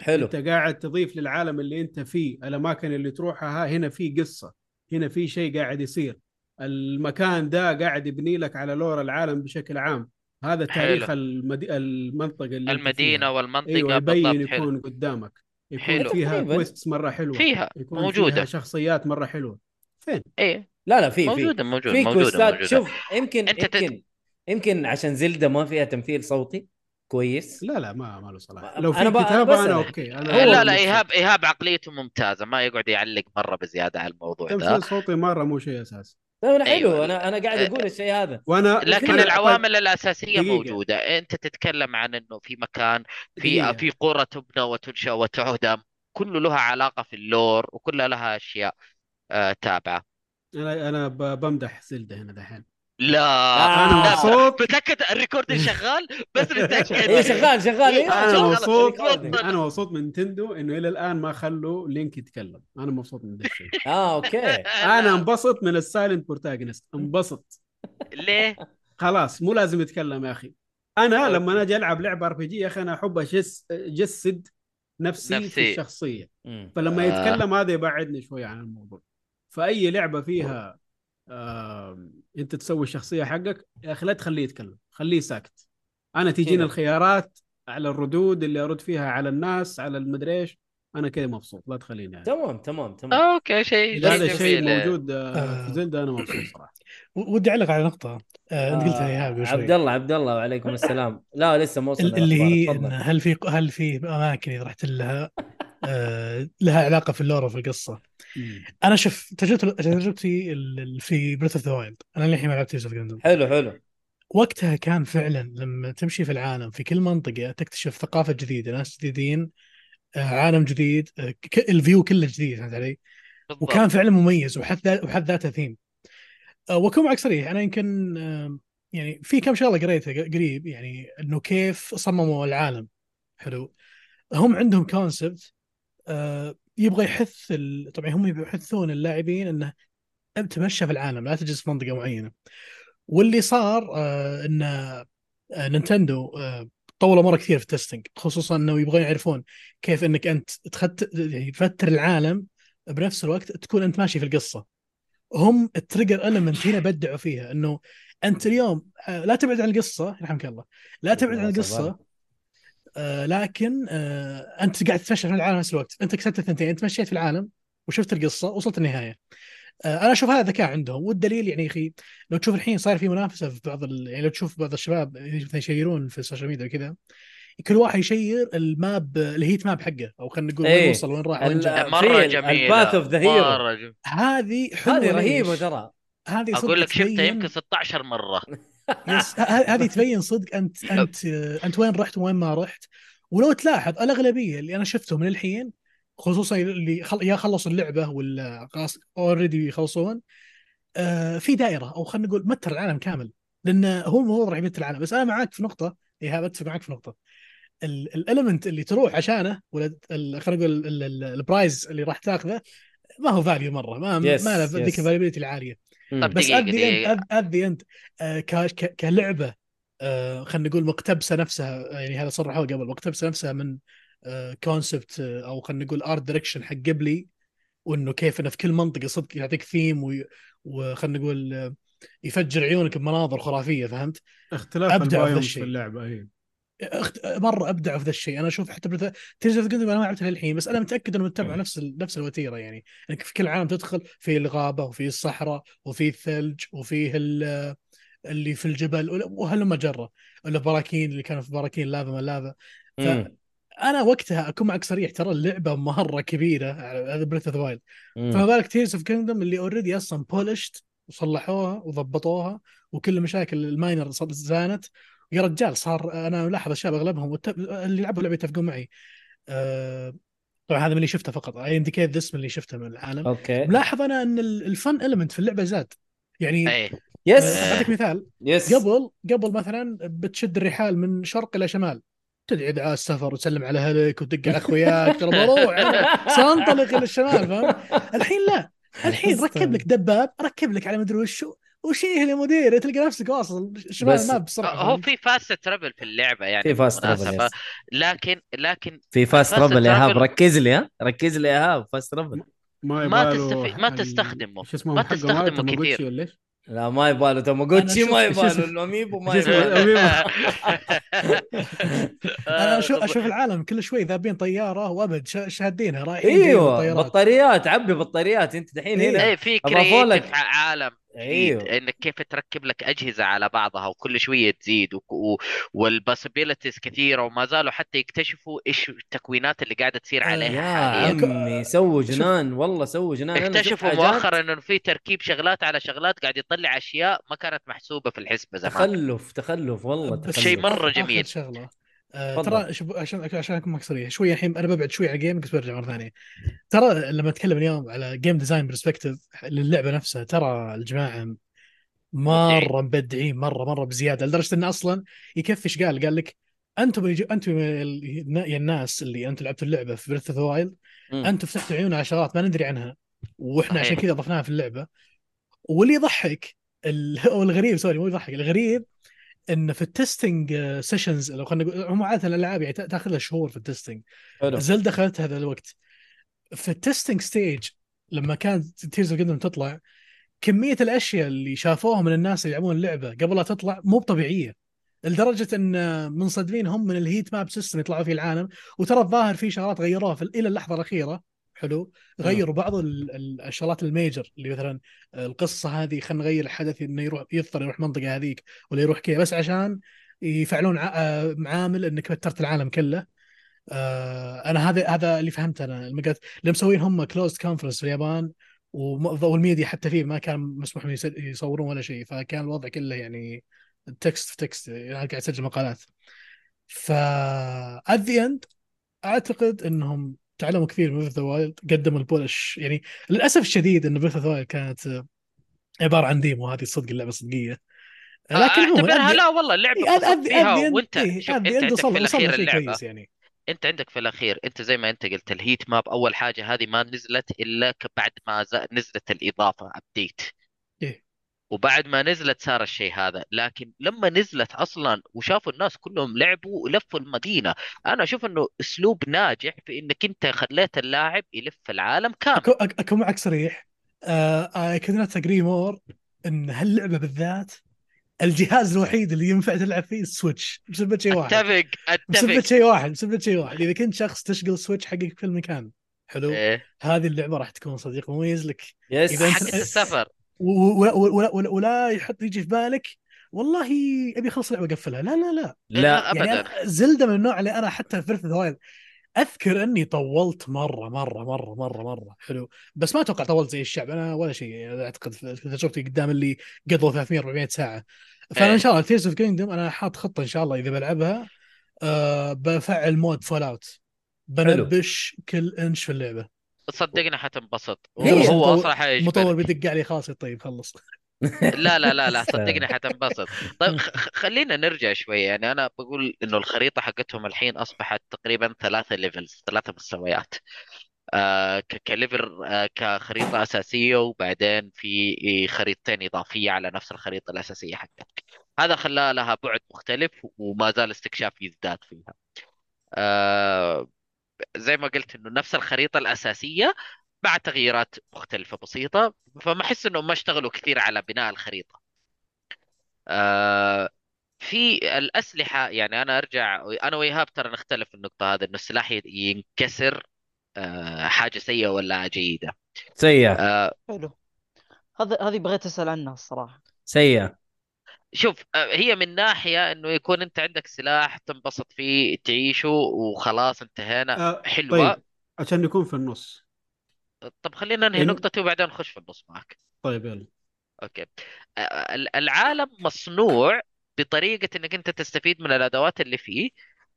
S2: حلو
S7: انت قاعد تضيف للعالم اللي انت فيه الاماكن اللي تروحها هنا في قصه هنا في شيء قاعد يصير المكان ده قاعد يبني لك على لور العالم بشكل عام هذا تاريخ
S1: حلو.
S7: المدي... المنطقه اللي انت فيها.
S1: المدينه والمنطقه
S7: ايوه يبين
S1: بالضبط حلو
S7: يكون قدامك يكون
S1: حلو.
S7: فيها
S2: تقريباً.
S7: كويستس مره حلوه
S1: فيها
S7: يكون فيها
S1: موجوده
S7: شخصيات مره حلوه فين
S1: ايه
S2: لا لا في في
S1: موجوده موجوده
S2: في
S1: موجوده
S2: كوستات
S1: موجوده
S2: شوف يمكن
S1: أنت تت-
S2: يمكن يمكن عشان زلده ما فيها تمثيل صوتي كويس
S7: لا لا ما ما له صلاح
S2: أنا
S7: لو في
S2: ب- أنا
S7: كتابه انا,
S2: بسألك.
S7: اوكي انا
S2: هو-
S1: لا إيه، لا
S7: مبسوط.
S1: ايهاب ايهاب عقليته ممتازه ما يقعد يعلق مره بزياده على الموضوع ذا
S7: تمثيل صوتي مره مو شيء اساسي
S2: لا لا طيب، حلو
S1: أيوة.
S2: انا انا قاعد اقول الشيء هذا
S7: وانا
S1: لكن
S7: أنا-
S1: العوامل الاساسيه
S7: دقيقة.
S1: موجوده انت تتكلم عن انه في مكان في
S7: دقيقة.
S1: في قرى تبنى وتنشا وتهدم كله لها علاقه في اللور وكلها لها اشياء آه، تابعه
S7: انا انا ب- بمدح زلده هنا دحين
S1: لا
S2: آه.
S7: انا
S1: لا،
S7: مبسوط
S1: متاكد الريكوردين شغال بس متاكد
S2: اي شغال شغال إيه،
S1: أنا
S2: شغال.
S7: انا
S1: خلاص،
S7: مبسوط
S1: ريكوردينج.
S7: انا مبسوط من نينتندو انه الى الان ما خلوا لينك يتكلم انا مبسوط من ذا الشيء
S2: اه اوكي
S7: انا انبسط من السايلنت بروتاغونست انبسط
S1: ليه؟
S7: خلاص مو لازم يتكلم يا اخي انا لما انا اجي العب لعبه ار بي جي يا اخي انا احب اجس اجسد نفسي,
S1: نفسي.
S7: في الشخصيه
S2: مم.
S7: فلما
S1: آه.
S7: يتكلم هذا يبعدني شوي عن الموضوع فاي لعبه فيها آم، انت تسوي الشخصيه حقك يا اخي لا تخليه يتكلم خليه ساكت انا تجيني
S1: إيه.
S2: كذا.
S7: الخيارات على الردود اللي ارد فيها على الناس على المدري ايش انا كذا مبسوط لا تخليني يعني.
S2: تمام تمام تمام
S1: اوكي شيء
S7: اذا هذا
S1: شيء
S7: الشيء
S1: جميل
S7: موجود آه،
S5: آه.
S7: في زلده انا مبسوط صراحه
S5: و- ودي اعلق على نقطه آه، انت قلتها يا
S2: آه،
S5: هاب قبل شوي
S2: عبد الله عبد الله وعليكم السلام لا لسه ما وصلنا
S5: ال- اللي هي
S2: للأخبار.
S5: إن
S2: تفضل.
S5: هل في هل في اماكن اذا رحت لها آه، لها علاقه في اللور وفي القصه
S7: مم.
S5: انا شوف تجربتي تجربتي ال- ال- في بريث اوف ذا وايلد انا للحين ما لعبت جوزيف جندم
S2: حلو حلو
S5: وقتها كان فعلا لما تمشي في العالم في كل منطقه تكتشف ثقافه جديده ناس جديدين آه، عالم جديد آه، ك- الفيو كله جديد فهمت علي؟
S1: بالضبط.
S5: وكان فعلا مميز وحد ذا- وحد ذاته ثيم آه، واكون معك صريح انا يمكن آه، يعني في كم شغله قريتها قريب يعني انه كيف صمموا العالم حلو هم عندهم كونسبت يبغى يحث ال... طبعا هم يبغوا يحثون اللاعبين انه تمشى في العالم لا تجلس في منطقه معينه واللي صار آه، ان آه، نينتندو آه، طولوا مره كثير في التستنج خصوصا انه يبغون يعرفون كيف انك انت تخت... يعني تفتر العالم بنفس الوقت تكون انت ماشي في القصه هم التريجر المنت هنا بدعوا فيها انه انت اليوم آه، لا تبعد عن القصه يرحمك الله لا تبعد عن القصه آه، لكن آه، انت قاعد تتمشى في العالم نفس الوقت انت كسبت الثنتين انت مشيت في العالم وشفت القصه وصلت النهايه آه، انا اشوف هذا ذكاء عندهم والدليل يعني يا اخي لو تشوف الحين صار في منافسه في بعض ال... يعني لو تشوف بعض الشباب مثلا يشيرون في السوشيال ميديا وكذا كل واحد يشير الماب الهيت ماب حقه او خلينا نقول
S2: إيه.
S5: وين وصل وين راح وين جاء
S2: ال-
S1: مره
S2: فيل،
S1: جميله
S2: الباث اوف ذا هيرو
S1: مره جميلة.
S5: هذه حلوه
S2: هذه
S5: ليش؟
S2: رهيبه ترى
S5: هذه صدق
S1: اقول لك شفتها
S5: تبين-
S1: يمكن 16 مره
S5: يس ه- ه- هذه تبين صدق انت انت انت وين رحت وين ما رحت ولو تلاحظ الاغلبيه اللي انا شفتهم للحين خصوصا اللي خل... يا خلصوا اللعبه ولا اوريدي يخلصون آه في دائره او خلينا نقول متر العالم كامل لان هو المفروض راح يمتر العالم بس انا معاك في نقطه ايهاب اتفق معاك في نقطه الاليمنت اللي تروح عشانه ولا ال- خلينا نقول ال- ال- البرايز اللي راح تاخذه ما هو فاليو مره ما
S2: Yes,
S5: ما له ذيك
S2: yes.
S5: الفاليبيلتي العاليه
S2: مم.
S5: بس
S1: دقيقة،
S5: ادي
S1: دقيقة.
S5: انت ادي انت آه، ك- ك- كلعبه آه، خلينا نقول مقتبسه نفسها يعني هذا صرحوه قبل مقتبسه نفسها من آه، كونسبت او خلينا نقول ارت دايركشن حق قبلي وانه كيف انه في كل منطقه صدق يعطيك ثيم وي- وخلينا نقول آه، يفجر عيونك بمناظر خرافيه فهمت؟
S7: اختلاف
S5: أبدع في ذا
S7: البايومز
S5: الشيء.
S7: في إيه. اللعبه هي
S5: أخت... مره ابدعوا في ذا الشيء انا اشوف حتى بريث تيرز اوف انا ما لعبتها للحين بس انا متاكد انهم اتبعوا نفس ال... نفس الوتيره يعني انك في كل عام تدخل في الغابه وفي الصحراء وفي الثلج وفيه ال... اللي في الجبل ولا- وهلم جره البراكين اللي كانوا في براكين لافا ما لافا
S2: مم.
S5: انا وقتها اكون معك صريح ترى اللعبه مره كبيره هذا بريث اوف وايلد
S2: مم.
S5: فما بالك تيرز اوف كينجدم اللي اوريدي اصلا بولشت وصلحوها وضبطوها وكل المشاكل الماينر صار- زانت يا رجال صار انا ملاحظ الشباب اغلبهم والت- اللي لعبوا اللعبه يتفقون معي أه... طبعا هذا من اللي شفته فقط اي انديكيت ذس من اللي شفته من العالم
S2: اوكي
S5: ملاحظ انا ان ال- الفن المنت في اللعبه زاد يعني
S1: ايه
S2: يس
S5: آه، اعطيك مثال
S2: يس
S5: قبل قبل مثلا بتشد الرحال من شرق الى شمال تدعي دعاء السفر وتسلم على اهلك وتدق على اخوياك ترى بروح سانطلق الى الشمال فهمت؟ الحين لا الحين ركب لك دباب ركب لك على مدري وشو وشيه لمدير تلقى نفسك واصل شمال
S2: بس-
S5: الماب بسرعه
S1: هو
S5: فهمت؟
S1: في فاست ترابل في اللعبه يعني
S2: في فاست
S1: بالمناسبة.
S2: ترابل
S1: لكن لكن
S2: في فاست
S1: فاست
S2: ترابل يا ايهاب
S1: ترابل-
S2: ركز لي ها ركز لي يا ايهاب فاست ترابل
S7: ما
S1: ما
S7: يباله
S1: تستفي- ما
S7: ال-
S1: تستخدمه.
S7: شو اسمه
S1: ما
S7: حقه
S1: تستخدمه
S7: مال تامagotchi
S1: كثير.
S7: ولا ايش؟
S2: لا ما يباله تامagotchi
S5: أنا
S2: ما
S5: شفت- شفت-
S2: يباله الاميبو ما
S7: شفت-
S2: يباله
S5: انا
S2: آه،
S5: اشوف اشوف العالم كل شوي ذابين طياره وابد شا- شادينها رايحين جايين
S2: ايوه
S5: بالطيارات.
S2: بطاريات عبي بطاريات انت دحين
S5: إيه.
S2: هنا
S1: ايه في
S2: أضافوا لك.
S1: كريتيف عالم جديد
S2: ايوه
S1: انك كيف تركب لك اجهزه على بعضها وكل شويه تزيد و... و... والبوسيبيلتيز كثيره وما زالوا حتى يكتشفوا ايش التكوينات اللي قاعده تصير
S5: آه،
S1: عليها
S2: يا
S1: حاليا
S5: أك-
S2: عمي سووا
S5: شوف.
S2: جنان والله سووا جنان أنا شفت
S1: اكتشفوا
S2: حاجات
S1: مؤخرا انه في تركيب شغلات على شغلات قاعد يطلع اشياء ما كانت محسوبه في الحسبه زمان
S2: تخلف تخلف والله
S5: بس
S2: تخلف
S1: شيء مرة
S5: آخر-
S1: جميل.
S5: اخر شغله آه
S2: تفضل.
S5: ترى شب- عشان عشان اكون معك صريح شويه الحين انا ببعد شوي عن الجيمنج بس برجع مره ثانيه ترى لما اتكلم اليوم على جيم ديزاين برسبكتيف للعبه نفسها ترى الجماعه مره مبدعين مره مره بزياده لدرجه انه اصلا يكفي ايش قال قال لك انتم اللي جو- انتم ال- يا الناس اللي انتم لعبتوا اللعبه في بريث اوف وايلد
S2: مم.
S5: انتم فتحتوا عيوننا على شغلات ما ندري عنها واحنا عشان
S1: صحيح.
S5: كذا ضفناها في اللعبه واللي يضحك ال- او الغريب سوري مو يضحك الغريب ان في التستنج سيشنز لو خلينا نقول هم عاده الالعاب يعني تا- تاخذ لها شهور في التستنج
S2: حلو
S5: زلدا اخذت هذا الوقت في التستنج ستيج لما كانت تيرز اوف تطلع كميه الاشياء اللي شافوها من الناس اللي يلعبون اللعبه قبل لا تطلع مو طبيعيه لدرجه ان منصدمين هم من الهيت ماب سيستم يطلعوا فيه العالم وترى الظاهر في شغلات غيروها في الى اللحظه الاخيره حلو غيروا بعض ال- ال- الشغلات الميجر اللي مثلا القصه هذه خلينا نغير الحدث انه يروح يضطر يروح منطقه هذيك ولا يروح كذا بس عشان يفعلون ع- آه، معامل انك وترت العالم كله آه، انا هذا هذا اللي فهمته انا لما قلت اللي مسوين هم كلوزد كونفرنس في اليابان وم- والميديا حتى فيه ما كان مسموح لهم يس- يصورون ولا شيء فكان الوضع كله يعني تكست في تكست يعني قاعد اسجل مقالات ف ات ذا اند اعتقد انهم تعلموا كثير من بيث وايلد قدموا البولش يعني للاسف الشديد ان بيث وايلد كانت آه، عباره عن ديمو هذه صدق اللعبه صدقيه لكن عموما
S1: اعتبرها
S5: أدي-
S1: لا والله اللعبه
S5: إيه، أد- أد-
S1: انبسطت فيها
S5: أدي-
S1: وانت
S5: إيه،
S1: شوف
S5: أدي-
S1: انت
S5: أدي
S1: عندك
S5: وصلنا-
S1: في
S5: وصلنا
S1: الاخير
S5: شيء
S1: اللعبه
S5: كويس يعني
S1: انت عندك في الاخير انت زي ما انت قلت الهيت ماب اول حاجه هذه ما نزلت الا ك- بعد ما ز- نزلت الاضافه ابديت
S5: إيه.
S1: وبعد ما نزلت صار الشيء هذا لكن لما نزلت اصلا وشافوا الناس كلهم لعبوا ولفوا المدينه انا اشوف انه اسلوب ناجح في انك انت خليت اللاعب يلف العالم كامل
S5: أكو- أك- اكون معك صريح آه، اي كنت اجري مور ان هاللعبه بالذات الجهاز الوحيد اللي ينفع تلعب فيه السويتش بسبب شيء واحد
S1: اتفق
S5: بسبب
S1: اتفق
S5: شيء واحد بسبب شيء واحد اذا كنت شخص تشغل سويتش حقك في المكان حلو
S1: إيه.
S5: هذه اللعبه راح تكون صديق مميز لك
S2: يس
S5: إذا أنت-
S1: حقة السفر
S5: و- و- ولا, ولا, ولا, ولا يحط يجي في بالك والله ابي اخلص اللعبه اقفلها لا لا لا
S2: لا
S5: يعني
S1: ابدا
S5: أنا- زلده من النوع اللي انا حتى في بيرث وايلد اذكر اني طولت مره مره مره مره مره حلو بس ما اتوقع طولت زي الشعب انا ولا شيء يعني اعتقد في تجربتي قدام اللي قضوا 300 400 ساعه فانا
S1: إيه.
S5: ان شاء الله تيرز اوف كينجدم انا حاط خطه ان شاء الله اذا بلعبها أه بفعل مود فول اوت بنبش كل انش في اللعبه
S1: صدقني حتنبسط
S5: هي
S1: هو هو
S5: إيه، مطور-
S1: اصلا حيجبرك
S5: المطور بيدق علي خلاص يا طيب خلص
S1: لا لا لا لا صدقني حتنبسط طيب خ- خ- خلينا نرجع شوية يعني أنا بقول إنه الخريطة حقتهم الحين أصبحت تقريبا ثلاثة ليفلز ثلاثة مستويات آه ك- كليفل آه كخريطة أساسية وبعدين في خريطتين إضافية على نفس الخريطة الأساسية حقتك هذا خلى لها بعد مختلف وما زال استكشاف يزداد فيها آه زي ما قلت إنه نفس الخريطة الأساسية مع تغييرات مختلفة بسيطة فما أحس إنهم ما اشتغلوا كثير على بناء الخريطة آه، في الأسلحة يعني أنا أرجع أنا وإيهاب ترى نختلف في النقطة هذه إنه السلاح ي- ينكسر آه، حاجة سيئة ولا جيدة
S2: سيئه
S1: آه،
S8: حلو هذا هذه بغيت اسال عنها الصراحه
S2: سيئه
S1: شوف آه، هي من ناحية إنه يكون أنت عندك سلاح تنبسط فيه تعيشه وخلاص انتهينا
S7: آه
S1: حلوة
S7: طيب عشان نكون في النص
S1: طب خلينا ننهي
S7: إن-
S1: نقطتي وبعدين نخش في النص معك
S7: طيب يلا
S1: اوكي آه، ال- العالم مصنوع بطريقة انك انت تستفيد من الادوات اللي فيه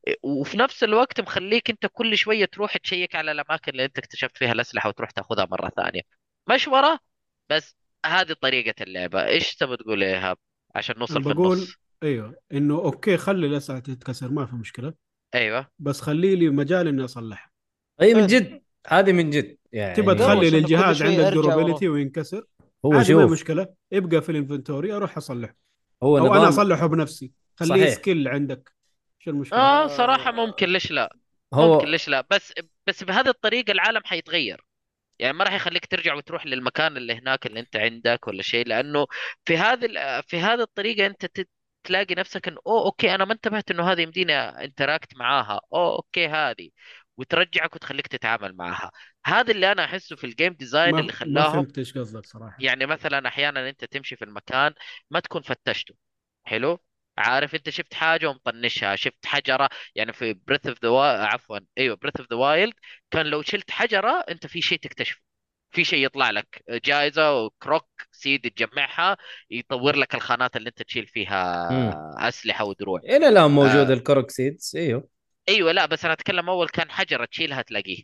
S1: آه، وفي نفس الوقت مخليك انت كل شوية تروح تشيك على الاماكن اللي انت اكتشفت فيها الاسلحة وتروح تاخذها مرة ثانية مشورة بس هذه طريقة اللعبة ايش تبغى تقول يا ايهاب عشان نوصل
S7: أنا
S1: في
S7: بقول-
S1: النص
S7: ايوه انه اوكي خلي الاسعه تتكسر ما في مشكله
S1: ايوه
S7: بس خلي لي مجال اني اصلحها
S2: اي
S5: أه.
S2: من جد هذه من جد يعني
S7: تبى تخلي
S8: إنه كل
S7: للجهاز
S8: شوي
S7: عندك
S8: أرجع ورا.
S7: دورابيلتي وينكسر
S2: هو
S7: عادي ما هي
S2: شوف
S7: مشكله ابقى في الانفنتوري اروح اصلحه
S2: هو
S7: او انا
S2: نظام
S7: اصلحه بنفسي خليه
S2: صحيح.
S7: سكيل عندك شو المشكله؟
S1: اه صراحة ممكن ليش لا ممكن
S2: هو
S1: ليش لا بس بس بهذه الطريقة العالم حيتغير يعني ما راح يخليك ترجع وتروح للمكان اللي هناك اللي انت عندك ولا شيء لانه في هذه ال- في هذه الطريقه انت تت- تلاقي نفسك انه اوه اوكي انا ما انتبهت انه هذه يمديني انتراكت معاها اوه اوكي هذه وترجعك وتخليك تتعامل معها هذا اللي انا احسه في الجيم ديزاين
S7: ما,
S1: اللي
S7: ما
S1: خلاهم
S7: فهمت ايش قصدك صراحه
S1: يعني مثلا احيانا انت تمشي في المكان ما تكون فتشته حلو عارف انت شفت حاجه ومطنشها شفت حجره يعني في بريث اوف ذا عفوا ايوه بريث اوف ذا وايلد كان لو شلت حجره انت في شيء تكتشفه في شيء يطلع لك جائزه وكروك سيد تجمعها يطور لك الخانات اللي انت تشيل فيها اسلحه ودروع
S2: الى الان
S1: آه.
S2: موجود الكروكسيدز ايوه
S1: ايوه لا بس انا اتكلم اول كان حجره تشيلها تلاقيه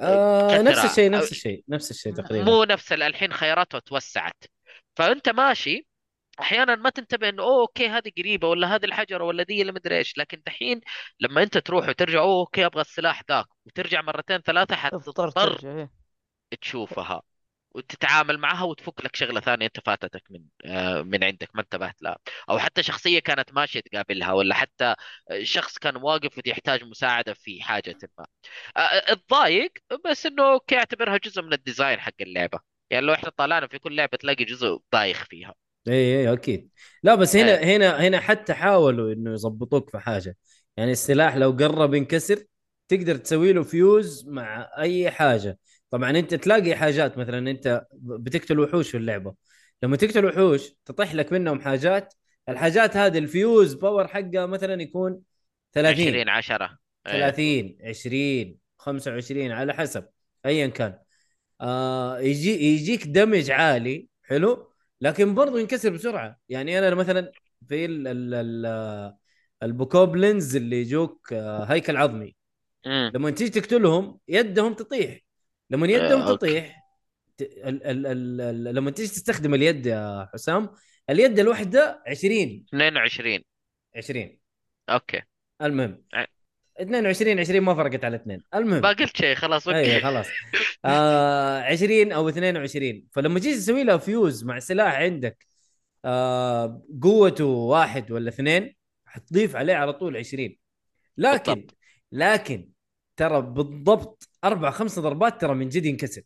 S2: آه
S1: كثرة.
S2: نفس الشيء نفس
S1: أو-
S2: الشيء نفس الشيء تقريبا
S1: مو نفس ال- الحين خياراته توسعت فانت ماشي احيانا ما تنتبه انه اوه اوكي هذه قريبه ولا هذه الحجره ولا ذي اللي مدري ايش لكن دحين لما انت تروح وترجع اوه اوكي ابغى السلاح ذاك وترجع مرتين ثلاثه حتضطر
S8: تضطر ترجع إيه.
S1: تشوفها وتتعامل معها وتفك لك شغله ثانيه انت فاتتك من آه، من عندك ما انتبهت لها او حتى شخصيه كانت ماشيه تقابلها ولا حتى آه، شخص كان واقف ويحتاج مساعده في حاجه ما آه، اتضايق بس انه اوكي اعتبرها جزء من الديزاين حق اللعبه يعني لو احنا طلعنا في كل لعبه تلاقي جزء بايخ فيها
S2: اي اي اكيد إيه، لا بس هنا
S1: إيه.
S2: هنا هنا حتى حاولوا انه يظبطوك في حاجه يعني السلاح لو قرب ينكسر تقدر تسوي له فيوز مع اي حاجه طبعا انت تلاقي حاجات مثلا انت بتقتل وحوش في اللعبه لما تقتل وحوش تطيح لك منهم حاجات الحاجات هذه الفيوز باور حقها مثلا يكون 30
S1: 20 10
S2: 30 20 25 على حسب ايا كان آه يجي يجيك دمج عالي حلو لكن برضو ينكسر بسرعه يعني انا مثلا في ال ال ال البوكوبلينز اللي يجوك آه، هيكل عظمي لما تيجي تقتلهم يدهم تطيح لما
S1: آه،
S2: يدهم
S1: أوكي.
S2: تطيح ت- ال ال ال ال لما تيجي تستخدم اليد يا حسام اليد الواحده 20
S1: 22
S2: 20
S1: اوكي
S2: المهم
S1: ع-
S2: 22 20 ما فرقت على اثنين المهم
S1: ما قلت شيء خلاص
S2: اي
S1: اوكي
S2: إيه، خلاص آه 20 او 22 فلما جيت تسوي لها فيوز مع سلاح عندك آه قوته واحد ولا اثنين حتضيف عليه على طول 20 لكن
S1: بالضبط.
S2: لكن ترى بالضبط اربع خمس ضربات ترى من جد ينكسر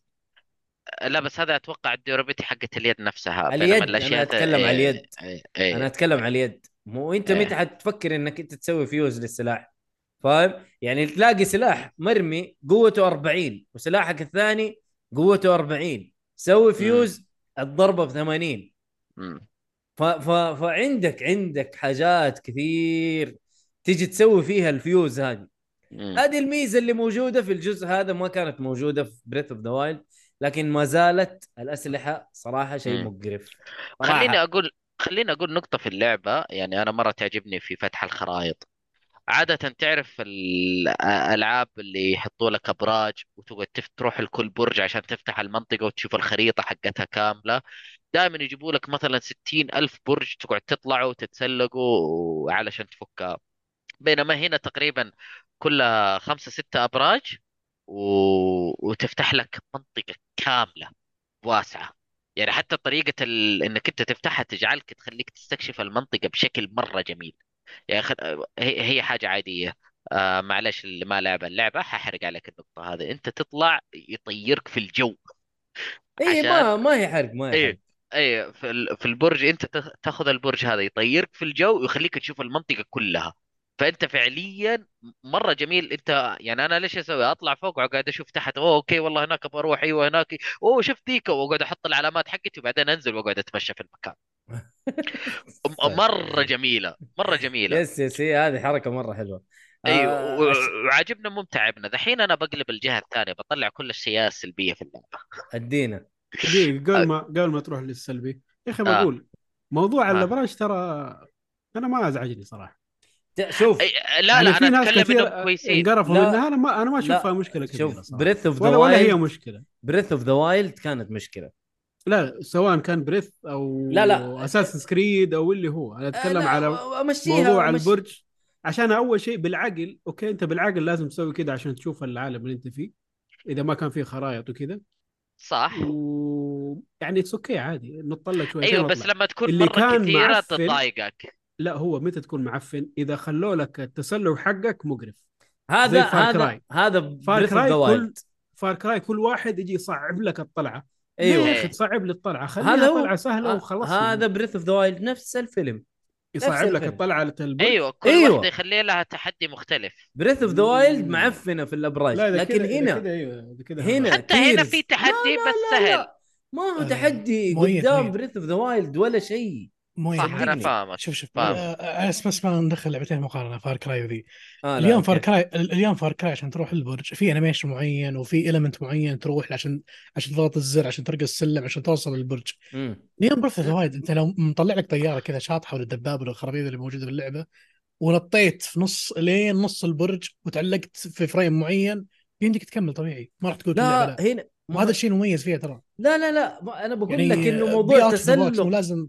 S1: لا بس هذا اتوقع الديورابيتي حقت اليد نفسها بينما
S2: اليد،
S1: الاشياء
S2: أنا أتكلم
S1: إيه،
S2: على اليد.
S1: إيه، إيه.
S2: انا اتكلم على اليد مو انت
S1: إيه.
S2: متى حتفكر انك انت تسوي فيوز للسلاح فاهم يعني تلاقي سلاح مرمي قوته 40 وسلاحك الثاني قوته 40 سوي فيوز الضربه ب 80
S1: مم.
S2: ف... ف... فعندك عندك حاجات كثير تجي تسوي فيها الفيوز هذه
S1: مم.
S2: هذه الميزه اللي موجوده في الجزء هذا ما كانت موجوده في بريث اوف ذا وايلد لكن ما زالت الاسلحه صراحه شيء
S1: مم.
S2: مقرف صراحة.
S1: خليني اقول خليني اقول نقطة في اللعبة يعني انا مرة تعجبني في فتح الخرائط عادة تعرف الالعاب اللي يحطوا لك ابراج وتقعد تف- تروح لكل برج عشان تفتح المنطقة وتشوف الخريطة حقتها كاملة دائما يجيبوا لك مثلا ستين ألف برج تقعد تطلعوا وتتسلقوا علشان تفكها بينما هنا تقريبا كلها خمسة ستة أبراج و... وتفتح لك منطقة كاملة واسعة يعني حتى طريقة ال... إنك أنت تفتحها تجعلك تخليك تستكشف المنطقة بشكل مرة جميل يعني خ... هي... هي حاجة عادية آه معلش اللي ما لعب اللعبة ححرق عليك النقطة هذه أنت تطلع يطيرك في الجو
S2: اي إيه، ما
S1: عشان-
S2: ما هي حرق ما هي
S1: إيه.
S2: حرق
S1: اي في ال- في البرج انت تخ- تاخذ البرج هذا يطيرك في الجو ويخليك تشوف المنطقه كلها فانت فعليا مره جميل انت يعني انا ليش اسوي اطلع فوق واقعد اشوف تحت اوه اوكي والله هناك ابغى اروح ايوه هناك اوه شفت ذيك واقعد احط العلامات حقتي وبعدين انزل واقعد اتمشى في المكان م- مره جميله مره جميله
S2: طيب. يس يس هي هذه حركه مره حلوه
S1: اي
S2: آه،
S1: و-
S2: أش-
S1: وعاجبنا مو متعبنا دحين انا بقلب الجهه الثانيه بطلع كل السياسه السلبيه في اللعبه
S2: ادينا
S7: دقيقة قبل ما قبل ما تروح للسلبي يا اخي
S1: آه.
S7: بقول موضوع
S1: آه.
S7: الابراج ترى انا ما ازعجني صراحه
S2: ت- شوف
S1: أي- لا
S7: يعني
S1: لا
S7: في
S1: انا
S7: ناس
S1: اتكلم
S7: كثير
S1: انهم كويسين
S7: انقرفوا
S2: لا.
S7: منها انا ما انا ما
S2: لا.
S7: اشوفها مشكله كبيره
S2: شوف
S7: صراحه
S2: بريث اوف ذا
S7: ولا ولا هي
S2: وايلد
S7: مشكله
S2: بريث اوف ذا وايلد كانت مشكله
S7: لا سواء كان بريث او
S2: لا، لا.
S7: اساس كريد او اللي هو انا اتكلم
S2: آه، لا،
S7: على
S2: امشيها
S7: موضوع
S2: أمشي-
S7: البرج عشان اول شيء بالعقل اوكي انت بالعقل لازم تسوي كده عشان تشوف العالم اللي انت فيه اذا ما كان فيه خرائط وكذا
S1: صح
S7: و يعني اتس اوكي عادي نطلع لك
S2: أيوة،
S7: شويه
S1: ايوه
S7: ونطلع.
S1: بس لما تكون
S7: اللي
S1: مره
S7: كان
S1: كثيره
S7: معفن-
S1: تضايقك
S7: لا هو متى تكون معفن اذا خلوا لك التسلل حقك مقرف
S2: هذا
S7: زي Far
S2: هذا
S7: Cry.
S2: هذا
S7: فار
S2: بريث اوف
S7: كراي
S2: ذا
S7: كل
S2: وايلد
S7: فار كراي كل واحد يجي يصعب لك الطلعه ليه يا
S2: ايوه
S7: اخي تصعب لي الطلعه خليها
S2: هذا هو.
S7: طلعه سهله
S2: آه،
S7: وخلصنا
S2: هذا بريث اوف ذا وايلد نفس الفيلم نفس
S7: يصعب لك
S2: الفيلم.
S7: الطلعه للتلبس
S1: ايوه كل
S2: أيوة.
S1: واحده يخلي لها تحدي مختلف
S2: بريث اوف ذا وايلد معفنه في الابراج
S7: لا إذا
S2: لكن
S7: كده- إذا
S2: هنا
S7: كده أيوه، إذا كده
S2: هنا
S1: حتى هنا
S2: Tears.
S1: في تحدي
S2: لا،
S1: بس
S2: لا، لا،
S1: سهل
S2: ما هو
S5: آه،
S2: تحدي
S5: ميت،
S2: قدام
S5: ميت.
S2: بريث اوف ذا وايلد ولا شيء
S5: مو
S1: صح
S5: يعني.
S1: انا فاهمك
S5: شوف شوف
S1: فاهم.
S5: آه، آه، بس بس ما ندخل لعبتين مقارنه فار كراي وذي
S2: آه، لا،
S5: اليوم
S2: أوكي.
S5: فار كراي اليوم فار كراي عشان تروح البرج في انيميشن معين وفي المنت معين تروح له عشان عشان تضغط الزر عشان ترقى السلم عشان توصل للبرج
S2: مم.
S5: اليوم برث وايد انت لو مطلع لك طياره كذا شاطحه ولا دبابه ولا الخرابيط اللي موجوده في اللعبه ونطيت في نص لين نص البرج وتعلقت في فريم معين يمديك تكمل طبيعي ما راح تقول اللعبة
S2: لا
S5: لا
S2: هنا
S5: وهذا الشيء المميز فيها ترى
S2: لا لا لا ما انا بقول
S5: يعني
S2: لك انه
S5: be out
S2: موضوع
S5: of the box،
S2: تسلق
S5: مو لازم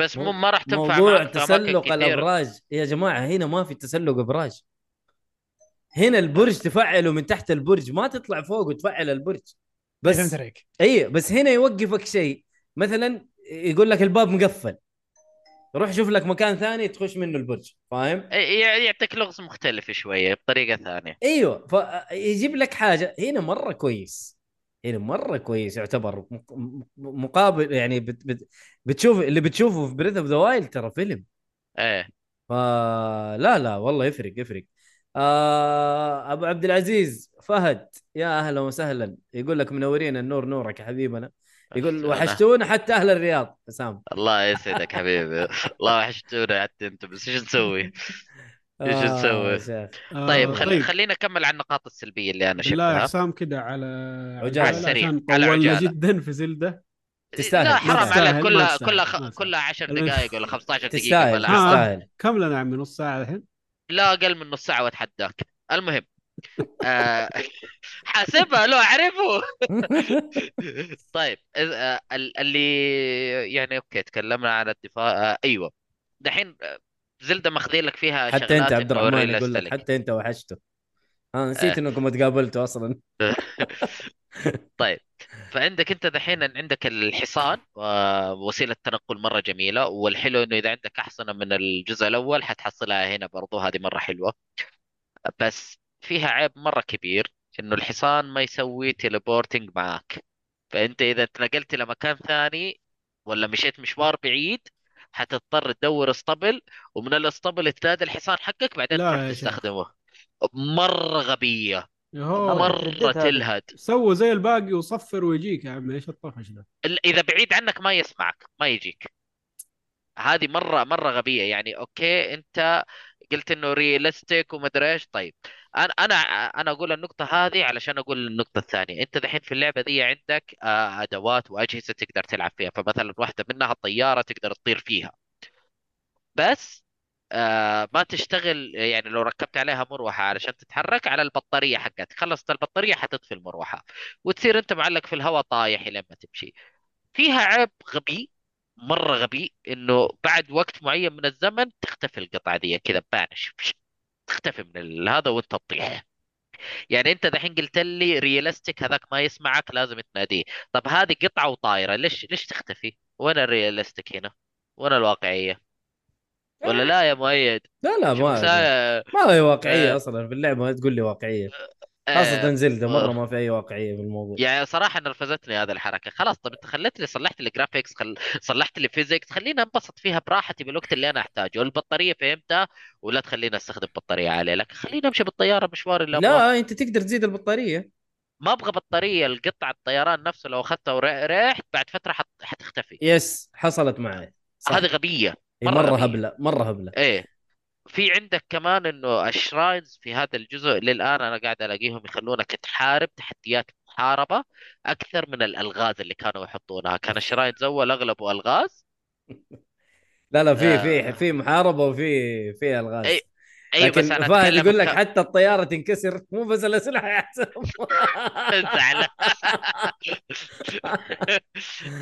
S1: بس مو ما راح تنفع
S2: موضوع
S1: معك في اماكن
S2: تسلق
S1: كثير
S2: الابراج يا جماعه هنا ما في تسلق ابراج هنا البرج تفعله من تحت البرج ما تطلع فوق وتفعل البرج
S5: فهمت
S2: بس
S5: عليك
S2: اي بس هنا يوقفك شيء مثلا يقول لك الباب مقفل روح شوف لك مكان ثاني تخش منه البرج فاهم
S1: أي- يعني يعطيك لغز مختلف شويه بطريقه ثانيه
S2: ايوه فيجيب لك حاجه هنا مره كويس هنا مره كويس يعتبر مق- مق- مقابل يعني بت بت بتشوف اللي بتشوفه في بريث اوف ذا وايلد ترى فيلم
S1: ايه
S2: فلا لا والله يفرق يفرق آه ابو عبد العزيز فهد يا اهلا وسهلا يقول لك منورين النور نورك يا حبيبنا يقول
S1: أنا-
S2: وحشتونا حتى اهل الرياض حسام
S1: الله يسعدك حبيبي الله وحشتونا حتى انت بس ايش طيب، نسوي؟ إيش نسوي؟
S2: يا شيخ.
S7: آه،
S1: طيب خل... خلينا نكمل على النقاط السلبيه اللي انا
S7: بالله يا
S1: شفتها
S7: حسام كده على
S2: عجالة. على
S1: السريع،
S7: عشان
S1: على
S7: طولنا
S1: عجالة.
S7: جدا في زلده
S2: تستاهل،
S1: لا
S2: ما
S1: حرام
S2: تستاهل،
S1: عليك
S7: ما
S1: كلها
S7: تستاهل،
S1: كلها
S7: ما
S1: خ...
S7: تستاهل.
S1: كلها 10
S7: المهم.
S1: دقائق ولا 15 دقيقه
S2: تستاهل آه.
S1: بلا
S2: تستاهل
S7: كم لنا يا عمي نص ساعه الحين
S1: لا اقل من نص ساعه واتحداك المهم آه، حاسبها لو اعرفه طيب إذ- آه، ال- اللي يعني اوكي تكلمنا عن الدفاع آه، ايوه دحين آه، زلدة ماخذين لك فيها
S2: حتى
S1: شغلات
S2: انت عبد
S1: إنه
S2: الرحمن
S1: realistic.
S2: يقول لك حتى انت وحشته
S1: آه.
S2: انا نسيت انكم تقابلتوا اصلا
S1: طيب فعندك انت دحين إن عندك الحصان آه، وسيله تنقل مره جميله والحلو انه اذا عندك احصنه من الجزء الاول حتحصلها هنا برضو هذه مره حلوه بس فيها عيب مره كبير انه الحصان ما يسوي تيليبورتنج معاك فانت اذا تنقلت لمكان ثاني ولا مشيت مشوار بعيد حتضطر تدور اسطبل ومن الاسطبل تنادي الحصان حقك بعدين
S7: لا
S1: تروح
S7: يا شيخ.
S1: تستخدمه مره غبيه
S7: يهو.
S8: مرة
S1: مره
S8: ترددت هذه.
S1: تلهد
S7: سووا زي الباقي وصفر ويجيك يا عم ايش الطفش ده
S1: ال- اذا بعيد عنك ما يسمعك ما يجيك هذه مره مره غبيه يعني اوكي انت قلت انه ريالستيك ومدري ايش طيب انا انا انا اقول النقطه هذه علشان اقول النقطه الثانيه انت دحين في اللعبه دي عندك آه، ادوات واجهزه تقدر تلعب فيها فمثلا واحده منها طياره تقدر تطير فيها بس آه، ما تشتغل يعني لو ركبت عليها مروحه علشان تتحرك على البطاريه حقتك خلصت البطاريه حتطفي المروحه وتصير انت معلق في الهواء طايح لما تمشي فيها عيب غبي مره غبي انه بعد وقت معين من الزمن تختفي القطعه دي كذا بانش تختفي من ال- هذا وانت تطيح يعني انت دحين قلت لي ريالستيك هذاك ما يسمعك لازم تناديه طب هذه قطعه وطايره ليش ليش تختفي وين الريالستيك هنا وين الواقعيه ولا لا يا مؤيد
S2: لا لا
S1: شوف
S2: ما
S1: سا-
S2: ما هي واقعيه
S1: آه.
S2: اصلا في اللعبه ما تقول لي واقعيه
S1: آه،
S2: خاصه زلده مره
S1: آه.
S2: ما في اي واقعيه في الموضوع
S1: يعني صراحة نرفزتني هذه الحركة خلاص طب انت خلتني صلحت لي جرافيكس خل... صلحت لي فيزيكس خليني انبسط فيها براحتي بالوقت اللي انا احتاجه البطارية فهمتها ولا تخليني استخدم بطارية عالية لكن خليني امشي بالطيارة مشوار اللي ابغاه
S2: لا انت تقدر تزيد البطاريه
S1: ما ابغى بطارية القطع الطيران نفسه لو اخذتها ورحت بعد فترة حت... حتختفي
S2: يس حصلت معي صح
S1: هذه غبية
S2: إيه،
S1: مرة
S2: مره
S1: غبية.
S2: هبله مره هبله
S1: ايه في عندك كمان انه الشراينز في هذا الجزء للان انا قاعد الاقيهم يخلونك تحارب تحديات محاربه اكثر من الالغاز اللي كانوا يحطونها كان الشراينز اول اغلبه الغاز
S2: لا لا في
S1: آه.
S2: في في محاربه وفي في الغاز
S1: أي- اي
S2: لكن
S1: أيوة، بس انا
S2: فهد
S1: اتكلم
S2: يقول لك
S1: ك-
S2: حتى الطياره تنكسر مو بس الاسلحه يا حسام
S1: زعلان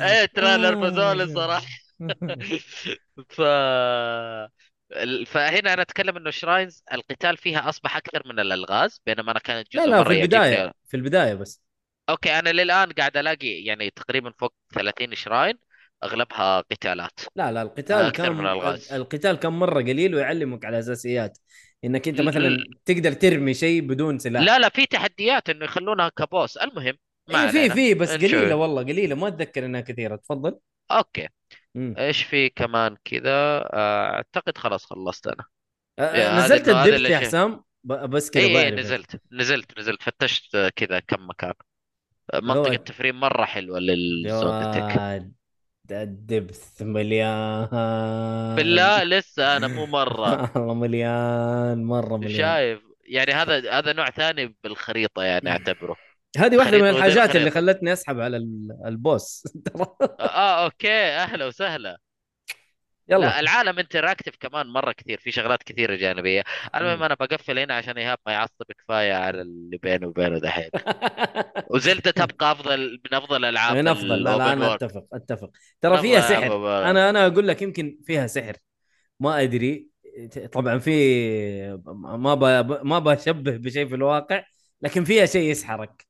S1: ايه ترى الاربازول صراحه ف ال- فهنا انا اتكلم انه شراينز القتال فيها اصبح اكثر من الالغاز بينما انا كان الجزء
S2: لا لا
S1: مرة
S2: في
S1: يعجبني
S2: البدايه في البدايه بس
S1: اوكي انا للان قاعد الاقي يعني تقريبا فوق 30 شراين اغلبها قتالات
S2: لا لا القتال
S1: أكثر
S2: كان
S1: من الغاز.
S2: القتال كان مره قليل ويعلمك على اساسيات انك انت
S1: ل-
S2: مثلا تقدر ترمي شيء بدون سلاح
S1: لا لا في تحديات انه يخلونها كبوس المهم ما
S2: إيه في
S1: علينا
S2: في بس
S1: نشوف.
S2: قليله والله قليله ما اتذكر انها كثيره تفضل
S1: اوكي
S2: مم.
S1: ايش في كمان كذا آه، اعتقد خلاص خلصت انا
S2: آه، آه،
S1: هذا-
S2: نزلت
S1: هذا
S2: الدبت
S1: اللي
S2: يا
S1: شيء.
S2: حسام ب- بس كذا
S1: اي اي
S2: بعرف.
S1: إيه، نزلت نزلت نزلت فتشت آه، كذا كم مكان آه، منطقة
S2: هو-
S1: تفريم مرة حلوة للزوندتك
S2: جواد الدبث مليان
S1: بالله لسه انا مو مرة
S2: والله مليان مره مليان
S1: شايف يعني هذا هذا نوع ثاني بالخريطة يعني اعتبره
S2: هذه واحده من
S1: خريطة وغير
S2: الحاجات اللي
S1: خريطة.
S2: خلتني اسحب على ال- البوس ترى
S1: اه اوكي اهلا وسهلا لا
S2: يلا
S1: العالم انتراكتيف كمان مره كثير في شغلات كثيره جانبيه المهم
S2: مم.
S1: انا بقفل هنا عشان ايهاب ما يعصب كفايه على اللي بينه وبينه دحين وزلدة تبقى افضل من افضل العاب
S2: من افضل لا لا
S1: الاوبن
S2: انا
S1: وورلد
S2: اتفق اتفق ترى فيها سحر انا انا اقول لك يمكن فيها سحر ما ادري طبعا في ما ب... ما بشبه بشيء في الواقع لكن فيها شيء يسحرك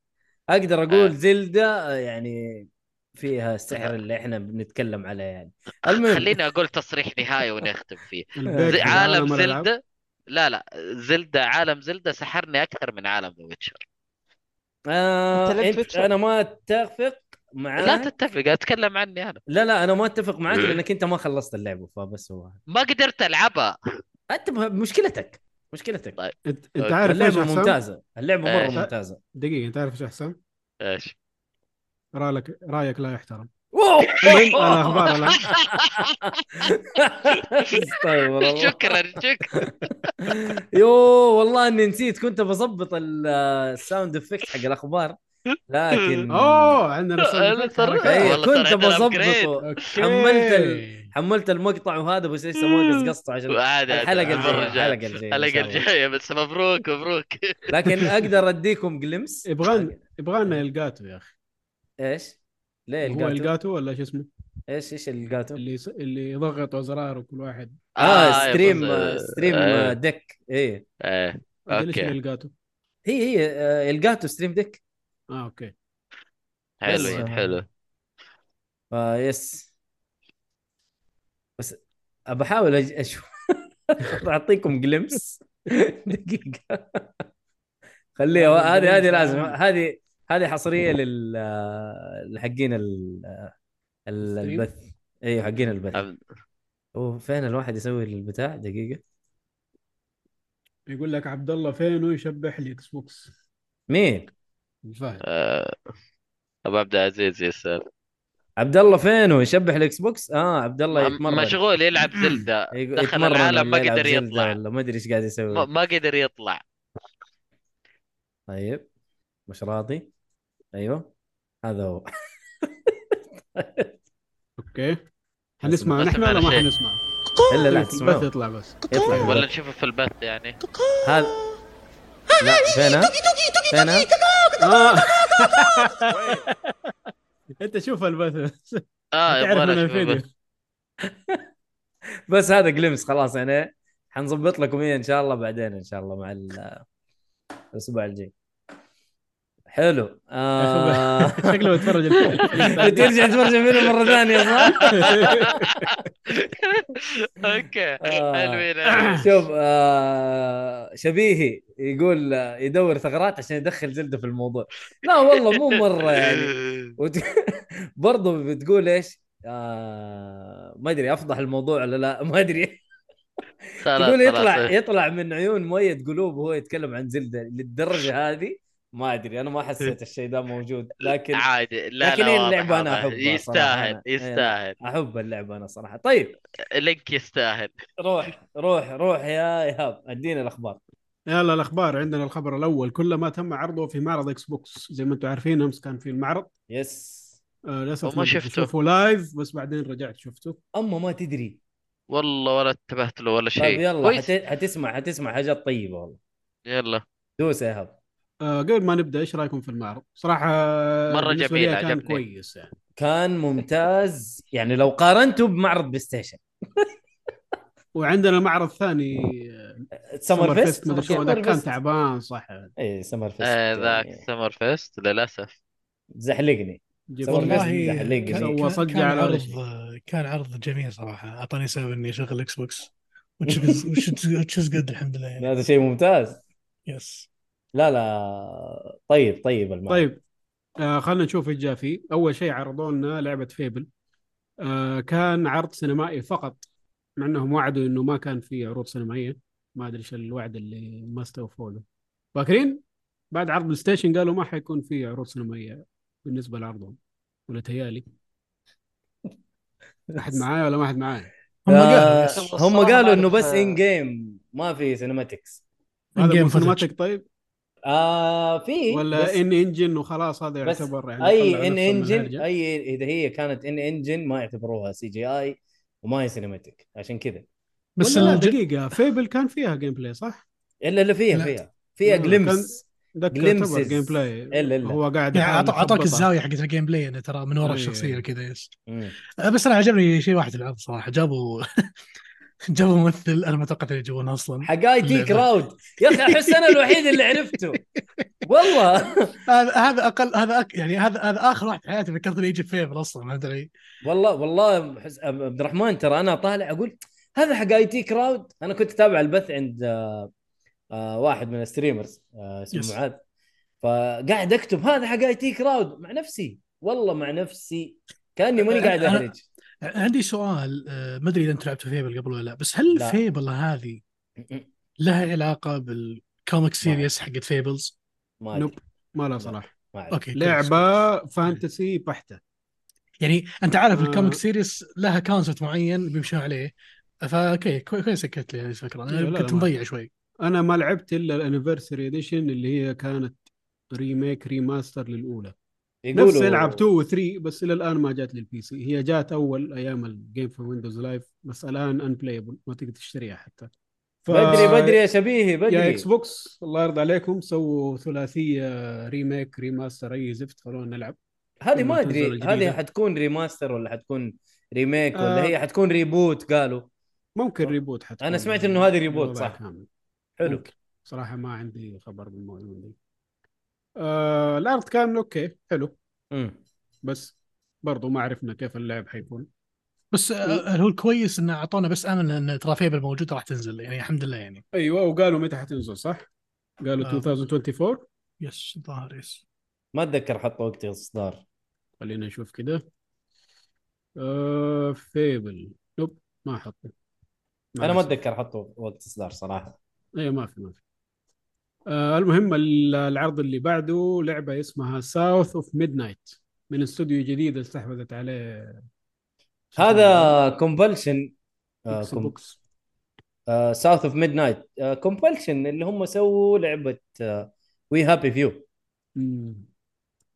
S2: اقدر
S1: آه.
S2: اقول زلدة يعني فيها السحر اللي احنا بنتكلم عليه يعني المهم
S1: خليني اقول تصريح نهائي ونختم فيه
S7: البيت
S1: آه، زي-
S7: في
S1: عالم
S7: الألعاب.
S1: زلدة لا لا زلدة عالم زلدة سحرني اكثر من عالم ذا ويتشر
S2: آه
S8: أنت لك
S2: انت
S8: فكرة؟
S2: انا ما اتفق معاك
S1: لا تتفق اتكلم عني انا
S2: لا لا انا ما اتفق معاك
S1: إيه.
S2: لانك انت ما خلصت اللعبه فبس هو هذا.
S1: ما قدرت العبها
S2: انت مه- مشكلتك مشكلتك
S1: طيب.
S7: انت انت
S1: أوكي.
S7: عارف ايش
S2: اللعبه
S7: احسن؟
S2: ممتازه اللعبه
S1: إيه.
S2: مره ممتازه
S7: دقيقة انت عارف ايش احسن؟
S1: ايش
S7: رايك رايك لا يحترم
S2: أوه!
S7: المهم، أنا أخبار الآن.
S2: استغفر الله.
S1: شكرا شكرا
S2: يو والله اني نسيت كنت بظبط ال- الساوند افكت حق الاخبار لكن
S7: اوه عندنا سوي
S1: ترى-
S7: فكرة.
S2: إيه،
S1: والله
S2: كنت
S1: ترى عندنا
S2: بظبطه
S7: أوكي.
S2: حملت ال- حملت المقطع وهذا بس لسه ما قصقصته
S1: آه،
S2: عشان
S1: عادي عادي،
S2: الحلقه
S1: المرة
S2: الجايه
S1: الجاية.
S2: الحلقه الجايه إن شاء
S1: الحلقة
S2: الله.
S1: الجاية بس مبروك مبروك
S2: لكن اقدر اديكم جلمس
S7: يبغانا يبغانا الجاتو يا اخي
S2: ايش؟ ليه
S7: هو
S2: الجاتو؟
S7: إيه، الجاتو ولا شو اسمه
S2: ايش ايش الجاتو؟
S7: اللي يص- اللي يضغط وزرار وكل واحد
S2: اه
S1: آه، يا
S2: ستريم
S1: بس-
S2: ستريم
S1: آه،
S2: ديك ايه
S1: آه.
S7: أدري إيش
S1: أوكي.
S7: الجاتو
S2: هي هي آه، الجاتو ستريم ديك
S7: اه اوكي
S2: بس،
S1: حلو
S2: آه،
S1: حلو
S2: فيس آه، بس بحاول أج- اشوف بعطيكم جلمس دقيقة خليها هذه هذه لازم هذه هذه حصرية لل لحقين ال ال-
S7: الستريم؟
S2: البث ايوه حقين البث
S1: أب-
S2: وفين الواحد يسوي البتاع دقيقة
S7: يقول لك عبد الله فين ويشبح لي اكس بوكس
S2: مين؟
S7: الفهد
S1: آه، ابو عبد العزيز يسأل
S2: عبد الله فينه يشبح الاكس بوكس؟ اه عبد الله
S1: م-
S2: يتمرن
S1: مشغول يلعب زلدة
S2: يقو-
S1: دخل
S2: يتمرن
S1: العالم ما
S2: ولا يلعب
S1: قدر
S2: زلدة
S1: يطلع.
S2: ولا ما ادري ايش قاعد يسوي
S1: ما ما قدر يطلع
S2: طيب مش راضي ايوه هذا هو
S7: اوكي حنسمع
S1: بس
S7: نحن ولا
S1: على
S7: ما
S1: شيء.
S7: حنسمع؟
S2: الا لا
S7: بس
S2: تسمعوه
S7: يطلع بس
S2: يطلع
S1: ولا
S2: ولا
S1: نشوفه في البث يعني
S2: هذا لا فينها فينها
S7: آه. انت شوف البث
S1: اه
S7: تعرف
S1: يبغى نشوفه
S7: من الفيديو
S1: بس.
S2: بس هذا جلمس خلاص يعني حنظبط لكم اياه ان شاء الله بعدين ان شاء الله مع ال- الاسبوع الجاي حلو آه...
S7: شكله بيتفرج الفيلم
S2: بترجع تفرج الفيلم مره ثانيه صح؟
S1: اوكي
S2: آه.
S1: حلوين حلوين.
S2: شوف آه شبيهي يقول آه، يدور ثغرات عشان يدخل زلده في الموضوع لا والله مو مره يعني وت... برضو بتقول ايش آه ما ادري افضح الموضوع ولا لا ما ادري
S1: خلاص
S2: تقول يطلع
S1: خلاص.
S2: يطلع من عيون مؤيد قلوب وهو يتكلم عن زلده للدرجه هذه ما ادري انا ما حسيت الشيء ده موجود لكن
S1: عادي لا
S2: لكن
S1: لا
S2: هي
S1: واضح،
S2: اللعبة أنا
S1: واضح.
S2: أحبها صراحة،
S1: يستاهل
S2: أنا- إيه.
S1: يستاهل
S2: احب اللعبه انا صراحه طيب
S1: لينك يستاهل
S2: روح روح روح يا ايهاب ادينا الاخبار
S7: يلا الاخبار عندنا الخبر الاول كل ما تم عرضه في معرض اكس بوكس زي ما انتم عارفين امس كان في المعرض
S2: يس
S7: آه للاسف
S1: وما
S7: ما كنت
S1: شفته.
S7: اشوفه لايف بس بعدين رجعت شفته
S2: اما ما تدري
S1: والله ولا انتبهت له ولا شيء
S2: طيب يلا
S1: كويس.
S2: حت... حتسمع حتسمع حاجات طيبه والله
S1: يلا
S2: دوس يا ايهاب
S7: آه قبل ما نبدا ايش رايكم في المعرض؟ صراحه
S1: مرة
S7: بالنسبة
S1: جميل،
S7: لي كان
S1: عجبني.
S7: كويس يعني
S2: كان ممتاز يعني لو قارنته بمعرض بلاي ستيشن
S7: وعندنا معرض ثاني آه،
S2: سمر فيست
S7: مدري شو هذاك كان تعبان صح
S2: اي سمر فيست
S1: آه، ذاك
S2: إيه، يعني
S1: سمر فيست للاسف
S2: زحلقني
S7: جيبوا
S2: والله
S7: الناس-
S2: بس
S5: والله
S2: مدح ليك
S5: كان-
S2: زي.
S5: كان-
S7: صجع
S5: كان
S7: على ولا
S5: عرض
S7: شيء.
S5: كان عرض جميل صراحه اعطاني سبب اني اشغل اكس بوكس وتشز وتشز قد الحمد لله يعني
S2: هذا شيء ممتاز
S5: يس
S2: لا لا طيب طيب المعرض
S7: طيب آه خلينا نشوف ايش جاء فيه اول شيء عرضوا لنا لعبه فيبل آه كان عرض سينمائي فقط مع انهم وعدوا انه ما كان في عروض سينمائيه ما ادري ايش الوعد اللي ما استوفوا له فاكرين بعد عرض بلاي ستيشن قالوا ما حيكون في عروض سينمائيه بالنسبه لعرضهم ولا تهيالي احد معايا ولا ما احد معايا
S5: هم قالوا
S2: آه،
S5: يس
S8: يس.
S2: هم
S8: والله ما
S2: قالوا انه
S8: أعرف،
S2: بس
S8: آه.
S2: ان جيم ما في سينماتكس
S7: هذا
S5: In-game
S7: مو
S5: footage.
S7: سينماتيك طيب
S2: آه في بس-
S7: ولا ان انجن وخلاص هذا
S2: بس
S7: يعتبر يعني طلع
S2: اي ان
S7: نفسه من
S2: انجن
S7: الهرجة.
S2: اي اذا هي كانت ان انجن ما يعتبروها سي جي اي وما هي سينماتيك عشان كذا
S5: بس
S7: ولا لا
S5: الج-
S7: دقيقه فيبل كان فيها جيم بلاي صح؟
S2: الا اللي فيها
S5: لا.
S2: فيها فيها
S7: لا، لا،
S2: جلمس
S7: ده
S2: Glimpses.
S7: يعتبر جيم بلاي
S2: إلا- إلا.
S7: هو قاعد
S5: يعني
S7: يحاول
S5: أعط- اعطاك
S7: يخبطها.
S5: الزاويه حقت الجيم بلاي انه ترى من ورا
S7: أي.
S5: الشخصيه كذا يس أه، بس انا عجبني شيء واحد في العرض صراحه جابوا جابوا ممثل انا ما توقعت انه يجيبونه اصلا
S2: حقاي تي
S5: اللعبة.
S2: كراود يا اخي احس انا الوحيد اللي عرفته والله
S5: هذا هذا اقل هذا أك... يعني هذا هذا اخر واحد في حياتي فكرت انه يجي فيبل اصلا ما ادري
S2: والله والله أحس- عبد الرحمن ترى انا طالع اقول هذا حق اي تي كراود انا كنت اتابع البث عند آه، آه، واحد من الستريمرز آه، اسمه
S5: Yes.
S2: معاذ فقاعد اكتب هذا حق اي تي كراود مع نفسي والله مع نفسي كاني ماني قاعد
S5: أنا-
S2: اهرج
S5: عندي سؤال آه، ما ادري اذا انت لعبت فيبل قبل ولا لا بس هل
S2: لا.
S5: فيبل هذه لها علاقه بالكوميك سيريس حقت فيبلز؟
S2: ما ادري
S7: نوب. ما لا
S2: لا.
S7: صراحه
S2: ما أدري.
S5: اوكي كويس.
S7: لعبه فانتسي بحته
S5: يعني انت عارف
S7: آه.
S5: الكوميك سيريس لها كونسبت معين بيمشون عليه فاوكي كوي- كويس سكت لي هذه الفكره
S7: لا، لا،
S5: انا كنت
S7: ما-
S5: مضيع شوي
S7: انا ما لعبت الا الانيفرساري اديشن اللي هي كانت ريميك ريماستر للاولى
S2: يقولوا
S7: نفس العاب 2 و 3 بس الى الان ما جات للبي سي هي جات اول ايام الجيم فور ويندوز لايف بس الان ان بلايبل ما تقدر تشتريها حتى ف...
S2: بدري بدري يا شبيهي
S7: يا
S2: بدري
S7: اكس بوكس الله يرضى عليكم سووا ثلاثيه ريميك ريماستر اي زفت خلونا نلعب
S2: هذه
S7: لما
S2: ما
S7: تنزل
S2: ادري
S7: الجديدة.
S2: هذه حتكون ريماستر ولا حتكون ريميك ولا
S7: آه.
S2: هي حتكون ريبوت قالوا
S7: ممكن ريبوت حتى
S2: أنا سمعت إنه هذه ريبوت، صح.
S7: كامل.
S2: حلو
S7: ممكن. صراحه ما عندي خبر بالموضوع ده آه العرض كان اوكي حلو
S2: مم.
S7: بس برضو ما عرفنا كيف اللعب حيكون
S5: بس آه، هو الكويس انه اعطونا بس امل ان ترى فيبل موجوده راح تنزل يعني الحمد لله يعني
S7: ايوه وقالوا متى حتنزل صح؟ قالوا
S5: آه.
S7: 2024
S5: يس الظاهر يس
S2: ما اتذكر حطوا وقت اصدار
S7: خلينا نشوف كده آه فيبل نوب ما حطوا
S2: انا ما اتذكر حطوا وقت اصدار صراحه
S7: اي إيه، ما في ما في آه المهم ال- العرض اللي بعده لعبه اسمها ساوث اوف ميد نايت من استوديو جديد استحوذت عليه
S2: هذا آه، كومبلشن
S7: بوكس بوكس
S2: ساوث اوف ميد نايت كومبلشن آه، اللي هم سووا آه، لعبه وي هابي فيو
S7: مم.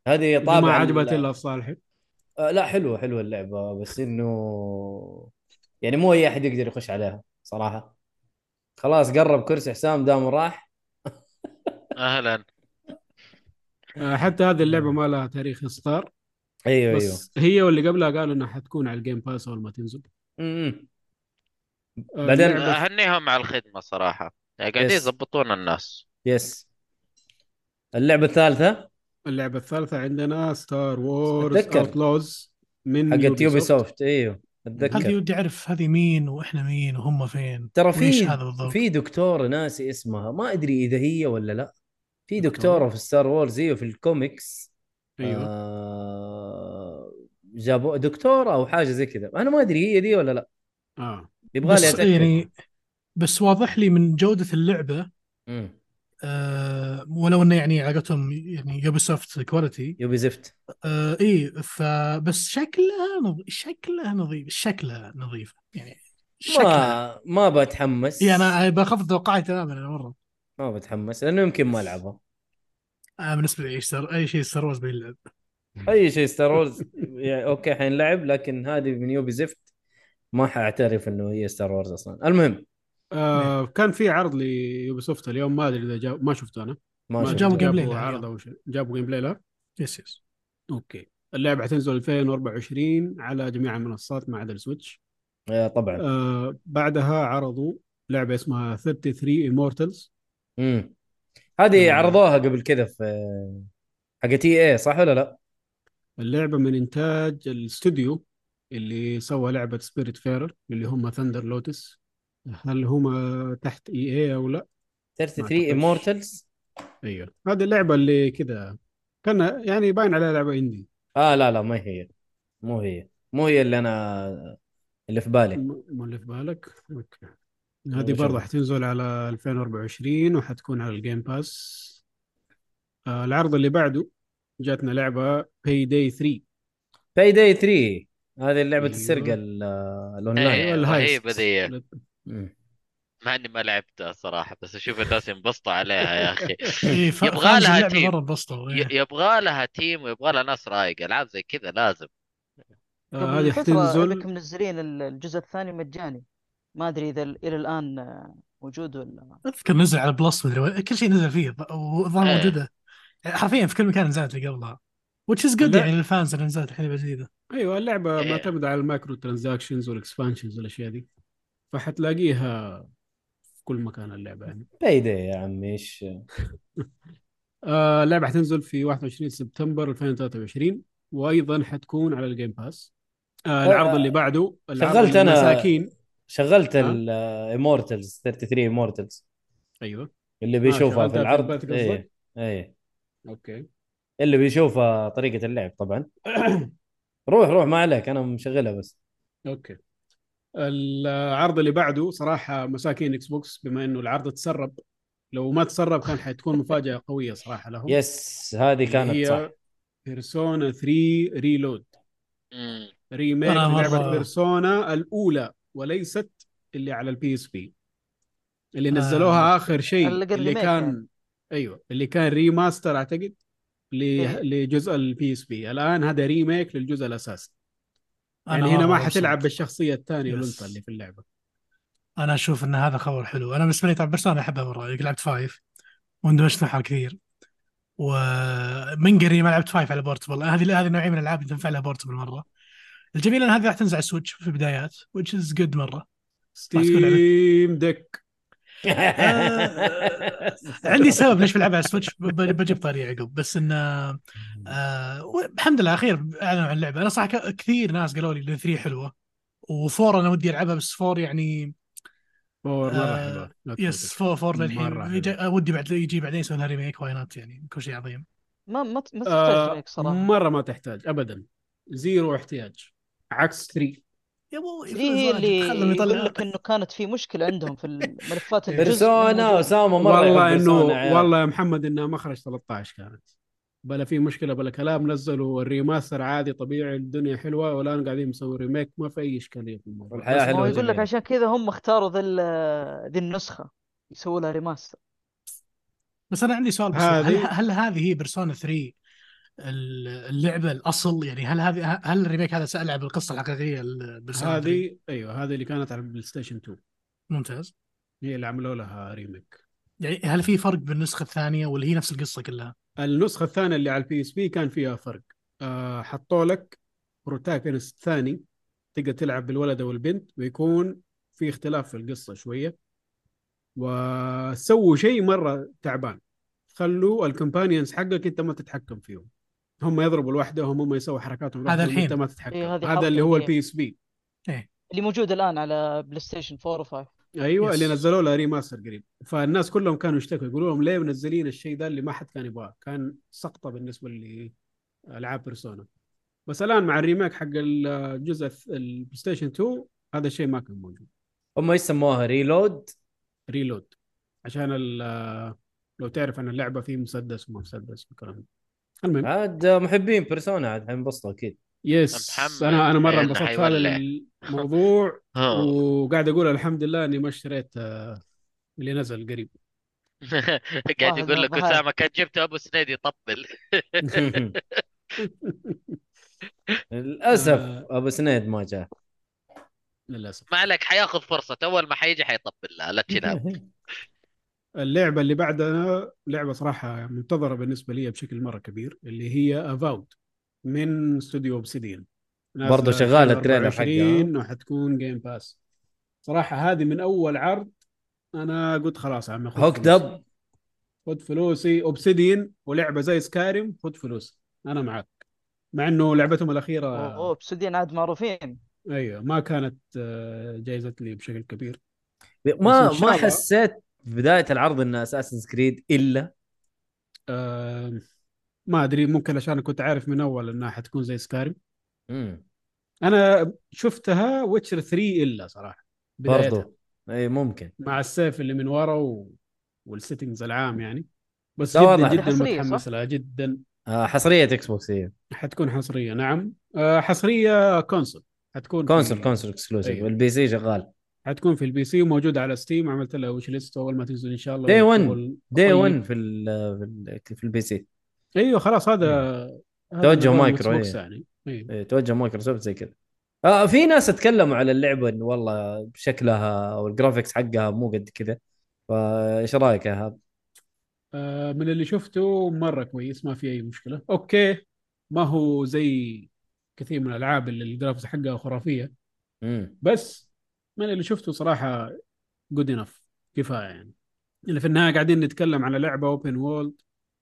S2: هذه طابع
S7: ما
S2: ال-
S7: عجبت الا صالحي
S2: آه، لا حلوه حلوه اللعبه بس انه يعني مو اي احد يقدر يخش عليها صراحه خلاص قرب كرسي حسام دام راح
S1: اهلا
S7: آه حتى هذه اللعبه ما لها تاريخ اصدار
S2: ايوه ايوه
S7: بس هي واللي قبلها قالوا انها حتكون على الجيم باس اول ما تنزل
S2: امم
S7: آه
S2: بعدين-
S7: اللعبة-
S1: اهنيهم على الخدمه صراحه يعني
S2: يس.
S1: قاعدين يظبطون الناس
S2: يس اللعبه الثالثه
S7: اللعبه الثالثه عندنا ستار وورز
S2: أتذكر.
S7: اوتلوز من
S2: حقت يوبي
S7: Ubisoft.
S2: سوفت ايوه
S5: هذه
S2: اتذكر
S5: ودي اعرف هذه مين واحنا مين وهم فين
S2: ترى
S5: وإيش
S2: في
S5: هذا بالضبط
S2: في دكتوره ناسي اسمها ما ادري اذا هي ولا لا في دكتوره
S7: دكتورة؟
S2: في ستار وورز ايوه في الكوميكس
S5: أيوه.
S7: ايوه
S2: آه جابوا دكتوره او حاجه زي كذا انا ما ادري هي دي ولا لا
S7: اه
S2: يبغى لي
S5: بس
S2: اتاكد
S5: يعني بس واضح لي من جوده اللعبه
S2: مم.
S5: آه ولو انه يعني علاقتهم يعني يوبي سوفت كواليتي
S2: يوبي زفت
S5: آه اي فبس شكلها نظ... شكلها نظيف شكلها نظيفه يعني شكلها إيه،
S2: ما ما بتحمس
S5: اي انا بخفض توقعي تماما أنا مره
S2: ما بتحمس لانه يمكن ما العبها
S5: انا بالنسبه لي اي سر... اي شيء ستار وورز بيلعب
S2: اي شيء ستار وورز يعني اوكي حينلعب لكن هذه من يوبي زفت ما حاعترف انه هي ستار وورز اصلا المهم
S7: آه كان في عرض ليوبيسوفت اليوم ما ادري اذا جاب ما شفته انا
S2: ما
S5: ما
S2: شفت.
S5: جابوا جيم بلاي.
S7: جابوا
S5: لا،
S7: عرض
S5: اليوم.
S7: او شيء جابوا جيم بلاي لا
S5: يس يس
S7: اوكي اللعبه حتنزل 2024 على جميع المنصات ما عدا السويتش
S2: آه، طبعا
S7: آه بعدها عرضوا لعبه اسمها 33 امورتلز
S2: امم هذه
S7: آه.
S2: عرضوها قبل كذا في حقت اي اي إيه، صح ولا لا؟
S7: اللعبه من انتاج الاستوديو اللي سوى لعبه سبيريت فيرر اللي هم ثندر لوتس هل هم تحت اي اي او لا؟
S2: 33
S7: ما أعتقدش.
S2: امورتلز
S7: ايوه هذه اللعبه اللي كذا كان يعني باين عليها لعبه اندي
S2: اه لا لا ما هي مو هي مو هي اللي انا اللي في بالي
S7: م- مو اللي في بالك اوكي
S2: والله
S7: هذه برضه
S2: شوف.
S7: حتنزل على 2024 وحتكون على الجيم باس آه، العرض اللي بعده جاتنا لعبه باي داي 3
S2: باي داي 3 هذه لعبه
S7: أيوه.
S2: السرقه ال- آه،
S1: إيه،
S2: الاونلاين
S7: الهايست.
S1: رهيبة ذي.
S2: مم.
S1: مع اني ما لعبتها صراحه بس اشوف الناس ينبسطوا عليها يا اخي
S5: اي إيه، ف...
S1: إيه. يبغى
S5: فانز
S1: لها
S5: اللعبه
S1: تيم.
S5: مره انبسطوا
S1: ي- يبغى لها تيم ويبغى لها ناس رايقه العاب زي كذا لازم
S7: آه،
S8: قبل
S7: هذه
S8: فترة
S7: حتنزل
S8: انكم منزلين ال- الجزء الثاني مجاني ما ادري اذا ال- الى الان آه، موجود ولا
S5: اذكر نزل على بلس مدري وين، كل شيء نزل فيه والظاهر
S1: إيه.
S5: موجوده حرفيا يعني في كل مكان نزلت اللي قبلها which is good
S7: لا.
S5: يعني للفانز اللي نزلت الحين جديده
S7: ايوه اللعبه
S1: إيه.
S7: معتمده على المايكرو ترانزاكشنز والاكسبانشنز والاشياء دي فحتلاقيها في كل مكان اللعبه يعني
S2: باي داي يا عمي ايش
S7: آه، اللعبه حتنزل في 21 سبتمبر 2023 وايضا حتكون على الجيم باس آه، العرض اللي بعده العرض
S2: أه، شغلت أنا-
S7: المساكين
S2: شغلت آه،
S7: ها؟
S2: الامورتلز 33 امورتلز
S7: ايوه
S2: اللي بيشوفها
S7: شغلتها
S2: في
S7: في البيت
S2: العرض
S7: قصدك؟
S2: ايه ايه
S7: اوكي
S2: اللي بيشوفها طريقه اللعب طبعا روح روح ما عليك انا مشغلها بس
S7: اوكي العرض اللي بعده صراحه مساكين اكس بوكس بما انه العرض تسرب لو ما تسرب كان حتكون مفاجاه قويه صراحه لهم
S2: يس هذه
S7: اللي
S2: كانت
S7: هي
S2: صح
S7: بيرسونا 3 ريلود
S1: مم.
S7: ريميك
S5: أنا مرة-
S7: لعبه بيرسونا الاولى وليست اللي على البي اس بي اللي نزلوها اخر شيء
S8: اللي قبل
S7: اللي
S8: remake
S7: كان أيوة،
S8: يعني.
S7: ايوه اللي كان ريماستر اعتقد
S8: إيه.
S7: ل- لجزء البي اس بي الان هذا ريميك للجزء الاساسي
S5: أنا
S7: يعني هنا ما
S5: مرة
S7: حتلعب
S5: مبسوط.
S7: بالشخصيه الثانيه
S5: يس.
S7: الانثى اللي في اللعبه
S5: انا اشوف ان هذا خبر حلو انا بالنسبه لي طبعا برشلونه احبها مره لعبت فايف واندمجت معها كثير ومن قريب ما لعبت فايف على بورتبل هذه هذه نوعيه من الالعاب اللي تنفع لها بورتبل مره الجميل ان هذه راح تنزل على السويتش في البدايات which is good مره تكون لعبة.
S7: ستيم ديك آه،
S5: عندي سبب ليش بلعبها على السويتش ب- ب- بجيب طاري عقب بس انه آه و- الحمد لله اخير اعلنوا عن اللعبه انا صح ك- كثير ناس قالوا لي 3 حلوه وفور انا ودي العبها بس فور يعني
S7: فور مره
S5: آه،
S7: حلوه لا
S5: يس
S7: تفوتك.
S5: فور فور
S7: مرة
S5: للحين
S7: حلوة.
S5: يجي- ودي بعد يجي بعدين يسوون لها ريميك واي نوت يعني كل شيء عظيم
S8: ما ما ما
S7: آه،
S8: تحتاج ريك صراحه
S7: مره ما تحتاج ابدا زيرو احتياج عكس 3
S5: يا ابو
S8: هي هي اللي
S5: خلهم
S8: يقول
S5: يطلع
S8: لك انه كانت في مشكله عندهم في الملفات الجزء
S2: بيرسونا
S8: الموجودة.
S2: اسامه مره يحب
S7: والله انه
S2: بيرسونا يا عيال.
S7: والله يا محمد انها مخرج 13 كانت بلا في مشكله بلا كلام نزلوا الريماستر عادي طبيعي الدنيا حلوه والان قاعدين مسوي ريميك ما في اي اشكاليه في الموضوع
S2: والحياة
S7: بس
S8: ما
S2: حلوة
S8: هو
S7: ما-
S8: يقول لك
S2: جميلة.
S8: عشان كذا هم اختاروا ذي ال- ذي النسخه يسووا لها ريماستر
S5: بس انا عندي سؤال بس
S7: هذه-
S5: هل, هل هذه هي بيرسونا 3 اللعبه الاصل يعني هل هذه هل الريميك هذا سالعب القصه الحقيقيه لبيرسونا 3
S7: هذه ايوه هذه اللي كانت على البلاي ستيشن 2
S5: ممتاز
S7: هي اللي عملوا لها ريميك
S5: يعني هل في فرق بالنسخه الثانيه ولا هي نفس القصه كلها؟
S7: النسخه الثانيه اللي على البي اس بي كان فيها فرق آه حطوا لك بروتاغونست ثاني تقدر تلعب بالولد او البنت ويكون في اختلاف في القصه شويه وسووا شيء مره تعبان خلوا الكومبانيونز حقك انت ما تتحكم فيهم هم يضربوا لوحدهم هم يسووا حركاتهم
S5: هذا
S7: لوحدهم انت
S5: الحين.
S7: ما تتحكم
S8: إيه، هذه
S7: هذا
S8: حركة
S7: اللي هو
S8: جديدة.
S7: البي اس بي
S8: اللي موجود الان على بلاي ستيشن 4 و5
S7: ايوه
S5: يس.
S7: اللي نزلوا له ريماستر قريب فالناس كلهم كانوا يشتكوا يقولوا لهم ليه منزلين الشيء ده اللي ما حد كان يبغاه كان سقطه بالنسبه لالعاب بيرسونا بس الان مع الريميك حق الجزء الث- البلاي ستيشن 2 هذا الشيء ما كان موجود
S2: هم ايش سموها ريلود
S7: ريلود عشان ال- لو تعرف ان اللعبه فيه مسدس وما مسدس والكلام ده المهم
S2: عاد محبين بيرسونا عاد حينبسطوا اكيد
S7: يس
S1: محمد
S7: انا انا مره
S1: إيه،
S7: انبسطت في هذا
S1: حيولع.
S7: الموضوع
S1: ها.
S7: وقاعد اقول الحمد لله اني ما اشتريت آه، اللي نزل قريب
S1: قاعد
S8: واحد
S1: يقول
S8: من
S1: لك
S8: الضحايا.
S1: اسامه كان جبت ابو سنيد يطبل
S2: للاسف
S7: آه.
S2: ابو سنيد ما جاء
S7: للاسف
S1: ما عليك حياخذ فرصة اول ما حيجي حيطبل لها لا تشيلها
S7: اللعبة اللي بعدها لعبة صراحة منتظرة بالنسبة لي بشكل مرة كبير اللي هي أفاوت من استوديو اوبسيديان
S2: برضو شغالة التريلر حقها.
S7: وحتكون جيم باس صراحة هذه من أول عرض أنا قلت خلاص يا عمي خذ
S2: هوك
S7: فلوسي.
S2: دب
S7: خذ فلوسي اوبسيديان ولعبة زي سكاريم خذ فلوسي أنا معك مع إنه لعبتهم الأخيرة
S8: اوه بسودين عاد معروفين
S7: أيوه ما كانت آه، جايزة لي بشكل كبير
S2: ما
S7: بس إن شاء
S2: ما
S7: الله.
S2: حسيت في بدايه العرض ان اساسن كريد الا
S7: آه، ما أدري ممكن عشان كنت عارف من أول إنها حتكون زي سكاريم
S2: مم.
S7: انا شفتها ويتشر 3 الا صراحه بدايتها
S2: برضو اي إيه، ممكن
S7: مع السيف اللي من ورا و... والسيتنجز العام يعني بس
S2: لا
S7: جدا
S2: واضح.
S7: جدا
S8: حصرية، صح؟
S7: متحمس لها جدا
S2: آه إيه. حصريه اكس بوكس هي
S7: حتكون حصريه نعم آه، حصريه كونسول حتكون في-
S2: كونسول كونسول اكسكلوسيف
S7: أيوه.
S2: والبي سي شغال
S7: حتكون في البي سي وموجوده على ستيم عملت لها وش ليست اول ما تنزل ان شاء الله
S2: Day one.
S7: أول-
S2: دي
S7: طيب.
S2: 1 في ال في, ال في البي سي
S7: ايوه خلاص هذا هذا
S2: توجه
S7: نظام
S2: مايكرو،
S7: إكس بوكس
S2: إيه.
S7: يعني أيوه.
S2: إيه، توجه مايكروسوفت زي كذا آه في ناس تكلموا على اللعبه انه والله شكلها او الجرافيكس حقها مو قد كذا فايش رايك يا هاب؟
S7: آه، من اللي شفته مره كويس ما في اي مشكله اوكي ما هو زي كثير من الالعاب اللي الجرافيكس حقها خرافيه
S2: مم.
S7: بس من اللي شفته صراحة جود انف كفاية يعني اللي في النهاية قاعدين نتكلم على لعبة اوبن وولد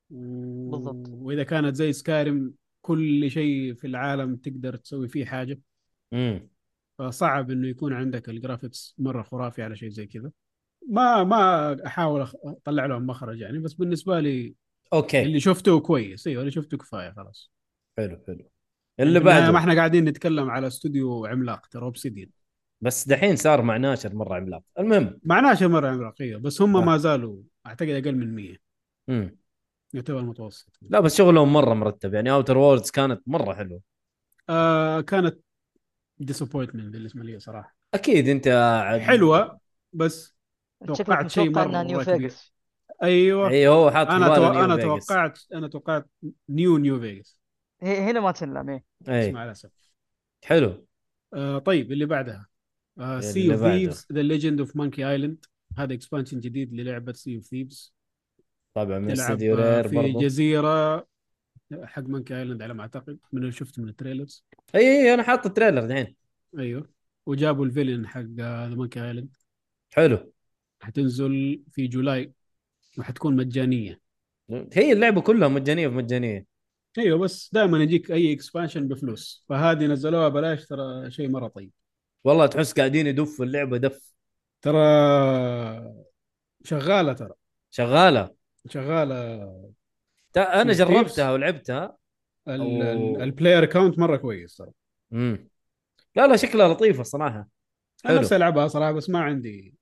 S7: و...
S8: بالضبط.
S7: وإذا كانت زي سكارم كل شيء في العالم تقدر تسوي فيه حاجة
S2: مم.
S7: فصعب إنه يكون عندك الجرافيكس مرة خرافي على شيء زي كذا ما ما أحاول أخ- أطلع لهم مخرج يعني بس بالنسبة لي
S2: اوكي
S7: اللي شفته كويس أيوه اللي شفته كفاية خلاص يعني
S2: حلو حلو اللي
S7: في النهاية ما
S2: بعده
S7: إحنا قاعدين نتكلم على استوديو عملاق ترى أوبسيديان
S2: بس دحين صار مع ناشر مره عملاق المهم
S7: معناش مرة عملاقية بس هم
S2: آه.
S7: ما زالوا أعتقد أقل من 100
S2: مم.
S7: يعتبر متوسط
S2: لا بس شغلهم مره مرتب يعني اوتر ووردز كانت مره حلوه
S7: آه كانت ديسابوينتمنت بالنسبه لي صراحه
S2: اكيد انت عاد-
S7: حلوه بس توقعت
S8: شكلك
S7: شيء
S8: متوقع
S7: مرة
S8: انها نيو
S7: كبير.
S8: فيجاس
S7: ايوه
S2: اي إيه، هو حاط في
S7: انا
S2: باله
S7: تو...
S2: أيوة، نيو
S7: انا
S2: فيجاس.
S7: توقعت انا توقعت نيو نيو فيجاس
S8: ه- هنا ما تنلم ايه
S7: بس
S2: اي
S7: مع الاسف
S2: إيه، حلو
S7: آه طيب اللي بعدها آه سي
S2: اللي
S7: اوف
S2: بعده.
S7: ثيفز ذا ليجند اوف مونكي ايلاند هذا اكسبانشن جديد للعبه سي اوف ثيفز
S2: طبعا من
S7: تلعب
S2: استديو
S7: آه،
S2: رير
S7: في
S2: برضو
S7: جزيره حق مونكي ايلاند على ما اعتقد من اللي شفت من التريلرز
S2: اي اي انا إيه، حاط التريلر الحين
S7: ايوه وجابوا الفيلن حق ذا مونكي ايلاند
S2: حلو
S7: حتنزل في جولاي وحتكون مجانيه
S2: هي اللعبه كلها مجانيه بمجانيه
S7: ايوه بس دائما يجيك اي اكسبانشن بفلوس فهذه نزلوها بلاش ترى شيء مره طيب
S2: والله تحس قاعدين يدفوا اللعبه دف
S7: ترى شغاله ترى
S2: شغاله
S7: شغاله
S2: تا- انا
S7: Sea of Thieves.
S2: جربتها ولعبتها
S7: ال-
S2: أوه.
S7: ال- البلاير كاونت مره كويس ترى
S2: امم لا لا شكلها لطيفه صراحه
S7: انا
S2: حلو.
S7: نفسي العبها صراحه بس ما عندي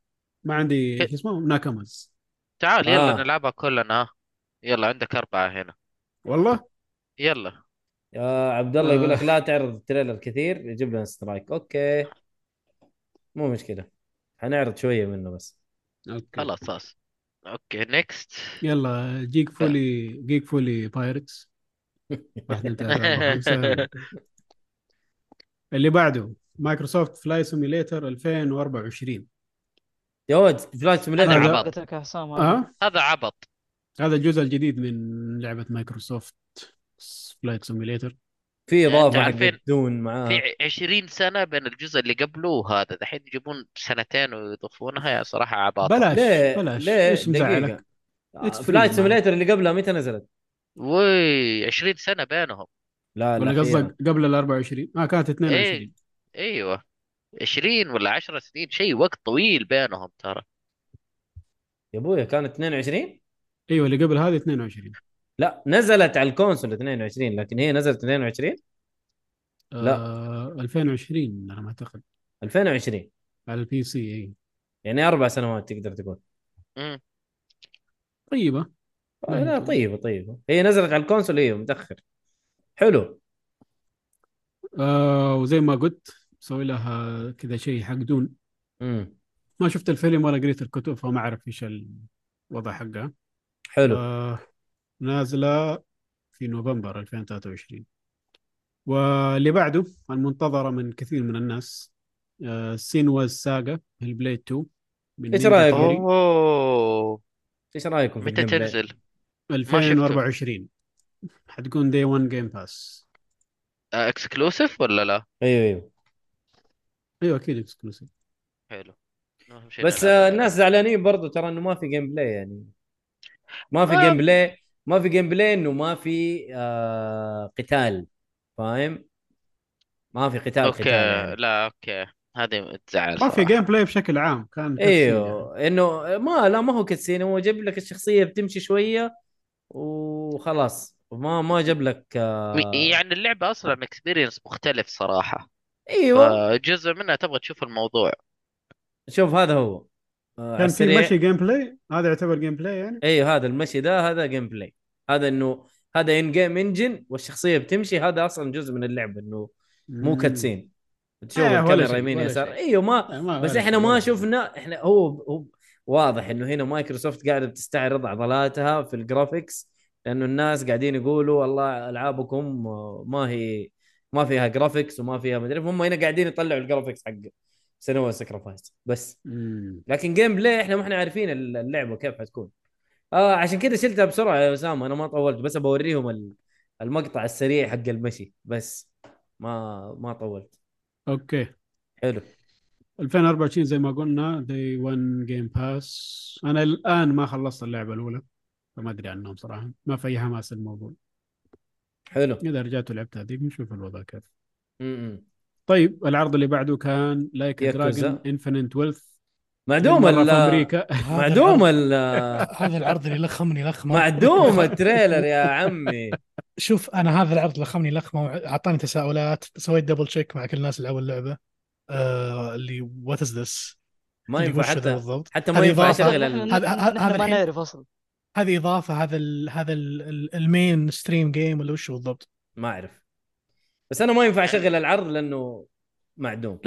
S7: ما عندي شو اسمه ناكامز
S1: تعال يلا
S2: آه.
S1: نلعبها كلنا ها. يلا عندك أربعة هنا
S7: والله
S1: يلا
S2: يا عبد الله يقول
S7: آه.
S2: لك لا تعرض التريلر كثير يجيب لنا سترايك اوكي مو مشكله حنعرض شويه منه بس
S7: اوكي
S1: خلاص خلاص اوكي نيكست
S7: يلا جيك فولي جيك فولي بايرتس واحد من تلاتة، أربعة، خمسة. اللي بعده مايكروسوفت فلاي سيميليتر 2024
S2: يا ولد فلاش سيميليتر
S1: أنا
S7: هذا-
S1: عبط
S8: قلت لك يا حسام
S2: آه.
S8: هذا.
S7: اه
S1: هذا عبط
S7: هذا الجزء الجديد من لعبه مايكروسوفت فلايت سيميليتر
S2: في اضافه
S1: أنت
S2: حق
S1: عارفين-
S2: دون
S8: آه.
S2: معاه
S1: في عشرين سنة بين الجزء اللي قبله وهذا دحين يجيبون سنتين ويضيفونها يا صراحة عباطة
S7: بلاش
S2: آه، ليه
S7: بلاش
S2: ليه
S7: ايش مزعلك
S2: دقيقة. آه،
S7: It's free
S2: فلايت
S7: معاه.
S2: سيميليتر اللي قبلها متى نزلت؟
S1: وي عشرين سنة بينهم
S2: لا إيه.
S7: ولا
S2: الأخيرة.
S7: قصدك قبل ال 24 ما كانت 22
S1: ايوه إيه، عشرين ولا عشرة سنين شيء وقت طويل بينهم ترى
S2: يا ابويا كان 22 إيه.
S7: ايوه اللي قبل هذه 22
S2: لا نزلت على الكونسول 22 لكن هي نزلت 22 لا.
S7: آه 2020 انا ما اعتقد
S2: 2020
S7: على البي سي إيه. اي
S2: يعني اربع سنوات تقدر تقول
S1: امم
S7: طيبه
S2: آه، لا
S7: طيب.
S2: طيبه طيبه هي نزلت على الكونسول هي متاخر حلو
S7: آه وزي ما قلت مسوي لها كذا شيء حق دون
S2: امم
S7: ما شفت الفيلم ولا قريت الكتب فما اعرف ايش الوضع حقها
S2: حلو
S7: آه نازله في نوفمبر 2023 واللي بعده المنتظره من كثير من الناس آه سينواز ساغا البليد 2 من
S2: إيش
S7: نينجا
S2: رأيك؟
S7: ثيوري،
S1: اوه
S2: ايش رايكم في
S1: متى
S2: الجيم بلاي؟
S1: تنزل؟ شفته.
S7: 2024 حتكون دي 1 جيم باس
S1: اكسكلوسيف آه، ولا لا؟
S2: ايوه ايوه
S7: ايوه اكيد اكسكلوسيف
S1: حلو أهم شيء
S2: بس
S1: نلعب
S2: آه،
S1: اللعبة.
S2: الناس زعلانين برضو ترى انه ما في جيم بلاي يعني ما في
S7: آه.
S1: ما-
S2: جيم بلاي ما في جيم بلاي انه ما في آه قتال فاهم؟ ما في قتال
S1: اوكي
S2: قتال يعني
S1: لا اوكي هذه تزعل
S7: ما في
S1: صراحة
S7: جيم بلاي بشكل عام كان كاتسين يعني.
S2: ايوه انه ما لا ما هو كاتسين هو جاب لك الشخصيه بتمشي شويه وخلاص ما ما جاب لك آه
S1: يعني اللعبة اصلا اكسبيرينس مختلف صراحة
S2: ايوه
S7: أيوة.
S1: جزء منها تبغى تشوف الموضوع
S2: شوف هذا هو آه
S7: كان في
S2: السريع.
S7: مشي جيم بلاي هذا يعتبر جيم بلاي يعني
S2: ايوه هذا المشي ده هذا جيم بلاي هذا انه هذا ان جيم انجن والشخصيه بتمشي هذا اصلا جزء من اللعبه انه مو
S7: مم.
S2: كاتسين تشوف
S7: إيه، ولا
S2: الكاميرا
S7: شيء،
S2: يمين
S7: ولا
S2: يسار
S7: شيء.
S2: ايوه ما
S7: آه، ما
S2: بس
S7: ولا
S2: احنا
S7: شيء،
S2: ما
S7: ولا شيء.
S2: شفنا احنا هو, هو واضح انه هنا مايكروسوفت قاعده بتستعرض عضلاتها في الجرافيكس لانه الناس قاعدين يقولوا والله العابكم ما هي ما فيها جرافيكس وما فيها مدري هم هنا قاعدين يطلعوا الجرافيكس حق سنوا سكرفايس بس
S7: مم.
S2: لكن جيم بلاي احنا ما احنا عارفين اللعبه كيف حتكون آه عشان كذا شلتها بسرعه يا اسامه انا ما طولت بس بوريهم ال- المقطع السريع حق المشي بس ما ما طولت
S7: اوكي
S2: حلو
S7: 2024 زي ما قلنا دي 1 جيم باس انا الان ما خلصت اللعبه الاولى فما ادري عنهم صراحه ما في اي حماس الموضوع
S2: حلو
S7: اذا رجعت ولعبت هذيك نشوف الوضع كيف
S2: م-م.
S7: طيب العرض اللي بعده كان لايك
S2: ياكوزا.
S7: دراجون انفينيت ويلث
S2: معدوم
S7: في
S2: ال
S7: امريكا
S5: هذا
S2: معدوم
S5: العرض-
S2: ال
S5: هذا العرض اللي لخمني لخمه
S2: معدوم التريلر يا عمي
S5: شوف انا هذا العرض لخمني لخمه واعطاني تساؤلات سويت دبل تشيك مع كل الناس اللي اول لعبه آه اللي وات از ذس
S2: ما ينفع حتى
S5: بالضبط
S2: حتى ما
S5: هذه
S2: ينفع
S5: إضافة.
S2: اشغل
S8: نحن-
S2: ال-
S5: هذا-
S8: نحن-
S5: هذا
S8: نحن ما
S5: الحين-
S8: نعرف اصلا
S5: هذه اضافه هذا ال هذا ال ال المين ستريم جيم ولا وش هو بالضبط؟
S2: ما اعرف بس انا ما ينفع اشغل العرض لانه معدوم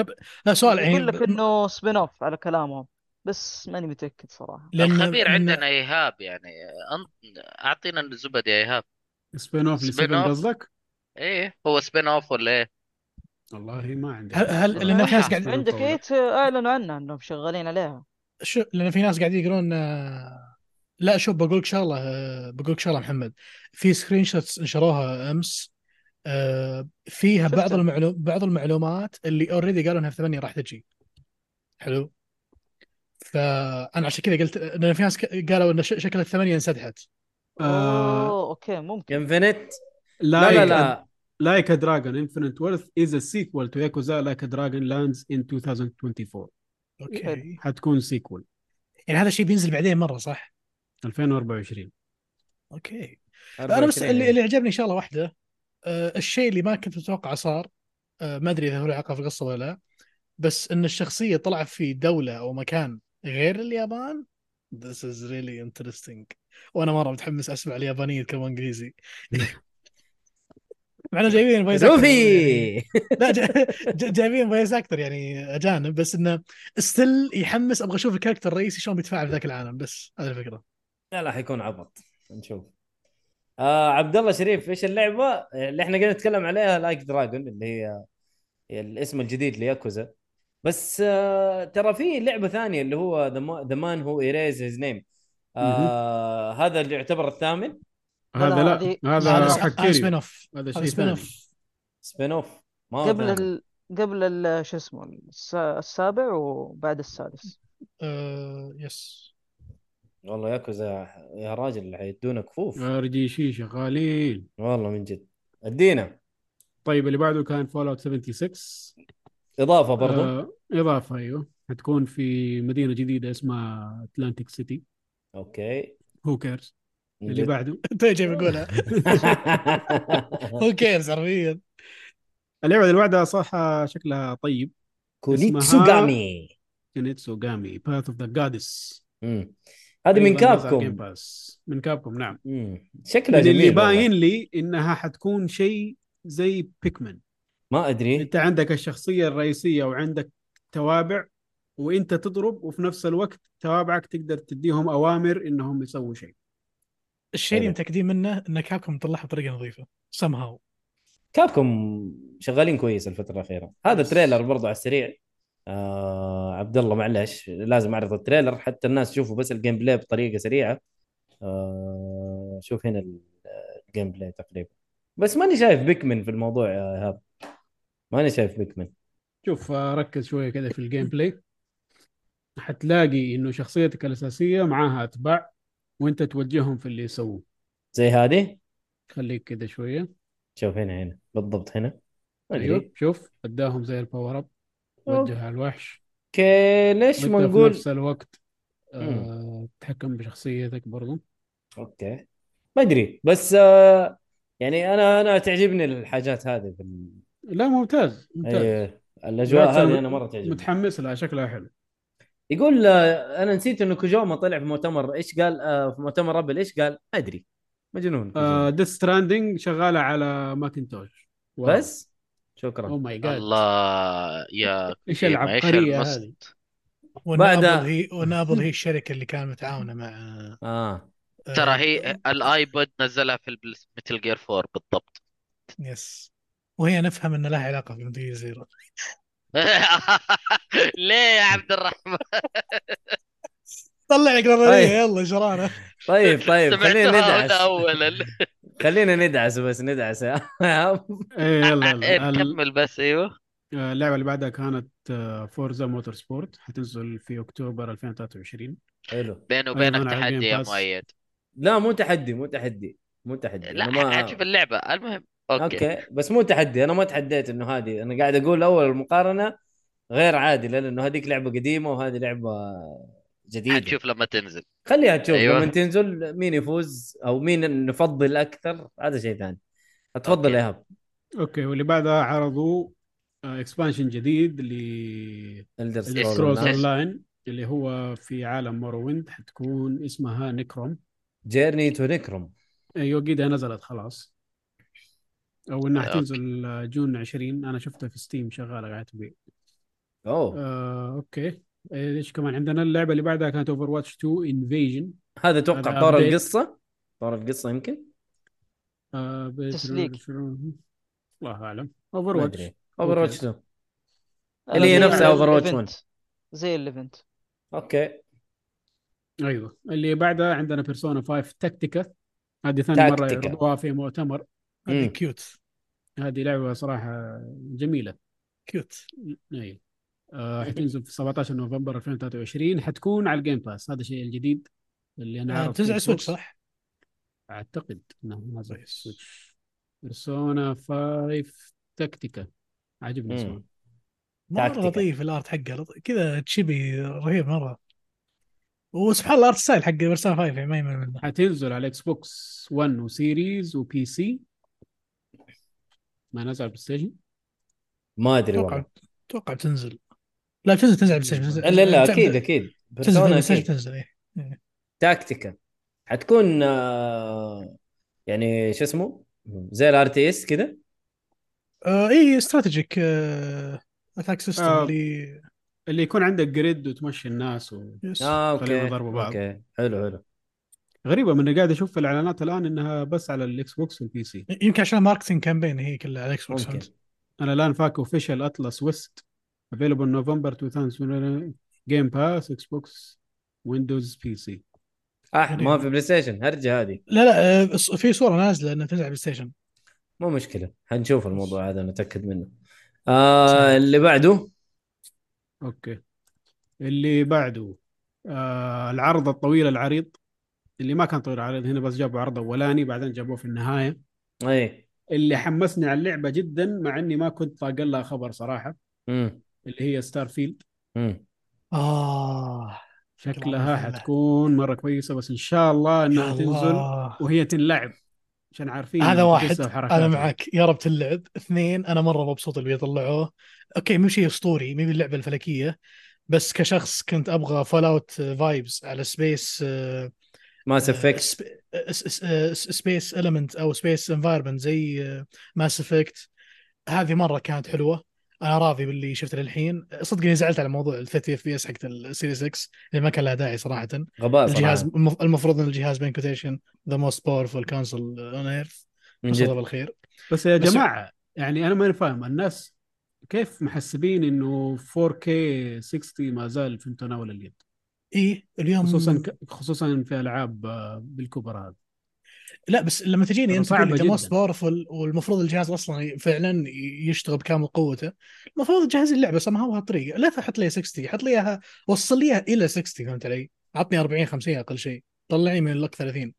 S5: لا سؤال
S8: يقول لك
S5: يعني
S8: انه سبين اوف على كلامهم بس ماني متأكد صراحة
S5: لأن-
S1: الخبير
S5: لأن-
S1: عندنا ايهاب يعني أن- اعطينا الزبد يا ايهاب
S7: سبين اوف
S1: سبين
S7: لسبين
S1: أوف.
S7: قصدك؟
S1: ايه هو سبين اوف ولا ايه
S7: والله ما عندي
S5: هل- هل-
S7: صراحة.
S5: لأن في ناس
S7: ما
S5: قاعد-
S7: أعرف
S8: عندك
S7: والله.
S8: ايت اعلنوا عنها انهم شغالين عليها
S5: شو لان في ناس قاعد يقولون آه، لا شوف بقول لك شغله آه، بقول لك شغله محمد في سكرين شوتس نشروها امس آه، فيها بعض
S8: شفتها.
S5: المعلوم بعض المعلومات اللي اوريدي قالوا انها في 8 راح تجي حلو فانا عشان كذا قلت لان في ناس ك- قالوا ان ش- شكل الثمانيه انسدحت
S7: آه،
S8: اوه اوكي ممكن
S2: انفنت لا لا
S7: لايك
S2: لا
S7: لايك دراجون انفينيت وورث از ا سيكول تو ياكوزا لايك دراجون لاندز ان 2024
S5: اوكي
S8: يب.
S7: حتكون سيكول
S5: يعني هذا الشيء بينزل بعدين مره صح
S7: 2024
S5: اوكي انا بس
S2: 24
S5: اللي, اللي عجبني شغله واحده آه، الشيء اللي ما كنت متوقعه صار آه، ما ادري اذا هو له علاقه في القصه ولا لا بس ان الشخصيه طلع في دوله او مكان غير اليابان This is really interesting وانا مره متحمس اسمع اليابانيه يتكلمون انجليزي معنا جايبين فويس أكتر.
S2: روفي
S5: لا جا- جا- جايبين فويس اكتر يعني اجانب بس انه ستيل يحمس ابغى اشوف الكاركتر الرئيسي شلون بيتفاعل في ذاك العالم بس هذه الفكره
S2: لا لا حيكون عبط نشوف آه عبد الله شريف ايش اللعبه اللي احنا قاعدين نتكلم عليها لايك دراجون اللي هي هي الاسم الجديد لياكوزا بس آه ترى في لعبه ثانيه اللي هو ذا مان هو ايريز هيز نيم آه، هذا اللي يعتبر الثامن
S8: لا،
S7: هذا لا
S8: هذه-
S7: هذا
S5: هذا
S7: حق
S5: هذا سبين
S7: كيريو
S5: اوف
S7: هذا
S5: هذا
S7: شيء
S5: سبين
S7: ثاني
S5: اوف
S2: سبين اوف ما هو
S8: قبل
S2: ثامن.
S8: ال... قبل ال... شو اسمه الس- السابع وبعد السادس
S5: آه، يس
S2: والله ياكوزا يا راجل حيدونا كفوف
S7: آه. ار شغالين
S2: والله من جد ادينا
S7: طيب اللي بعده كان فول اوت 76
S2: اضافه برضو آه.
S7: آه اضافه ايوه حتكون في مدينه جديده اسمها اتلانتيك سيتي
S2: اوكي
S7: هو كيرز
S2: من
S7: اللي
S2: جد.
S7: بعده
S5: انت جاي بقولها طيب،
S2: آه.
S5: هو كيرز حرفيا
S7: اللعبه اللي بعدها صح شكلها طيب
S2: كونيتسوغامي
S7: كينيتسو جامي باث اوف ذا جادس
S2: مم. هذه
S7: أيوة،
S2: من كابكم
S7: من كابكم نعم
S2: مم. شكلها
S7: من اللي
S2: جميل والله.
S7: باين لي انها حتكون شيء زي بيكمن
S2: ما ادري
S7: انت عندك الشخصيه الرئيسيه وعندك توابع وانت تضرب وفي نفس الوقت توابعك تقدر تديهم اوامر انهم يسووا شيء
S5: الشيء اللي
S2: حلو.
S5: متاكدين منه ان كابكم مطلعها بطريقه نظيفه سم هاو
S2: كابكم شغالين كويس الفتره الاخيره هذا تريلر برضو على السريع آه عبد الله معلش لازم اعرض التريلر حتى الناس يشوفوا بس الجيم بلاي بطريقه سريعه آه شوف هنا ال- الجيم بلاي تقريبا بس ماني شايف بيكمن في الموضوع يا ايهاب ماني شايف بيكمن
S7: شوف آه، ركز شويه كذا في الجيم بلاي حتلاقي انه شخصيتك الاساسيه معاها اتباع وانت توجههم في اللي يسووه
S2: زي هذه
S7: خليك كذا شويه
S2: شوف هنا هنا بالضبط هنا ما
S7: ايوه
S2: ادري
S7: شوف اداهم زي الباور اب وجه على الوحش
S2: اوكي ليش ما
S7: وانت في
S2: نقول
S7: نفس الوقت آه تتحكم بشخصيتك برضو
S2: اوكي ما ادري بس آه يعني انا انا تعجبني الحاجات هذه في ال...
S7: لا ممتاز ممتاز
S2: أي الاجواء
S7: بالعكس أنا
S2: أيوه. هذه انا مره تعجبني
S7: متحمس لها شكلها حلو
S2: يقول آه، انا نسيت انه كوجوما طلع في مؤتمر ايش قال آه، في مؤتمر ابل ايش قال؟ ما ادري مجنون كوجوما.
S7: ديث ستراندنج شغاله على ماكنتوش واو. Oh
S2: بس
S7: او
S2: شكرا
S7: ماي جاد
S1: الله إيه، يا
S7: ايش
S1: كوجيما،
S7: العبقريه
S1: المس-
S7: هذه
S2: بعد-
S5: ونابل هي ونابل هي الشركه اللي كانت متعاونه مع
S2: اه
S5: آه،
S1: ترى هي الايبود نزلها في متل جير 4 بالضبط
S5: يس وهي نفهم ان لها علاقه في مدير زيرو
S1: ليه يا عبد الرحمن
S5: طلع لك
S2: أي.
S5: نظريه يلا جرانا
S2: طيب طيب خلينا
S1: سمعتها هنا
S2: ندعس
S1: اولا
S2: خلينا ندعس بس ندعس
S7: ايه يلا
S1: إيه،
S7: يلا ال-
S1: نكمل بس ايوه
S7: آه، اللعبه اللي بعدها كانت آه، فورزا موتور سبورت حتنزل في اكتوبر 2023
S2: حلو
S1: بيني وبينك
S7: أيضاً على
S1: تحدي يا
S7: Game Pass.
S1: مؤيد
S2: لا مو تحدي مو تحدي مو تحدي
S1: لا
S2: أنا ما
S1: حتشوف اللعبه المهم اوكي
S2: اوكي بس مو تحدي انا ما تحديت انه هذه انا قاعد اقول اول المقارنه غير عادله لانه هذيك لعبه قديمه وهذه لعبه جديده
S1: حتشوف لما تنزل
S2: خليها تشوف
S1: أيوة.
S2: أيوة. لما تنزل مين يفوز او مين نفضل اكثر هذا شيء ثاني اتفضل
S1: أوكي.
S2: يا ايهاب
S7: اوكي واللي بعدها عرضوا اكسبانشن جديد ل
S2: الدر
S1: Scrolls
S7: سكرولز
S1: Online.
S7: اون
S2: سكرولز
S7: لاين اللي هو في عالم مورويند حتكون اسمها نكروم
S2: جيرني تو نكرم
S7: ايوه قيدها نزلت خلاص او انها
S1: أوكي.
S7: حتنزل آه، جون 20 انا شفتها في ستيم شغاله قاعده تبيع
S2: اوه
S7: آه، اوكي إيه، ايش كمان عندنا اللعبه اللي بعدها كانت اوفر واتش 2 انفيجن
S2: هذا اتوقع
S7: هذا
S2: طور
S7: update.
S2: القصه طور القصه يمكن
S7: آه،
S8: تسليك.
S7: الله اعلم اوفر
S2: ما
S7: واتش
S2: ادري اوفر واتش
S8: أنا
S2: اللي هي
S8: زي
S2: نفسها Overwatch
S8: ال-
S2: 1.
S8: event. زي الايفنت
S2: اوكي
S7: ايوه اللي بعدها عندنا بيرسونا 5 تكتيكا هذه ثاني مره
S2: تكتيكا.
S7: يعرضوها في مؤتمر
S2: مم.
S5: هذه كيوت
S7: هذه لعبه صراحه جميله
S5: كيوت
S7: اي آه حتنزل في 17 نوفمبر 2023 حتكون على الجيم باس هذا الشيء الجديد اللي انا عارف
S5: بتنزل على سويتش آه، صح؟
S7: اعتقد انه نازل على
S5: كويس.
S7: سويتش بيرسونا 5 تكتيكا عجبني
S2: مم.
S7: اسمه
S5: مره
S2: تاكتيكال.
S5: لطيف الارت حقه لط- كذا تشيبي رهيب مره وسبحان الله الارت ستايل حق بيرسونا 5 يعني ما يمل منه
S7: حتنزل على اكس بوكس 1 وسيريز وبي سي ما نزل على البلاي ستيشن
S2: ما ادري
S5: اتوقع
S2: والله
S5: اتوقع بتنزل لا بتنزل تنزل على البلاي ستيشن بتنزل-
S2: الا لا
S5: بتنزل-
S2: اكيد اكيد
S5: بتنزل
S2: بيرسونا
S5: بلاي ستيشن
S2: اكيد
S5: بتنزل إيه.
S2: تاكتيكال حتكون آه، يعني شو اسمه زي الار تي اس كذا
S5: آه، اي استراتيجيك آه، اتاك سيستم
S7: آه.
S5: اللي
S7: اللي يكون عندك جريد وتمشي الناس و...
S5: يس.
S2: اه
S7: خليهم
S2: اوكي
S7: يضربوا بعض.
S2: اوكي حلو حلو
S7: غريبه من اللي قاعد اشوف في الاعلانات الان انها بس على الاكس بوكس والبي سي
S5: يمكن عشان ماركتنج كامبين هي كلها على الاكس بوكس
S2: ممكن
S7: انا الان فاك اوفيشال اطلس ويست افيلبل نوفمبر 2000 جيم باس اكس بوكس ويندوز بي سي
S2: اح آه، ما في بلاي ستيشن هرجه هذه
S5: لا لا آه، ص- في صوره نازله انها تنزل على بلاي ستيشن
S2: مو مشكله حنشوف الموضوع هذا نتاكد منه آه اللي بعده
S7: اوكي اللي بعده آه العرض الطويل العريض اللي ما كان طويل عريض هنا بس جابوا عرض اولاني بعدين جابوه في النهايه
S2: اي
S7: اللي حمسني على اللعبه جدا مع اني ما كنت طاق لها خبر صراحه
S2: امم
S7: اللي هي ستار فيلد
S2: امم
S5: اه
S7: شكلها حتكون مره كويسه بس ان شاء الله
S5: يا
S7: انها تنزل إيه،
S5: الله.
S7: وهي تنلعب عشان عارفين
S5: هذا واحد
S7: قصة
S5: انا
S7: وحركاتها.
S5: معك يا رب تلعب اثنين انا مره مبسوط اللي بيطلعوه اوكي مو شيء اسطوري مو اللعبه الفلكيه بس كشخص كنت ابغى فول اوت فايبز على آه، سبيس
S2: ماس افكت
S5: uh, سبيس المنت او سبيس انفايرمنت زي ماس افكت هذه مره كانت حلوه انا راضي باللي شفته للحين صدق اني زعلت على موضوع ال 30 اف بي اس حقت السيريس 6 اللي ما كان لها داعي صراحه
S2: غباء
S5: الجهاز
S2: صراحه
S5: المف- المفروض ان الجهاز بين كوتيشن ذا موست باورفul كونسول اون ايرث
S2: من
S5: مساء
S2: جد
S5: بالخير
S7: بس يا
S5: بس-
S7: جماعة يعني أنا ماني فاهم الناس كيف محسبين إنه 4K 60 ما زال في متناول اليد
S5: اي إيه، اليوم
S7: خصوصا ك... خصوصا في ألعاب آه، بالكبر هذا
S5: لا بس لما تجيني انت
S7: صعبة
S5: تقول لي
S7: جداً.
S5: موست باورفل والمفروض الجهاز اصلا فعلا يشتغل بكامل قوته المفروض تجهز لي اللعبه سمها بهالطريقه لا تحط لي 60 حط لي اياها وصل لي اياها الى 60 فهمت علي؟ عطني 40 50 اقل شيء طلعني من لك 30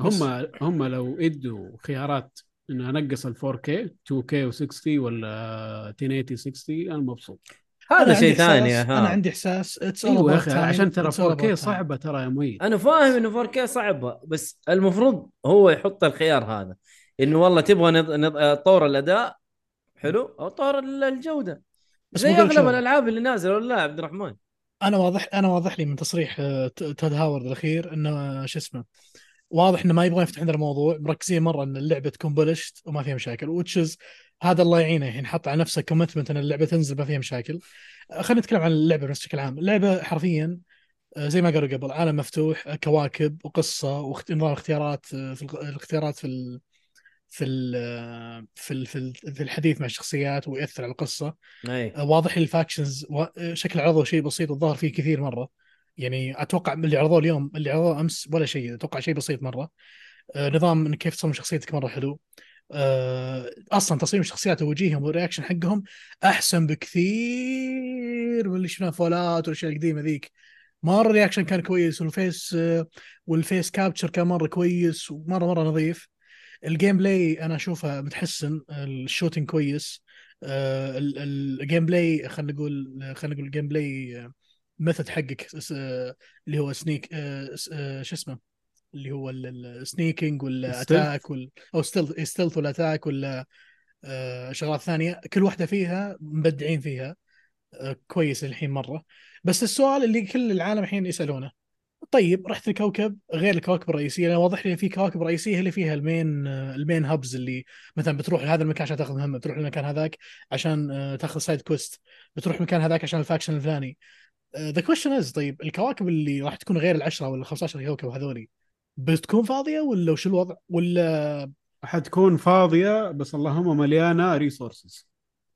S5: بس.
S7: هم هم لو ادوا خيارات انه انقص ال 4K 2K و60 ولا 1080 60 انا مبسوط
S5: أنا
S2: هذا
S5: عندي
S2: شيء
S5: إحساس-
S2: ثاني آه.
S5: انا
S2: ها
S5: عندي احساس اتس
S7: ايوه يا اخي عشان ترى 4K صعبه ترى يا مي
S2: انا فاهم انه 4K صعبه بس المفروض هو يحط الخيار هذا انه والله تبغى نض... نض... طور الاداء حلو او طور ال- الجوده
S5: بس
S2: زي
S5: مو كل
S2: اغلب
S5: شغل.
S2: الالعاب اللي نازله ولا لا عبد الرحمن
S5: انا واضح انا واضح لي من تصريح آه، ت- تود هاورد الاخير انه آه، شو اسمه واضح انه ما يبغون يفتح عندنا الموضوع مركزين مره ان اللعبه تكون بلشت وما فيها مشاكل وتشز هذا الله يعينه الحين حط على نفسه كومتمنت ان اللعبه تنزل ما فيها مشاكل آه، خلينا نتكلم عن اللعبه بس بشكل عام اللعبه حرفيا آه، زي ما قالوا قبل عالم مفتوح آه، كواكب وقصه ونظام اختيارات آه، في الق- الاختيارات في ال... في ال... آه، في ال... في ال- في الحديث مع الشخصيات ويأثر على القصه
S2: اي
S5: آه، واضح لي الفاكشنز و- آه، شكل عرضه شيء بسيط الظاهر فيه كثير مره يعني اتوقع من اللي عرضوه اليوم اللي عرضوه امس ولا شيء اتوقع شيء بسيط مره آه، نظام إن كيف تصمم شخصيتك مره حلو آه، اصلا تصميم الشخصيات ووجيههم والرياكشن حقهم احسن بكثير من اللي شفناه فولات والاشياء القديمه ذيك مره الرياكشن كان كويس والفيس آه، والفيس كابتشر كان مره كويس ومره مره نظيف الجيم بلاي انا اشوفه متحسن الشوتنج كويس آه، ال- ال- الجيم بلاي خلينا نقول خلينا نقول الجيم بلاي ميثود حقك س- آه، اللي هو سنيك آه، س- آه، شو اسمه اللي هو السنيكينج ولا
S7: Stealth.
S5: اتاك ولا او ستيلث ستيلث ولا اتاك ولا آه، شغلات ثانيه كل واحده فيها مبدعين فيها آه، كويس الحين مره بس السؤال اللي كل العالم الحين يسالونه طيب رحت الكوكب غير الكواكب الرئيسيه لان واضح لي إن في كواكب رئيسيه هي اللي فيها المين آه، المين هبز اللي مثلا بتروح لهذا المكان عشان تاخذ مهمه بتروح للمكان هذاك عشان آه، تاخذ سايد كويست بتروح المكان هذاك عشان الفاكشن الفلاني ذا كويشن از طيب الكواكب اللي راح تكون غير العشره ولا 15 كوكب هذولي بتكون فاضيه ولا وش الوضع؟ ولا
S7: حتكون فاضيه بس اللهم مليانه ريسورسز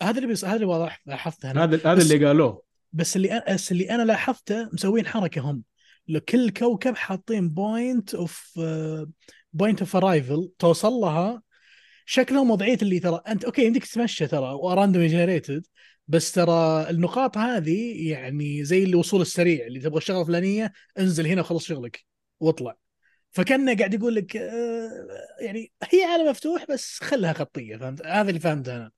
S5: هذا اللي بس هذا اللي واضح لاحظته انا
S7: هذا هذا
S5: بس-
S7: اللي قالوه
S5: بس اللي أنا بس اللي انا لاحظته مسوين حركه هم لكل كوكب حاطين آه، بوينت اوف بوينت اوف ارايفل توصل لها شكلهم وضعيه اللي ترى انت اوكي يمديك تتمشى ترى وراندوم جنريتد بس ترى النقاط هذه يعني زي الوصول السريع اللي تبغى الشغله الفلانيه انزل هنا وخلص شغلك واطلع فكانه قاعد يقول لك آه، يعني هي عالم مفتوح بس خلها خطيه فهمت هذا اللي فهمته انا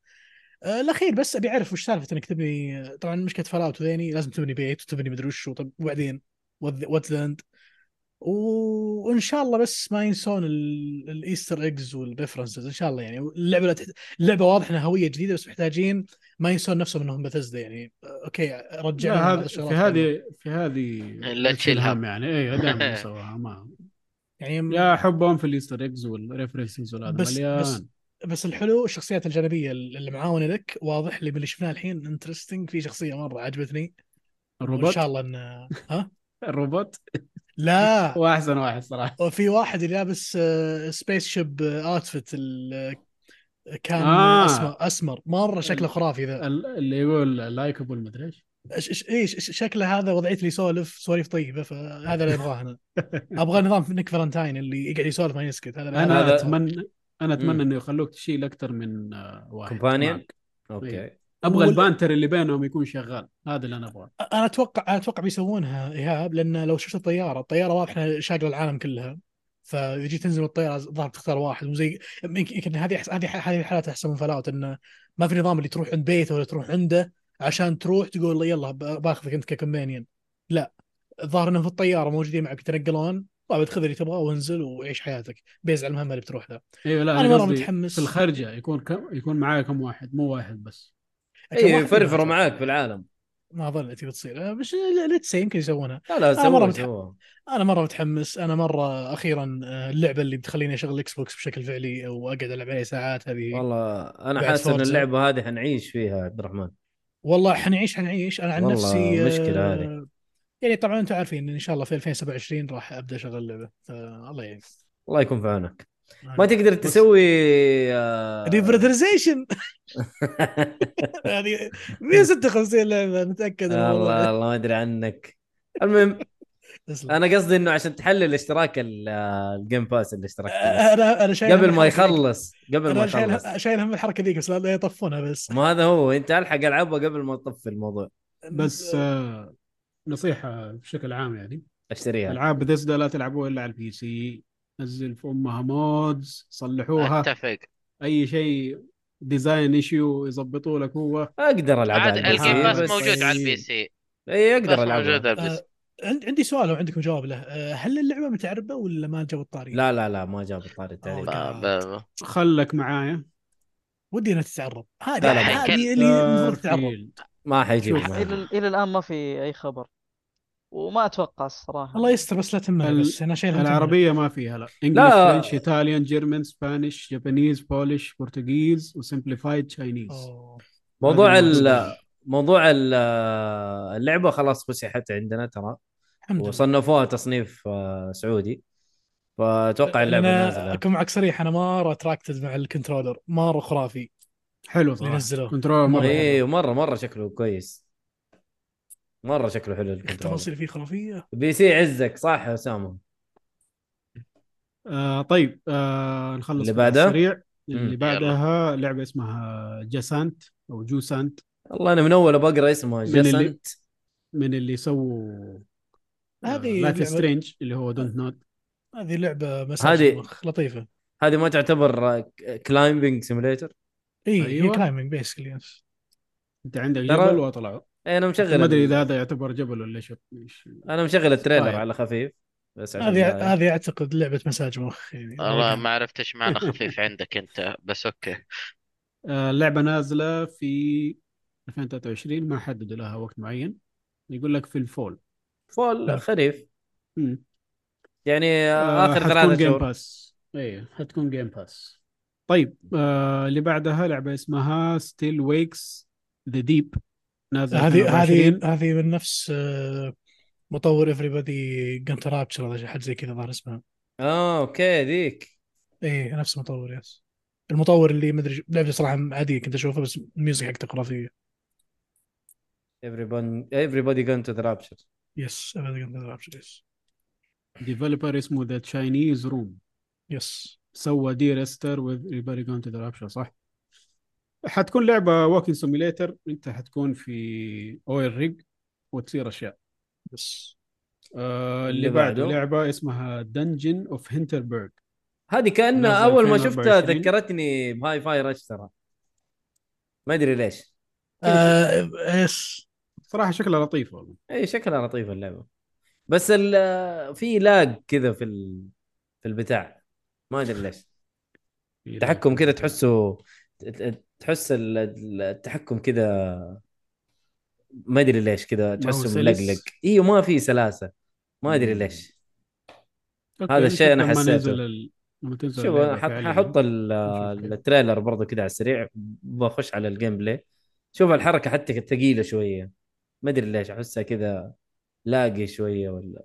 S5: آه، الاخير بس ابي اعرف وش سالفه انك تبني طبعا مشكله فلاوت وذيني يعني لازم تبني بيت وتبني مدري وش طب وبعدين وات لاند وان شاء الله بس ما ينسون ال- الايستر ايجز والريفرنسز ان شاء الله يعني اللعبه لا تحت... اللعبه واضح انها هويه جديده بس محتاجين ما ينسون نفسهم انهم بثزدا يعني آه، اوكي
S7: لا
S5: رجعنا بعض
S7: هذا في
S5: الشغلات
S7: هذه في هذه
S1: لا تشيلها.
S7: هم يعني اي دائما يسووها ما
S5: يعني
S7: يا حبهم في الايستر اكس والريفرنسز والهذا
S5: بس-
S7: مليان
S5: بس- بس الحلو الشخصيات الجانبيه اللي معاونه لك واضح اللي من اللي شفناه الحين انترستنج في شخصيه مره عجبتني وان
S7: الروبوت
S5: شاء الله ان
S7: الروبوت
S5: لا
S7: هو احسن واحد صراحه
S5: وفي واحد اللي لابس آه، سبيس شيب آه، اوتفيت ال- آه، كان
S7: آه.
S5: اسمر اسمر مره شكله
S7: ال-
S5: خرافي ذا
S7: ال- اللي يقول لايكبل مدري ايش
S5: إيش- إيش- ايش إيش- شكله هذا وضعيته اللي يسولف سواليف طيبه فهذا اللي ابغاه انا ابغى نظام نيك فالنتاين اللي يقعد يسولف ما يسكت هذا اللي
S7: انا
S2: هذا-
S7: اتمنى انا
S2: مم.
S7: اتمنى انه يخلوك تشيل اكثر من آه، واحد
S2: كومبانيون؟
S5: طيب.
S7: معك.
S2: اوكي
S7: ابغى
S5: وال-
S7: البانتر اللي بينهم يكون شغال هذا اللي انا ابغاه
S5: انا اتوقع انا اتوقع بيسوونها ايهاب لان لو شفت الطياره الطياره واضحه شاغله العالم كلها فيجي تنزل من الطياره الظاهر تختار واحد وزي يمكن يمكن هذه أحس- هذه هذه الحالات احسن من فلاوت انه ما في نظام اللي تروح عند بيته ولا تروح عنده عشان تروح تقول له يلا ب- باخذك انت ككومبانيون لا الظاهر انهم في الطياره موجودين معك يتنقلون طيب خذ اللي تبغاه وانزل وعيش حياتك بيزعل المهمه اللي بتروح له
S7: ايوه لا
S5: أنا مرة
S7: قصدي
S5: متحمس.
S7: في الخرجه يكون كم يكون معايا كم واحد مو واحد بس
S2: اي فرفره إيه، معاك في العالم
S5: ما ظلت بتصير بس ليتس يمكن يسوونها
S2: لا لا
S5: أنا مرة
S2: سووها
S5: متحمس.
S2: سووها
S5: انا مره متحمس انا مره اخيرا آه، اللعبه اللي بتخليني اشغل الاكس بوكس بشكل فعلي واقعد العب عليها ساعات هذه
S2: والله انا
S5: بعد
S2: حاسس ان
S5: فورزا.
S2: اللعبه هذه حنعيش فيها عبد الرحمن
S5: والله حنعيش حنعيش انا عن
S2: والله
S5: نفسي آه،
S2: مشكلة هذه.
S5: يعني طبعا انتم عارفين إن- ان شاء الله في 2027 راح ابدا اشغل اللعبه فالله يعين
S2: الله يكون في عونك ما تقدر تسوي آه،
S5: ريبريترزيشن يعني 156 لعبه نتاكد من الموضوع
S2: الله
S5: ده.
S2: الله ما ادري عنك المهم
S5: تسلم.
S2: انا قصدي انه عشان تحلل اشتراك ال- آه، الجيم باس اللي اشتركت فيه.
S5: انا انا آه، شايل
S2: قبل
S5: هم
S2: ما
S5: الحركة ذيك.
S2: يخلص قبل
S5: انا
S2: ما يخلص
S5: شايل شايل هم الحركه ذيك بس لا- لا يطفونها بس
S2: ما هذا هو انت الحق العبها قبل ما تطفي الموضوع
S7: بس آه، نصيحه بشكل عام يعني
S2: اشتريها
S7: العاب بثيسدا لا تلعبوها الا على البي سي نزل في امها مودز صلحوها
S1: اتفق
S7: اي شيء ديزاين ايشيو يظبطوا لك هو
S2: اقدر العبها
S1: عاد
S2: على البي سي،
S1: الجيم باس
S2: بس-
S1: موجود على البي
S7: إيه.
S1: سي
S2: اي
S1: بس
S2: اقدر
S1: موجود
S2: العبها
S1: على البي سي
S5: عند- عندي سؤال لو عندكم جواب له آه، هل اللعبه متعربه ولا ما جاب الطاري؟
S2: لا لا لا ما جاب الطاري التعريب
S5: أوه.
S1: ب- ب-
S7: خلك معايا
S5: ودي انها تتعرب هذه
S2: لا، لا،
S5: هذه
S7: آه،
S5: اللي المفروض تتعرب
S7: سارفيلد.
S2: ما حيجيب
S7: شوف،
S2: معها.
S8: الى الى الان ما في اي خبر وما اتوقع الصراحه
S5: الله يستر بس لا تهمني
S7: ال-
S5: بس انا شايل هم
S7: العربيه ما فيها لا انجلش
S2: لا.
S7: فرنش ايطاليان جيرمن سبانيش جابانيز بولش برتغيز وسمبليفايد
S5: تهمني.
S7: تشاينيز
S5: أوه.
S2: موضوع
S7: هذه
S2: ال
S7: المعلومة.
S2: موضوع ال- اللعبه خلاص فسحت عندنا ترى
S5: الحمد لله
S2: وصنفوها تصنيف آه، سعودي فاتوقع اللعبه
S5: انا
S2: نازله
S5: اكون معك صريح انا مره اتراكتد مع الكنترولر مره خرافي
S7: حلو
S5: اللي
S7: صراحه
S5: نزلوه
S7: كنترول مره حلو.
S2: ايوه مره مره شكله كويس مره شكله حلو الكنترول
S5: التفاصيل فيه خرافيه
S2: بي سي عزك صح يا اسامه
S7: آه طيب آه نخلص
S2: اللي
S7: كذا على
S2: بعدها؟
S7: السريع
S2: يلا.
S7: اللي بعدها لعبه اسمها جاسانت او جوسانت
S2: والله انا من اول بقرا اسمه
S7: من اللي-
S2: جسنت
S7: من اللي سووا آه،
S5: هذه
S7: لايف
S5: لعبة-
S7: سترينج اللي هو دونت نوت
S5: هذه لعبه مساج
S2: هذه-
S5: المخ لطيفه
S2: هذه ما تعتبر كلايمبنج سيميليتر
S5: اي
S7: أيوة.
S5: هي كلايمنج بيسكلي
S7: انت عندك
S2: ترى-
S7: جبل وطلعوا
S2: انا إيه، مشغل
S7: ما ادري
S2: ال-
S7: اذا هذا يعتبر جبل ولا شو إيش-
S2: انا مشغل التريلر
S7: طيب.
S2: على خفيف بس عشان
S5: هذه
S2: لا-
S5: هذه اعتقد لعبه مساج مخ يعني
S1: والله ما عرفت ايش معنى خفيف عندك انت بس اوكي
S7: آه، اللعبه نازله في 2023 ما حددوا لها وقت معين يقول لك في الفول
S2: فول خريف
S7: مم.
S2: يعني
S7: آه،
S2: اخر
S7: حتكون
S2: ثلاثة
S7: جيم
S2: شهور
S7: باس اي حتكون جيم باس طيب آه اللي بعدها لعبه اسمها ستيل ويكس ذا ديب نازل
S5: هذه
S7: 2024.
S5: هذه هذه من نفس آه، مطور everybody جنترابتشر ولا شي- حاجه زي كذا ظهر اسمها
S2: اه اوكي ذيك
S5: ايه نفس المطور يس المطور اللي مدري شو- لعبه صراحه عاديه كنت اشوفها بس الميوزك حقته خرافيه
S2: everybody gone to the rapture
S5: يس everybody جنترابتشر يس
S7: ديفلوبر اسمه ذا تشاينيز روم
S5: يس
S7: سوى دير استر وذ ريباري جون تو ذا رابشر صح؟ حتكون لعبه ووكينج سيميليتر انت حتكون في اويل ريج وتصير اشياء
S5: يس
S7: آه اللي
S2: اللي
S7: بعده
S2: بعده.
S7: لعبه اسمها دنجن اوف هنتربرغ
S2: هذه كانها
S7: نازل
S2: اول ما شفتها
S7: 2024.
S2: ذكرتني بهاي فاي رش ترى ما ادري ليش
S5: آه، يس
S7: صراحه شكلها لطيف والله
S2: اي إيه، شكلها لطيفه اللعبه بس ال- في لاج كذا في ال... في البتاع ما ادري ليش التحكم كذا تحسه تحس ال- التحكم كذا ما ادري ليش كذا تحسه
S7: سلس.
S2: ملقلق ايوه ما في سلاسه ما ادري
S7: مم.
S2: ليش
S7: أوكي،
S2: هذا الشيء أنا
S7: نشوف لما
S2: حسيته.
S7: ننزل ال... لما تنزل
S2: شوف
S7: اللعبة
S2: انا حط-
S7: فعلياً.
S2: ححط ال-
S7: نشوف كيف.
S2: التريلر برضه كذا على السريع بخش على الجيم بلاي شوف الحركه حتى ثقيله شويه ما ادري ليش احسها كذا لاقي شويه ولا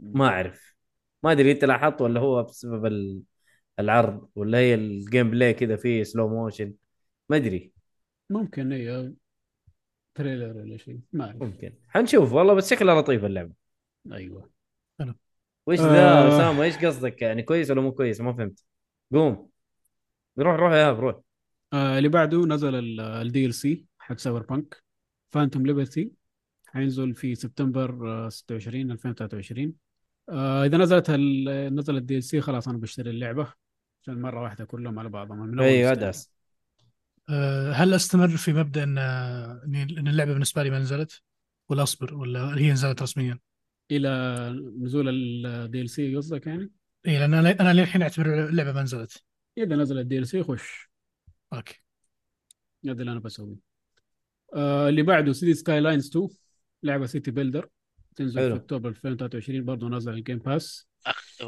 S2: ما اعرف ما ادري انت لاحظت ولا هو بسبب ال- العرض ولا هي الجيم بلاي كذا فيه سلو موشن ما ادري
S7: ممكن اي تريلر ولا شيء ما اعرف
S2: ممكن حنشوف والله بس شكلها لطيفه اللعبه
S7: ايوه
S2: وايش
S7: آه.
S2: ذا اسامه ايش قصدك يعني كويس ولا مو كويس ما فهمت قوم روح روح يا هاب، روح
S7: آه اللي بعده نزل الدي ال سي حق سايبر بانك فانتوم ليبرتي حينزل في سبتمبر آه، 26 2023 آه اذا نزلت ال... نزل الدي ال سي خلاص انا بشتري اللعبه عشان مره واحده كلهم على بعضهم من أول
S2: ايوه
S7: أشتري.
S2: ادعس
S5: آه، هل استمر في مبدا ان آه، إن اللعبه بالنسبه لي ما نزلت ولا اصبر ولا هي نزلت رسميا؟
S7: الى نزول الدي ال سي قصدك يعني
S5: اي لان انا انا للحين اعتبر اللعبه ما نزلت
S7: اذا نزل الدي ال سي خش
S5: اوكي
S7: هذا اللي انا بسويه آه اللي بعده سيتي سكاي لاينز 2 لعبه سيتي بيلدر تنزل
S2: حلو.
S7: في اكتوبر 2023 برضه نازل الجيم باس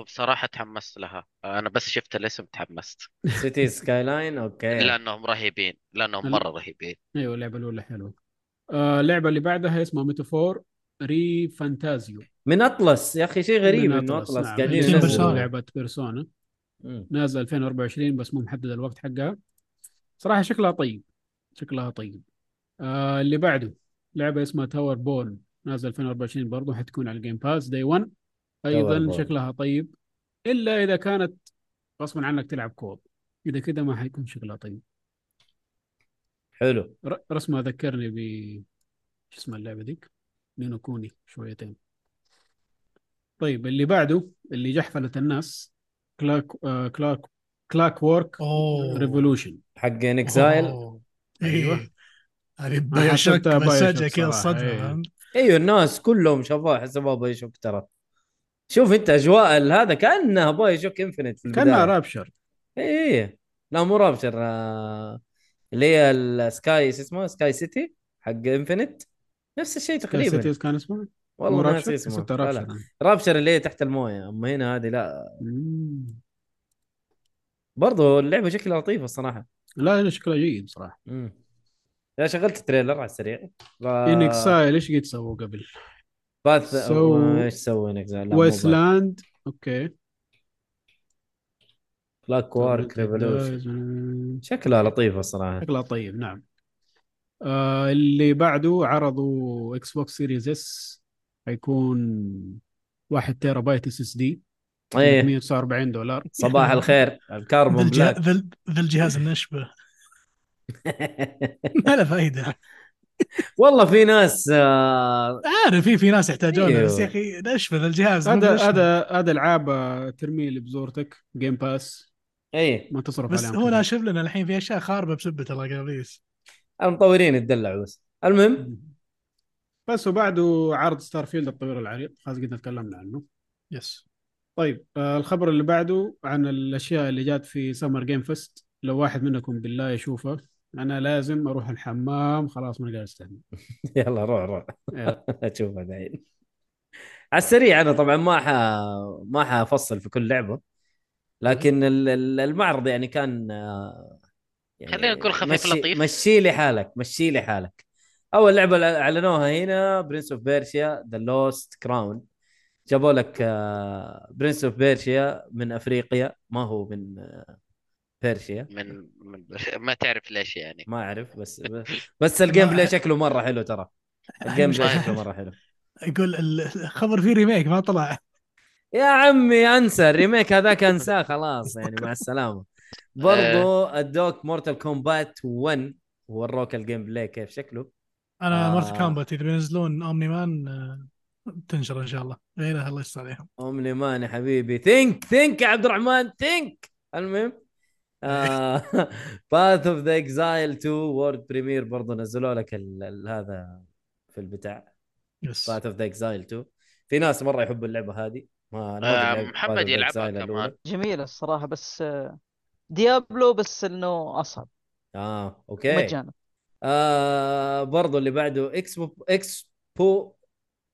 S1: بصراحة تحمست لها آه، أنا بس شفت الاسم تحمست
S2: سيتي سكاي لاين اوكي
S1: لأنهم رهيبين لأنهم
S7: هل-
S1: مرة رهيبين
S7: ايوه اللعبه الاولى حلوه آه اللعبه اللي بعدها اسمها ميتافور ري فانتازيو
S2: من اطلس يا اخي شيء غريب انه اطلس
S7: نعم
S2: قاعدين
S7: اللي
S5: ينزلوا.
S7: نزلوا
S2: ينزلوا
S7: لعبه بيرسونا
S2: مم.
S7: نازله 2024 بس مو محدد الوقت حقها صراحه شكلها طيب شكلها طيب آه اللي بعده لعبه اسمها تاور بورن نازله 2024 برضه حتكون على الجيم باس دي 1 ايضا
S2: Towerborn.
S7: شكلها طيب الا اذا كانت غصبا عنك تلعب كوب اذا كذا ما حيكون شكلها طيب
S2: حلو
S7: ر- رسمها ذكرني ب شو اسمها اللعبه ذيك نينو كوني شويتين طيب اللي بعده اللي جحفلت الناس كلاك آه كلاك كلاك وورك
S5: اوه
S7: ريفولوشن
S2: حق نكزايل
S5: أوه.
S7: أيوة.
S5: ايوه هذه
S7: ما
S5: بايوشوك
S7: حسبتها
S5: بس فجأة
S7: بايوشوك
S5: كذا
S7: صراحة،
S5: الصدمة
S7: إيه.
S5: فهمت؟
S2: ايوه الناس كلهم شافوها حسبوها باي شوك ترى شوف انت اجواء ال- هذا كانها باي شوك انفنت في البدايه
S7: كانها رابشر
S2: اي اي لا مو رابشر آه، اللي هي السكاي ايش اسمه سكاي سيتي حق انفنت نفس الشيء تقريبا
S7: سيتيز كان اسمه
S2: والله
S7: مو
S2: ما ناسي
S7: رابشر
S2: اسمه
S7: ستة
S2: لا، لا.
S7: رابشر
S2: رابشر اللي هي تحت المويه اما هنا هذه لا
S7: مم.
S2: برضه اللعبه شكلها لطيفه الصراحه
S7: لا لا شكلها جيد صراحه
S2: امم لا شغلت التريلر على السريع لا-
S7: ان اكسايل ايش قد سووا قبل
S2: باث
S7: سو-
S2: ما- ايش سوي انك زعلان؟ لا، مو باث.
S7: ويسلاند اوكي
S2: بلاك وارك ريفولوشن شكلها لطيفه الصراحه
S7: شكلها طيب نعم آه اللي بعده عرضوا اكس بوكس سيريز اس حيكون 1 تيرا بايت اس اس دي
S2: ايه
S7: 149 دولار
S2: صباح الخير
S5: ذا
S2: الكربون
S5: الجه-
S2: بلاك
S5: ذا ال- ذا الجهاز النشبة ما له فائدة
S2: والله في ناس آه،
S5: عارف في في ناس يحتاجونه بس
S2: أيوه.
S5: يا أخي نشبة ذا الجهاز مو
S7: هذا
S5: نشبة.
S7: هذا هذا العاب آه، ترمي اللي بزورتك جيم باس
S2: ايه
S7: ما تصرف
S5: بس
S7: عليهم
S5: هو
S7: كثير.
S5: ناشب لنا الحين في أشياء خاربة بسبة الأقابيس
S2: المطورين يتدلعوا بس المهم
S7: بس وبعده عرض ستار فيلد الطويل العريض خلاص قد تكلمنا عنه
S5: يس
S7: طيب آه الخبر اللي بعده عن الاشياء اللي جات في سمر جيم فيست لو واحد منكم بالله يشوفه انا لازم اروح الحمام خلاص ما آه، قادر استنى
S2: يلا روح روح
S7: يلا.
S2: اشوفها دحين على السريع انا طبعا ما ح... ما حافصل في كل لعبه لكن ال- ال- المعرض يعني كان آه، يعني
S1: خلينا نكون خفيف
S2: مشي...
S1: لطيف.
S2: مشي لي حالك مشي لي حالك اول لعبه اللي اعلنوها هنا برنس اوف بيرشيا ذا لوست كراون جابوا لك آه، برنس اوف بيرشيا من افريقيا ما هو من آه، بيرشيا
S1: من, من ما تعرف ليش يعني
S2: ما اعرف بس بس الجيم بلاي شكله مره حلو ترى الجيم بلاي شكله مره حلو
S5: يقول ال- الخبر فيه ريميك ما طلع
S2: يا عمي انسى الريميك هذاك انساه خلاص يعني مع السلامه برضو
S1: آه.
S2: الدوك مورتال كومبات 1 وروك الجيم بلاي كيف شكله
S5: انا
S2: آه.
S5: آه. مارت كامبات اذا بينزلون اومني مان آه، تنشر ان شاء الله غيرها الله يستر عليهم
S2: امني مان يا حبيبي ثينك ثينك يا عبد الرحمن ثينك المهم آه، باث اوف ذا اكزايل 2 وورد بريمير برضو نزلوا لك ال- ال- هذا في البتاع
S5: يس
S2: باث اوف ذا اكزايل 2 في ناس مره يحبوا اللعبه هذه ما أنا ما
S1: آه،
S2: قد لعبت
S1: محمد
S2: Path of the
S1: يلعبها
S2: Exile
S1: كمان.
S2: الأولى.
S8: جميله الصراحه بس آه، ديابلو بس انه اصعب
S2: اه اوكي
S8: مجانا
S2: آه برضو اللي بعده اكسبو اكسبو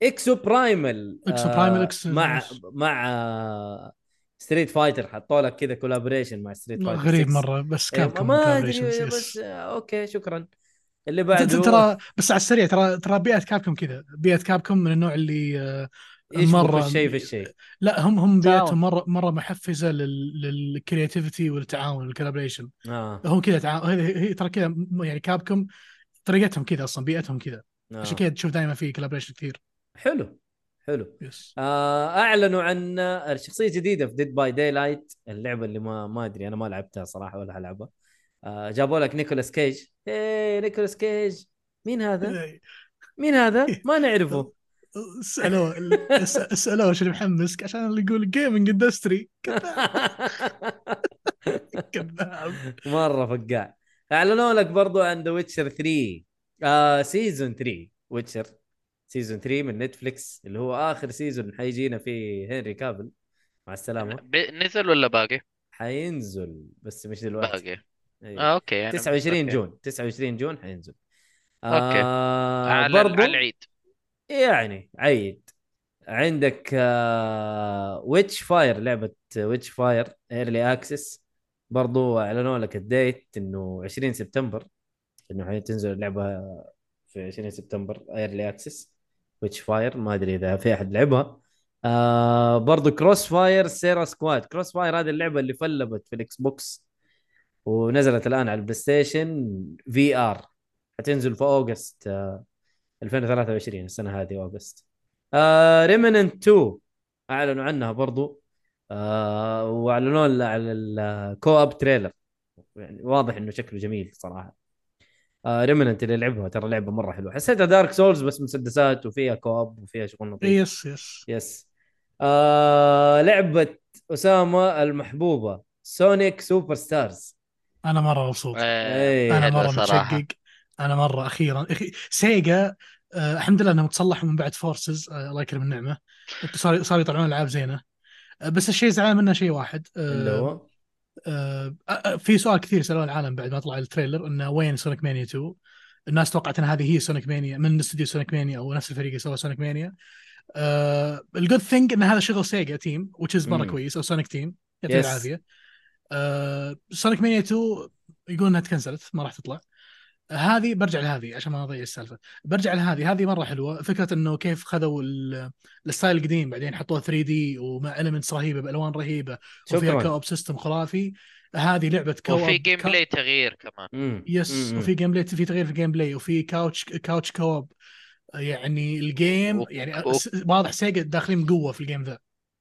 S2: اكسو برايمال
S5: إكسو
S2: آه،
S5: برايمال، إكس-
S2: مع
S5: إكس.
S2: مع ستريت فايتر حطوا لك كذا كولابريشن مع ستريت فايتر
S5: غريب
S2: 6.
S5: مره بس
S2: إيه،
S5: كاب
S2: ما- ما ادري بس آه، اوكي شكرا اللي بعده
S5: ترى بس على السريع ترى ترى بيئه كابكم كذا بيئه كابكم من النوع اللي آه،
S2: يشبك
S5: مرة-
S2: الشيء في الشيء
S5: لا هم هم
S8: تعاون.
S5: بيئتهم مره مره محفزه لل- للكرياتيفيتي والتعاون والكولابريشن
S2: اه
S5: هم كذا تعاون هي هي ترى كذا م- يعني كابكم طريقتهم كذا اصلا بيئتهم كذا
S2: آه.
S5: عشان كذا تشوف دائما في كولابريشن كثير
S2: حلو حلو
S5: يس
S2: آه اعلنوا عن شخصيه جديده في ديد باي داي لايت اللعبه اللي ما ما ادري انا ما لعبتها صراحه ولا هلعبها آه جابوا لك نيكولاس كيج ايه نيكولاس كيج مين هذا؟
S5: إيه.
S2: مين هذا؟ ما نعرفه
S5: سالوه اس- سالوه شو اللي محمسك عشان اللي يقول جيمنج اندستري كذاب
S2: مره فقاع اعلنوا لك برضو عن ذا ويتشر 3 آه سيزون 3 ويتشر سيزون 3 من نتفليكس اللي هو اخر سيزون حيجينا فيه هنري كابل مع السلامه
S1: ب- نزل ولا باقي؟
S2: حينزل بس مش دلوقتي
S1: باقي
S2: أيوه.
S1: آه اوكي يعني
S2: 29
S1: أوكي.
S2: جون 29 جون حينزل
S1: أوكي.
S2: آه
S1: على
S2: برضو
S1: على العيد
S2: يعني عيد عندك آه ويتش فاير لعبة ويتش فاير ايرلي اكسس برضو اعلنوا لك الديت انه 20 سبتمبر انه حتنزل اللعبة في 20 سبتمبر ايرلي اكسس ويتش فاير ما ادري اذا في احد لعبها آه برضو كروس فاير سيرا سكواد كروس فاير هذه اللعبة اللي فلبت في الاكس بوكس ونزلت الان على البلاي ستيشن في ار حتنزل في اوغست آه 2023 السنه هذه اوغست آه ريمننت 2 اعلنوا عنها برضو آه واعلنوا ال- على الكو اب تريلر يعني واضح انه شكله جميل صراحه آه ريمننت اللي لعبها ترى لعبه مره حلوه حسيتها دارك سولز بس مسدسات وفيها كو اب وفيها شغل نظيف
S5: يس يس
S2: يس آه لعبة أسامة المحبوبة سونيك سوبر ستارز
S5: انا مره مبسوط
S1: آه،
S2: أي
S5: انا
S1: حلوة
S5: مره
S1: صراحة.
S5: متشقق انا مره اخيرا اخي سيجا آه الحمد لله انهم تصلحوا من بعد فورسز آه الله يكرم النعمه صار صار يطلعون العاب زينه آه بس الشيء زعلان منه شيء واحد
S2: اللي
S5: آه
S2: هو
S5: آه آه، في سؤال كثير سالوه العالم بعد ما طلع التريلر انه وين سونيك مانيا 2 الناس توقعت ان هذه هي سونيك مانيا من استوديو سونيك مانيا او نفس الفريق اللي سوى سونيك مانيا آه الجود ثينج ان هذا شغل سيجا تيم وتشيز مره
S2: مم.
S5: كويس او سونيك تيم
S2: Yes.
S5: يعطيه العافيه آه سونيك مانيا 2 يقول انها تكنسلت ما راح تطلع هذه برجع لهذه عشان ما اضيع السالفه برجع لهذه هذه مره حلوه فكره انه كيف خذوا ال- الستايل القديم بعدين حطوه 3 دي ومع المنتس رهيبه بالوان رهيبه وفيها
S2: شكرا
S5: كوب سيستم خرافي هذه لعبه كوب
S1: وفي جيم بلاي تغيير كمان
S2: مم.
S5: يس
S2: مم.
S5: وفي جيم بلاي في تغيير في الجيم بلاي وفي كاوتش كاوتش كوب يعني الجيم
S1: و-
S5: يعني
S1: و-
S5: س- واضح سيجا داخلين بقوه في الجيم ذا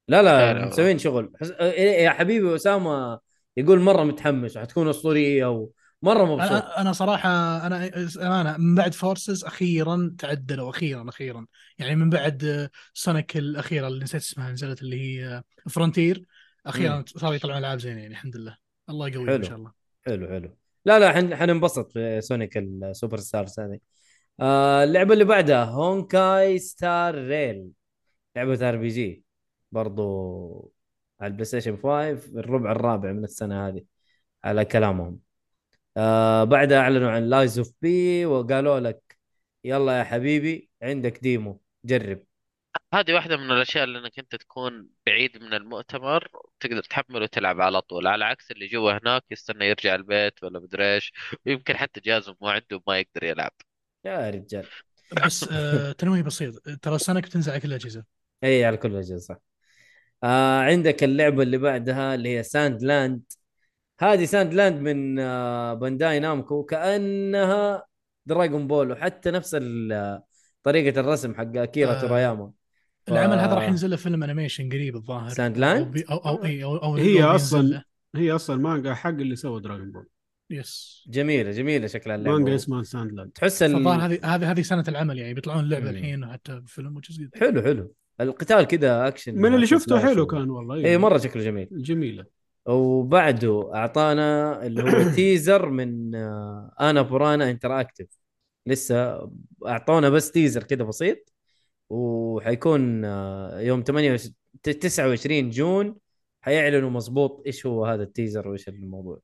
S2: لا
S1: لا،
S2: لا
S1: لا.
S2: مسوين شغل حس... إيه، يا حبيبي أسامة يقول مرة متحمس وحتكون أسطورية ومرة مبسوط
S5: انا انا صراحه انا امانه من بعد فورسز اخيرا تعدلوا اخيرا اخيرا يعني من بعد سونيك الاخيره اللي نسيت اسمها نزلت اللي هي فرونتير
S2: مم.
S5: اخيرا صاروا يطلعون العاب زينه يعني الحمد لله الله يقويهم
S2: حلو.
S5: ان شاء الله
S2: حلو حلو لا لا حن... حننبسط في سونيك السوبر ستارز هذه آه اللعبة اللي بعدها هونكاي ستار ريل لعبة ار بي جي برضو على البلاي ستيشن 5 الربع الرابع من السنة هذه على كلامهم آه بعدها اعلنوا عن لايز اوف بي وقالوا لك يلا يا حبيبي عندك ديمو جرب
S1: هذه واحدة من الأشياء اللي إنك أنت تكون بعيد من المؤتمر تقدر تحمل وتلعب على طول على عكس اللي جوا هناك يستنى يرجع البيت ولا مدري إيش ويمكن حتى جهازه مو عنده ما يقدر يلعب
S2: يا رجال
S5: بس آه، تنويه بسيط ترى سنه بتنزل على كل الاجهزه
S2: اي إيه، على كل وجه صح آه عندك اللعبه اللي بعدها اللي هي ساند لاند هذه ساند لاند من آه بانداي نامكو كانها دراغون بول وحتى نفس ال- طريقه الرسم حق اكيرا
S5: آه.
S2: توراياما ف-
S5: العمل هذا
S2: آه.
S5: راح ينزل له فيلم انيميشن قريب الظاهر
S2: ساند
S5: او
S2: لاند
S5: بي- او او إي، او, أو
S7: هي
S5: أو بينزل
S7: أصلاً-
S5: له.
S7: هي اصلا مانجا حق اللي سوى دراجون بول
S5: يس
S2: جميله جميله شكلها
S7: مانجا
S2: اللعبه
S7: اسمها ساند لاند
S2: تحس
S5: فالظاهر
S2: ال...
S5: هذه هذه هذه سنه العمل يعني بيطلعون اللعبه
S2: مم.
S5: الحين حتى فيلم وجزء
S2: حلو حلو القتال كذا اكشن
S7: من اللي
S2: مع
S7: شفته
S2: سلاش
S7: حلو
S2: و-
S7: كان والله
S2: اي مره إيه، شكله جميل
S7: جميله
S2: وبعده اعطانا اللي هو تيزر من آه، انا برانا انتراكتيف لسه اعطونا بس تيزر كده بسيط وحيكون آه، يوم 28 ت- 29 جون حيعلنوا مظبوط ايش هو هذا التيزر وايش الموضوع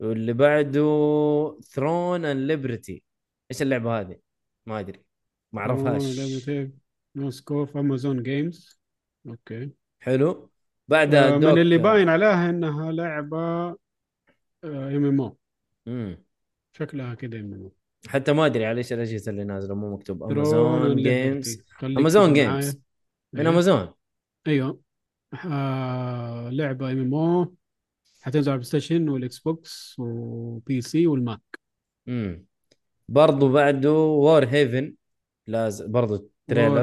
S2: واللي بعده ثرون اند ليبرتي ايش اللعبه هذه؟ ما ادري ما اعرفهاش
S7: إيه؟ مسكوف امازون جيمز اوكي
S2: حلو
S7: آه،
S2: بعدها
S7: من اللي
S2: دوك-
S7: باين عليها آه، انها لعبه ام ام او
S2: مم.
S7: شكلها كده يعني. ام ام او
S2: حتى ما ادري على ايش الاجهزه اللي نازله مو مكتوب امازون جيمز Amazon Games. من
S7: إيه.
S2: امازون
S7: ايوه آه، لعبه ام ام او حتنزل على البلاي ستيشن والاكس بوكس وبي سي والماك
S2: امم برضو بعده وور هيفن لازم برضو آه،
S7: War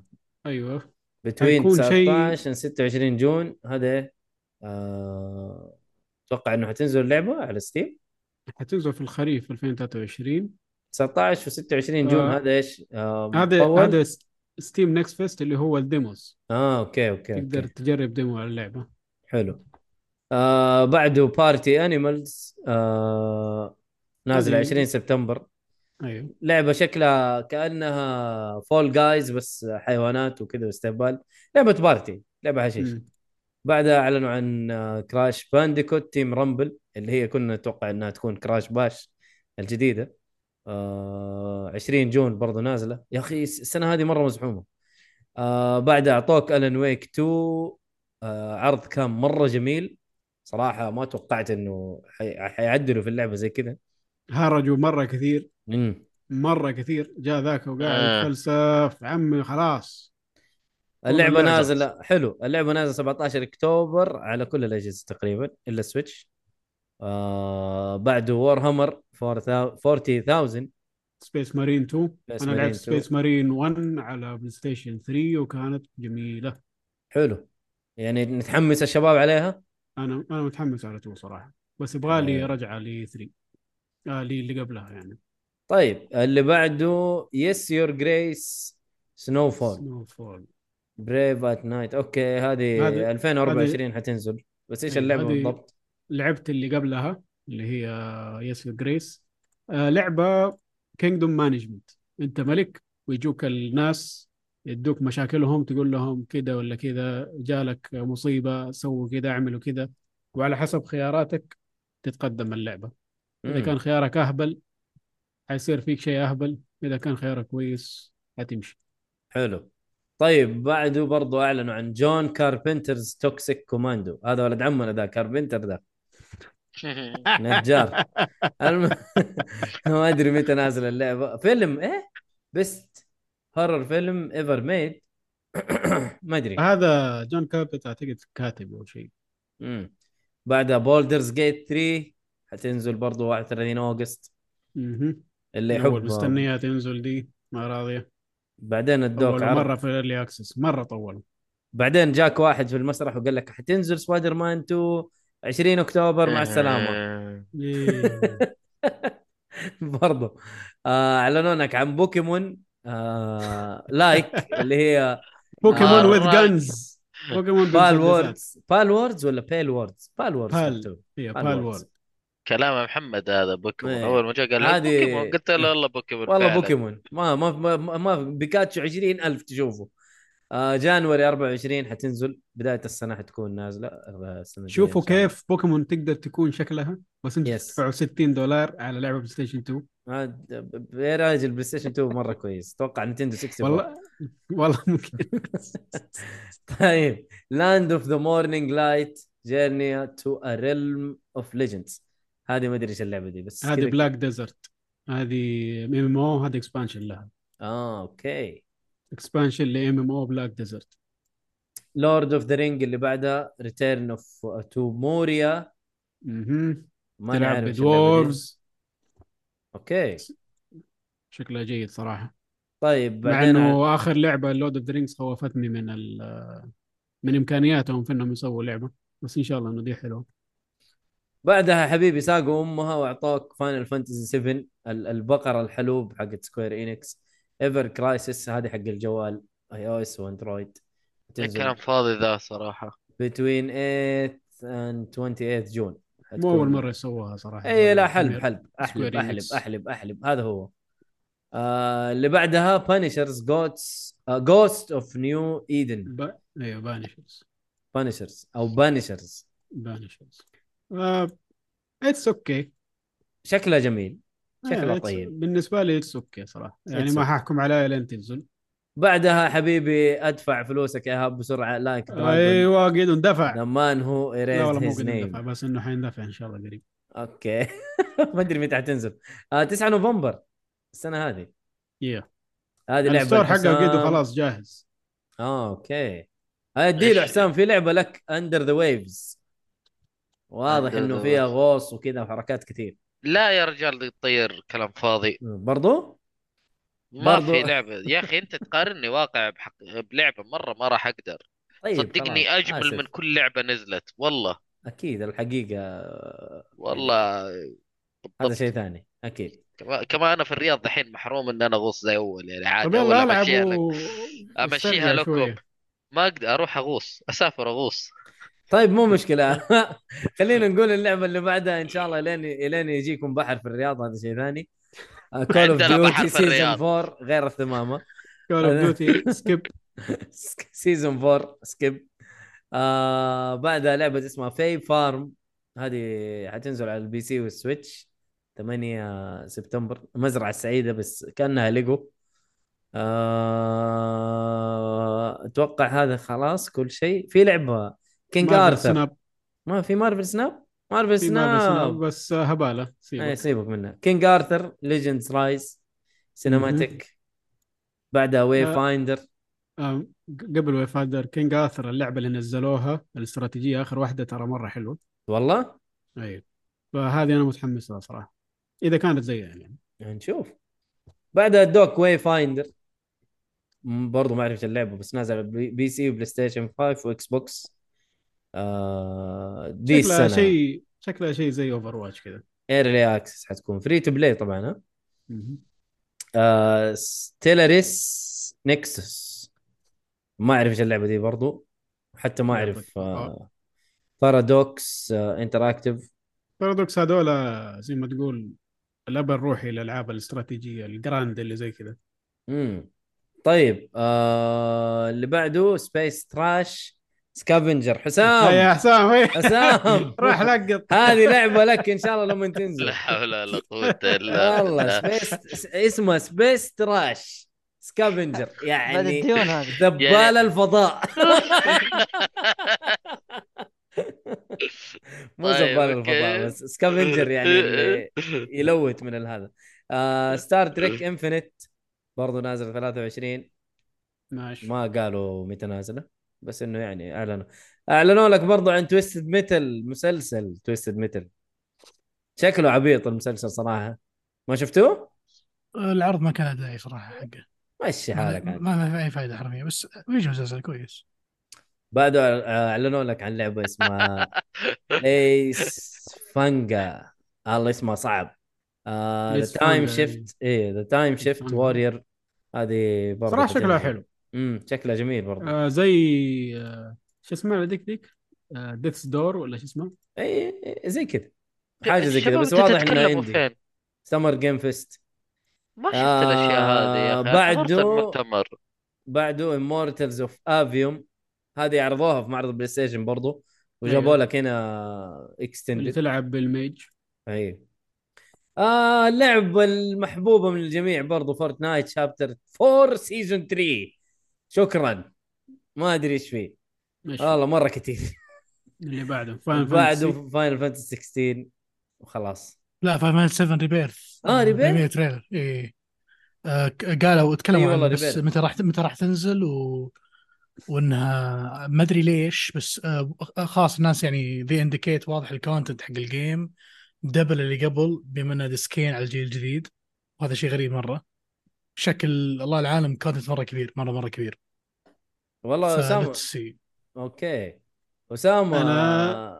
S2: تريلر
S7: ايوه
S2: بتوين
S7: حيكون شيء-
S2: 19 26 جون هذا إيه؟ آه، اتوقع انه حتنزل اللعبه على ستيم
S7: حتنزل في الخريف 2023
S2: 19 و26 جون
S7: آه.
S2: هذا ايش؟ آه،
S7: هذا
S2: مطول؟
S7: هذا ستيم نكست فيست اللي هو الديموز
S2: اه اوكي اوكي
S7: تقدر
S2: اوكي
S7: تجرب ديمو على اللعبه
S2: حلو آه بعده بارتي انيمالز آه نازل
S7: هذه-
S2: 20 سبتمبر
S7: ايوه
S2: لعبه شكلها كانها فول جايز بس حيوانات وكذا واستهبال لعبه بارتي لعبه حشيش
S7: مم.
S2: بعدها اعلنوا عن كراش بانديكوت تيم رامبل اللي هي كنا نتوقع انها تكون كراش باش الجديده آه 20 جون برضو نازله يا اخي السنه هذه مره مزحومه آه بعدها اعطوك الن ويك 2 آه عرض كان مره جميل صراحه ما توقعت انه حي- حيعدلوا في اللعبه زي كذا
S7: هرجوا مره كثير
S2: مم.
S7: مره كثير جاء ذاك وقاعد
S1: آه.
S7: يتفلسف عمي خلاص والله
S2: اللعبه
S7: اللعبة.
S2: نازله حلو اللعبه نازله 17 اكتوبر على كل الاجهزه تقريبا الا سويتش آه بعده وور هامر 40000
S7: سبيس مارين 2
S2: Space
S7: انا
S2: Marine 2.
S7: لعبت سبيس مارين 1 على بلاي ستيشن 3 وكانت جميله
S2: حلو يعني نتحمس الشباب عليها
S7: انا انا متحمس على 2 صراحه بس يبغى لي
S2: آه.
S7: رجعه ل 3 آه لي اللي قبلها يعني
S2: طيب اللي بعده يس يور جريس سنو فول
S7: سنو فول
S2: بريف ات نايت اوكي هذه
S7: هذه-
S2: 2024 حتنزل بس ايش
S7: أيوة،
S2: اللعبه
S7: هذه-
S2: بالضبط؟
S7: لعبت اللي قبلها اللي هي يس جريس آه، لعبه كينجدوم مانجمنت انت ملك ويجوك الناس يدوك مشاكلهم تقول لهم كذا ولا كذا جالك مصيبه سووا كذا اعملوا كذا وعلى حسب خياراتك تتقدم اللعبه اذا
S2: مم.
S7: كان خيارك اهبل حيصير فيك شيء اهبل اذا كان خيارك كويس حتمشي
S2: حلو طيب بعده برضو اعلنوا عن جون كاربنترز توكسيك كوماندو هذا ولد عمنا ذا كاربنتر ذا نجار الم... ما ادري متى نازل اللعبه فيلم ايه بيست هورر فيلم ايفر ميد ما ادري
S7: هذا جون كابت اعتقد كاتب او شيء
S2: مم. بعدها بولدرز جيت 3 حتنزل برضو 31 اوغست
S7: مهم.
S2: اللي
S7: اول
S2: يحب
S7: مستنيها تنزل دي ما راضيه
S2: بعدين ادوك
S7: طولوا
S2: عرض
S7: مره في الايرلي اكسس مره طولوا
S2: بعدين جاك واحد في المسرح وقال لك حتنزل سبايدر مان 2 20 اكتوبر مع السلامه
S7: إيه.
S2: برضو آه، اعلنوا لك عن بوكيمون آه، لايك اللي هي
S7: بوكيمون
S2: آه.
S1: مرة.
S7: وذ جنز بوكيمون
S2: بال
S7: بالوردز
S2: ووردز بال ووردز ولا بيل ووردز بال ووردز
S7: بال.
S2: مكتوب.
S7: هي
S2: بال
S7: بال
S2: ووردز.
S7: وورد
S1: كلام محمد هذا بوكيمون
S2: إيه.
S1: اول ما جاء قال لك
S2: هذه-
S1: بوكيمون قلت له والله بوكيمون
S2: والله
S1: فعلا.
S2: بوكيمون ما ما ما, ما بيكاتشو 20000 تشوفه آه، جانوري 24 حتنزل بدايه السنه حتكون نازله آه، السنه الجاية
S7: شوفوا
S2: إن شاء الله.
S7: كيف بوكيمون تقدر تكون شكلها بس انتم
S2: Yes.
S7: تدفعوا 60 دولار على لعبه بلاي ستيشن 2
S2: هذا- ب- آه، يا راجل بلاي ستيشن 2 مره كويس اتوقع نينتندو 64
S7: والله والله ممكن
S2: طيب لاند اوف ذا مورنينج لايت جيرني تو ا ريلم اوف ليجندز هذه ما ادري ايش اللعبه دي بس
S7: هذه
S2: كذا-
S7: بلاك ديزرت هذه ام ام او هذا اكسبانشن لها
S2: اه اوكي
S7: اكسبانشن لام ام او بلاك ديزرت
S2: لورد اوف ذا رينج اللي بعدها ريتيرن اوف تو موريا uh, ما
S7: تلعب
S2: نعرف إيش اللعبة دي.
S7: بدورز
S2: اوكي
S7: شكلها جيد صراحه
S2: طيب
S7: مع
S2: بعدين
S7: انه اخر لعبه لورد اوف ذا رينجز خوفتني من ال- من امكانياتهم في انهم يسووا لعبه بس ان شاء الله انه دي حلوه
S2: بعدها حبيبي ساقوا امها واعطوك فاينل فانتسي 7 ال- البقره الحلوب حقت سكوير انكس ايفر كرايسس هذه حق الجوال اي او اس واندرويد
S1: إيه، كلام
S2: تنزل
S1: فاضي ذا صراحة
S2: between 8 and 28 جون
S7: مو اول مره يسووها صراحه
S2: اي إيه، لا حلب
S7: حلب
S2: حلب احلب
S7: Square
S2: احلب
S7: Enix.
S2: احلب احلب هذا هو آه اللي بعدها آه، بانشرز جوتس جوست اوف نيو ايدن
S7: ب... ايوه بانشرز
S2: بانشرز او بانشرز
S7: بانشرز آه، اتس اوكي
S2: شكله جميل
S7: إيه،
S2: شكله طيب.
S7: بالنسبه آه، لي اتس اوكي صراحه يعني
S2: It's
S7: ما
S2: okay.
S7: حاحكم عليها لين تنزل
S2: بعدها حبيبي ادفع فلوسك يا هاب بسرعه لايك
S7: ايوه قد اندفع
S2: لمان هو
S7: لا والله
S2: ايريز هيز
S7: مو قد اندفع
S2: نيم
S7: بس انه حيندفع ان شاء الله قريب
S2: اوكي ما ادري متى حتنزل آه 9 نوفمبر السنه هذه
S7: Yeah. يعني
S2: هذه لعبه
S7: الستور حقه
S2: الحسام.
S7: قد خلاص جاهز
S2: اه اوكي ادي له
S1: إيش؟
S2: حسام في لعبه لك اندر ذا ويفز واضح
S1: Under
S2: انه
S1: the
S2: فيها
S1: Waves.
S2: غوص وكذا وحركات كثير
S1: لا يا رجال دي تطير كلام فاضي
S2: برضو
S1: ما
S2: برضو.
S1: في لعبة يا اخي انت تقارني واقع بحق... بلعبة مرة ما راح اقدر
S2: طيب
S1: صدقني
S2: خلاص،
S1: اجمل
S2: آسف.
S1: من كل لعبة نزلت والله
S2: اكيد الحقيقه آه،
S1: والله
S2: هذا
S1: بالضبط
S2: شيء ثاني اكيد
S1: كما... كما انا في الرياض دحين محروم ان انا اغوص زي اول يعني عادي
S7: طب
S1: اول
S7: يلا العب
S1: امشيها لك
S7: و-
S1: امشيها
S7: واسترجع
S1: لكم
S7: شوية.
S1: ما اقدر اروح اغوص اسافر اغوص
S2: طيب مو مشكله خلينا نقول اللعبه اللي بعدها ان شاء الله لين لين يجيكم بحر في الرياض هذا شيء ثاني آه، كول اوف
S1: عندنا بحر
S2: ديوتي
S1: في
S2: سيزون
S1: الرياض.
S2: 4 غير الثمامه
S7: كول اوف ديوتي سكيب
S2: سيزون 4 سكيب آه بعدها لعبه اسمها في فارم هذه حتنزل على البي سي والسويتش 8 سبتمبر المزرعه السعيده بس كانها ليجو آه اتوقع هذا خلاص كل شيء في لعبه كينج
S7: مارفل
S2: ارثر
S7: سناب
S2: ما في مارفل سناب مارفل
S7: في مارفل سناب
S2: سناب
S7: بس آه، هبالة
S2: اي
S7: سيبك
S2: إيه، سيبك منها كينج ارثر ليجندز رايز سينماتيك بعدها واي
S7: آه.
S2: فايندر
S7: آم، آه، قبل ويف هاندر كينج آثر اللعبة اللي نزلوها الاستراتيجية آخر واحدة ترى مرة حلوة
S2: والله
S7: أيوة فهذه أنا متحمس لها صراحة إذا كانت زيها يعني
S2: نشوف بعدها دوك واي فايندر م- برضو ما اعرف إيش اللعبه بس نازل على بي بي سي وبلاي ستيشن 5 واكس بوكس آه دي
S7: شكلها
S2: السنه شيء
S7: شيء شكلها شيء زي اوفر واتش كذا
S2: ايرلي اكسس حتكون فري تو بلاي طبعا ها آه ستيلاريس نكسس ما اعرف ايش اللعبه دي برضو حتى ما اعرف آه بارادوكس آه انتراكتيف
S7: بارادوكس هذول زي ما تقول الأب الروحي للألعاب الاستراتيجية الجراند اللي زي كذا
S2: امم طيب آه اللي بعده سبيس تراش سكافنجر
S7: لا
S2: حسام
S7: يا حسام إيه.
S2: حسام
S7: راح لقط
S2: هذه لعبه لك ان شاء الله لما تنزل
S1: لا حول ولا قوة الا
S2: والله
S1: بالله
S2: سبيس س- اسمه سبيس تراش سكافنجر
S8: بعد
S2: يعني
S8: الديون هذه
S2: دبال
S1: يعني-
S2: الفضاء مو
S1: طيب،
S2: زبال الفضاء
S1: أوكي.
S2: بس سكافنجر يعني اللي يلوت من هذا آه ستار تريك انفنت برضو نازل 23
S7: ماشي
S2: ما قالوا متى نازله بس انه يعني اعلنوا اعلنوا لك برضو عن تويستد ميتل مسلسل تويستد ميتل شكله عبيط المسلسل صراحه ما شفتوه؟
S5: العرض ما كان له داعي صراحه حقه
S2: مشي
S5: ما
S2: حالك
S5: ما-
S2: عاد
S5: ما في اي فائده حرفيا بس بيجي مسلسل كويس
S2: بعده اعلنوا لك عن لعبه اسمها ايس فانجا الله اسمها صعب آه، ذا
S7: Ace
S2: تايم
S7: Fanga،
S2: شيفت ايه ذا تايم شيفت
S7: Fanga.
S2: وورير هذه برضه
S7: صراحة شكلها
S2: حتنزل.
S7: حلو
S2: امم شكلها جميل برضه
S7: آه زي آه شو اسمه ذيك ذيك ديث دور ولا شو اسمه
S2: اي إي، إيه، زي كذا حاجه زي كذا
S1: الشباب
S2: بس
S1: انتوا
S2: واضح انه
S1: تتكلموا
S2: اندي
S1: فين؟
S2: سمر جيم فيست
S1: ما شفت
S2: آه،
S1: الاشياء هذه يا اخي أنا حضرت
S2: بعده-
S1: المؤتمر
S2: بعده امورتلز اوف افيوم هذه عرضوها في معرض البلاي ستيشن برضو وجابوا
S7: أيوة.
S2: لك هنا
S7: اللي
S2: اكستندد
S7: تلعب بالميج
S2: اي آه اللعبة المحبوبة من الجميع برضو فورتنايت شابتر 4 سيزون 3 شكرا ما ادري ايش فيه
S7: ماشي
S2: والله مرة كثير
S7: آه. اللي بعده فاين
S2: بعده فاينل فانتسي 16 وخلاص
S5: لا فاينل 7 ريبيرث
S2: آه، Rebirth؟
S5: ريبيرث تريلر اي إيه. آه، قالوا
S2: إي
S5: تكلموا
S2: والله،
S5: عن بس
S2: Rebirth.
S5: متى راح متى راح تنزل و... وانها ما ادري ليش بس آه، خلاص الناس يعني ذي انديكيت واضح الكونتنت حق الجيم دبل اللي قبل بما انه ديسكين على الجيل الجديد وهذا شيء غريب مره شكل الله العالم كونتنت مره كبير مره مره كبير
S2: والله اسامه
S5: فلتس سي
S2: اوكي اسامه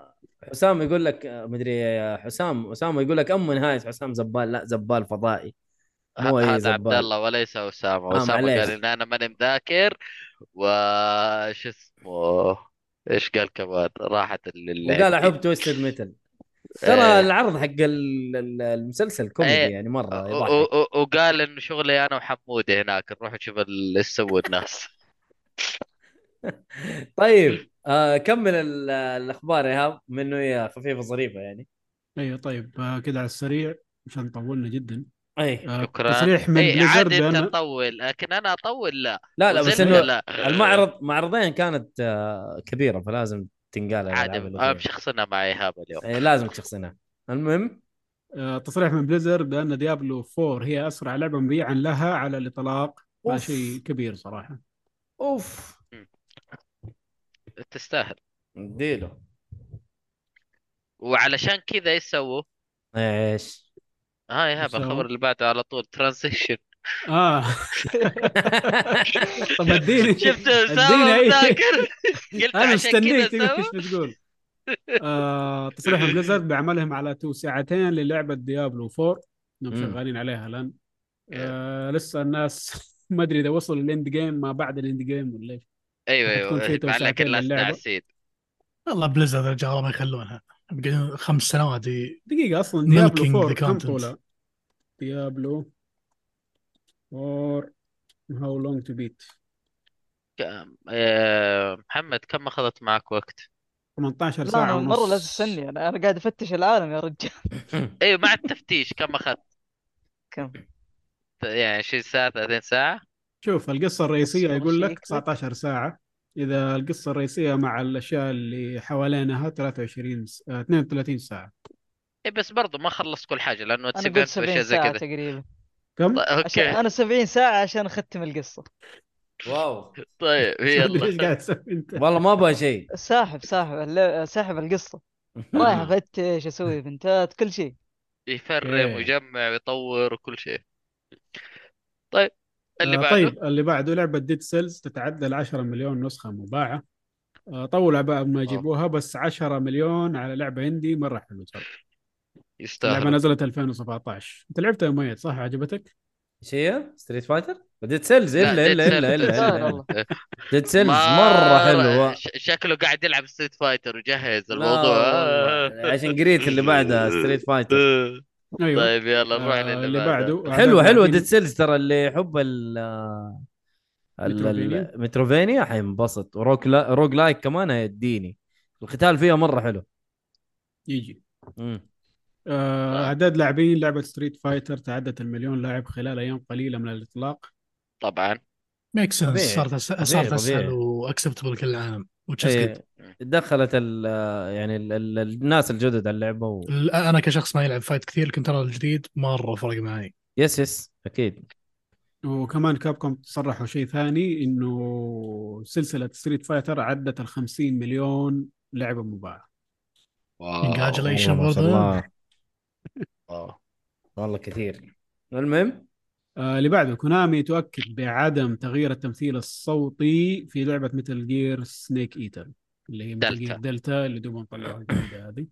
S7: أنا-
S2: حسام يقول لك آه، مدري حسام اسامه يقول لك ام نهايه حسام زبال لا زبال فضائي مو
S1: ه-
S2: اي
S1: هذا عبد
S2: زبال
S1: الله وليس اسامه
S2: آه،
S1: اسامه
S2: معليش.
S1: قال ان انا ماني مذاكر وش اسمه ايش قال كمان راحت اللي
S2: وقال
S1: عندي.
S2: احب تويستد ميتل
S1: إيه.
S2: ترى العرض حق ال- ال- المسلسل كوميدي
S1: إيه.
S2: يعني مره
S1: و-
S2: يضحك
S1: و- و- وقال انه شغلي انا وحموده هناك نروح نشوف ال- ايش سووا الناس
S2: طيب آه كمل ال- الاخبار يا ايهاب منه هي خفيفه ظريفه يعني
S7: ايوه طيب آه، كده على السريع عشان طولنا جدا
S2: اي
S7: آه،
S1: شكراً.
S7: تصريح من
S1: اي
S7: بليزرد
S1: إيه، عادي انت
S7: بأن
S1: تطول لكن انا اطول لا
S2: لا لا بس
S1: وزلمة
S2: انه
S1: لا
S2: المعرض معرضين كانت آه كبيره فلازم تنقال
S1: عادي
S2: الالعاب اللي
S1: انا
S2: فيها
S1: مشخصنها مع ايهاب اليوم
S2: إيه، لازم تشخصنها المهم
S7: آه، تصريح من بليزر بان ديابلو 4 هي اسرع لعبه مبيعا لها على الاطلاق ما
S2: أوف.
S7: شيء كبير صراحه
S2: اوف
S1: تستاهل
S2: اديله
S1: وعلشان كذا ايش سووا؟
S2: ايش
S1: ها آه ايهاب
S7: إيش سووا؟
S1: الخبر اللي بعده على طول ترانزيشن
S7: اه طب اديني
S1: شفت
S7: اديني
S1: اسامه
S7: أي-
S1: مذاكر قلت
S7: انا
S1: عشان كذا
S7: مستنيك تقول
S1: سووا
S7: ايش بتقول آه، تصريح من بليزر بعملهم على تو ساعتين للعبه ديابلو 4 انهم
S2: مم.
S7: شغالين عليها الان
S8: إيه.
S7: آه، لسه الناس ما ادري اذا وصلوا للاند جيم ما بعد الاند جيم ولا ايش
S1: ايوه
S7: بتكون في
S1: ايوه مع
S7: توسعتين
S1: لكن الناس
S7: للعبة.
S1: ناسين
S5: والله بليزرد يا رجال الله ما يخلونها يمكن خمس سنوات ي-
S7: دقيقة أصلا
S5: Milking
S7: ديابلو 4
S5: the
S7: كم
S5: content.
S7: طولها؟ ديابلو 4 هاو لونج تو بيت
S1: كم- آه، محمد كم اخذت معك وقت؟
S7: 18
S8: لا
S7: ساعة
S8: أنا
S7: ونص
S8: مرة لا تستني أنا أنا قاعد أفتش العالم يا رجال
S1: ايوه مع التفتيش كم اخذت؟
S8: كم
S1: يعني 20 ساعة 30 ساعة؟
S7: شوف القصة الرئيسية
S8: أصبر
S7: يقول لك
S8: أشيك.
S7: 19 ساعة إذا القصة الرئيسية مع الأشياء اللي حوالينها 23 س... آه، 32 ساعة
S1: اي إيه، بس برضو ما خلصت كل حاجة لانه
S8: أنا قلت
S1: event واشياء زي
S8: 70 ساعة
S1: كذا
S8: تقريبا
S7: كم؟
S1: طيب
S8: عشان
S1: اوكي
S8: أنا 70 ساعة عشان أختم القصة
S2: واو
S1: طيب يلا
S7: ليش قاعد تسوي أنت؟
S2: والله ما ابغى شيء
S8: ساحب ساحب الل- ساحب القصة رايح أفتش أسوي بنتات كل شيء
S1: يفرم
S7: إيه.
S1: ويجمع ويطور وكل شيء طيب اللي
S7: آه،
S1: بعده
S7: طيب اللي بعده لعبة ديد سيلز تتعدى ال 10 مليون نسخة مباعة آه، طولوا عبال ما يجيبوها بس 10 مليون على لعبة هندي مرة حلوة ترى اللعبة
S1: يستاهل
S7: نزلت 2017 أنت لعبتها يا مؤيد صح عجبتك؟
S2: ايش هي؟ ستريت فايتر؟ ديد سيلز
S1: لا،
S2: الا
S1: Dead
S2: الا الا
S1: Cells.
S2: الا
S8: سهل
S2: الا
S8: والله
S2: ديد سيلز مره حلوه
S1: ش- شكله قاعد يلعب ستريت فايتر وجهز
S2: لا
S1: الموضوع
S2: والله. عشان قريت اللي بعدها ستريت فايتر
S7: أيوه
S1: طيب يلا نروح
S7: آه،
S1: للي
S7: اللي
S1: بعده
S7: بعده آه، إيه؟
S2: حلوه حلوه
S7: لاعبين-
S2: ديد سيلز ترى اللي يحب ال ال-
S7: متروفينيا.
S2: ال- متروفينيا حينبسط وروك لا... روج لايك كمان هيديني القتال فيها مره حلو
S7: يجي
S2: مم.
S7: آه، اعداد لاعبين لعبه ستريت فايتر تعدت المليون لاعب خلال ايام قليله من الاطلاق
S1: طبعا
S5: ميك سنس
S2: طبيعي.
S5: صارت أس- صارت اسهل
S2: طبيعي.
S5: واكسبتبل كل العالم وتشيز
S2: إيه، دخلت ال يعني ال ال الناس الجدد على اللعبه و...
S5: انا كشخص ما يلعب فايت كثير لكن ترى الجديد مره فرق معي
S2: يس يس اكيد
S7: وكمان كابكوم صرحوا شيء ثاني انه سلسله ستريت فايتر عدت ال 50 مليون لعبه مباعه
S5: Congratulations
S7: طيب،
S2: والله ما شاء
S5: برضه
S2: الله والله كثير المهم
S7: آه، اللي بعده كونامي تؤكد بعدم تغيير التمثيل الصوتي في لعبه متل جير سنيك ايتر اللي هي متل جير
S1: دلتا.
S7: دلتا اللي دوبهم طلعوها الجديدة هذه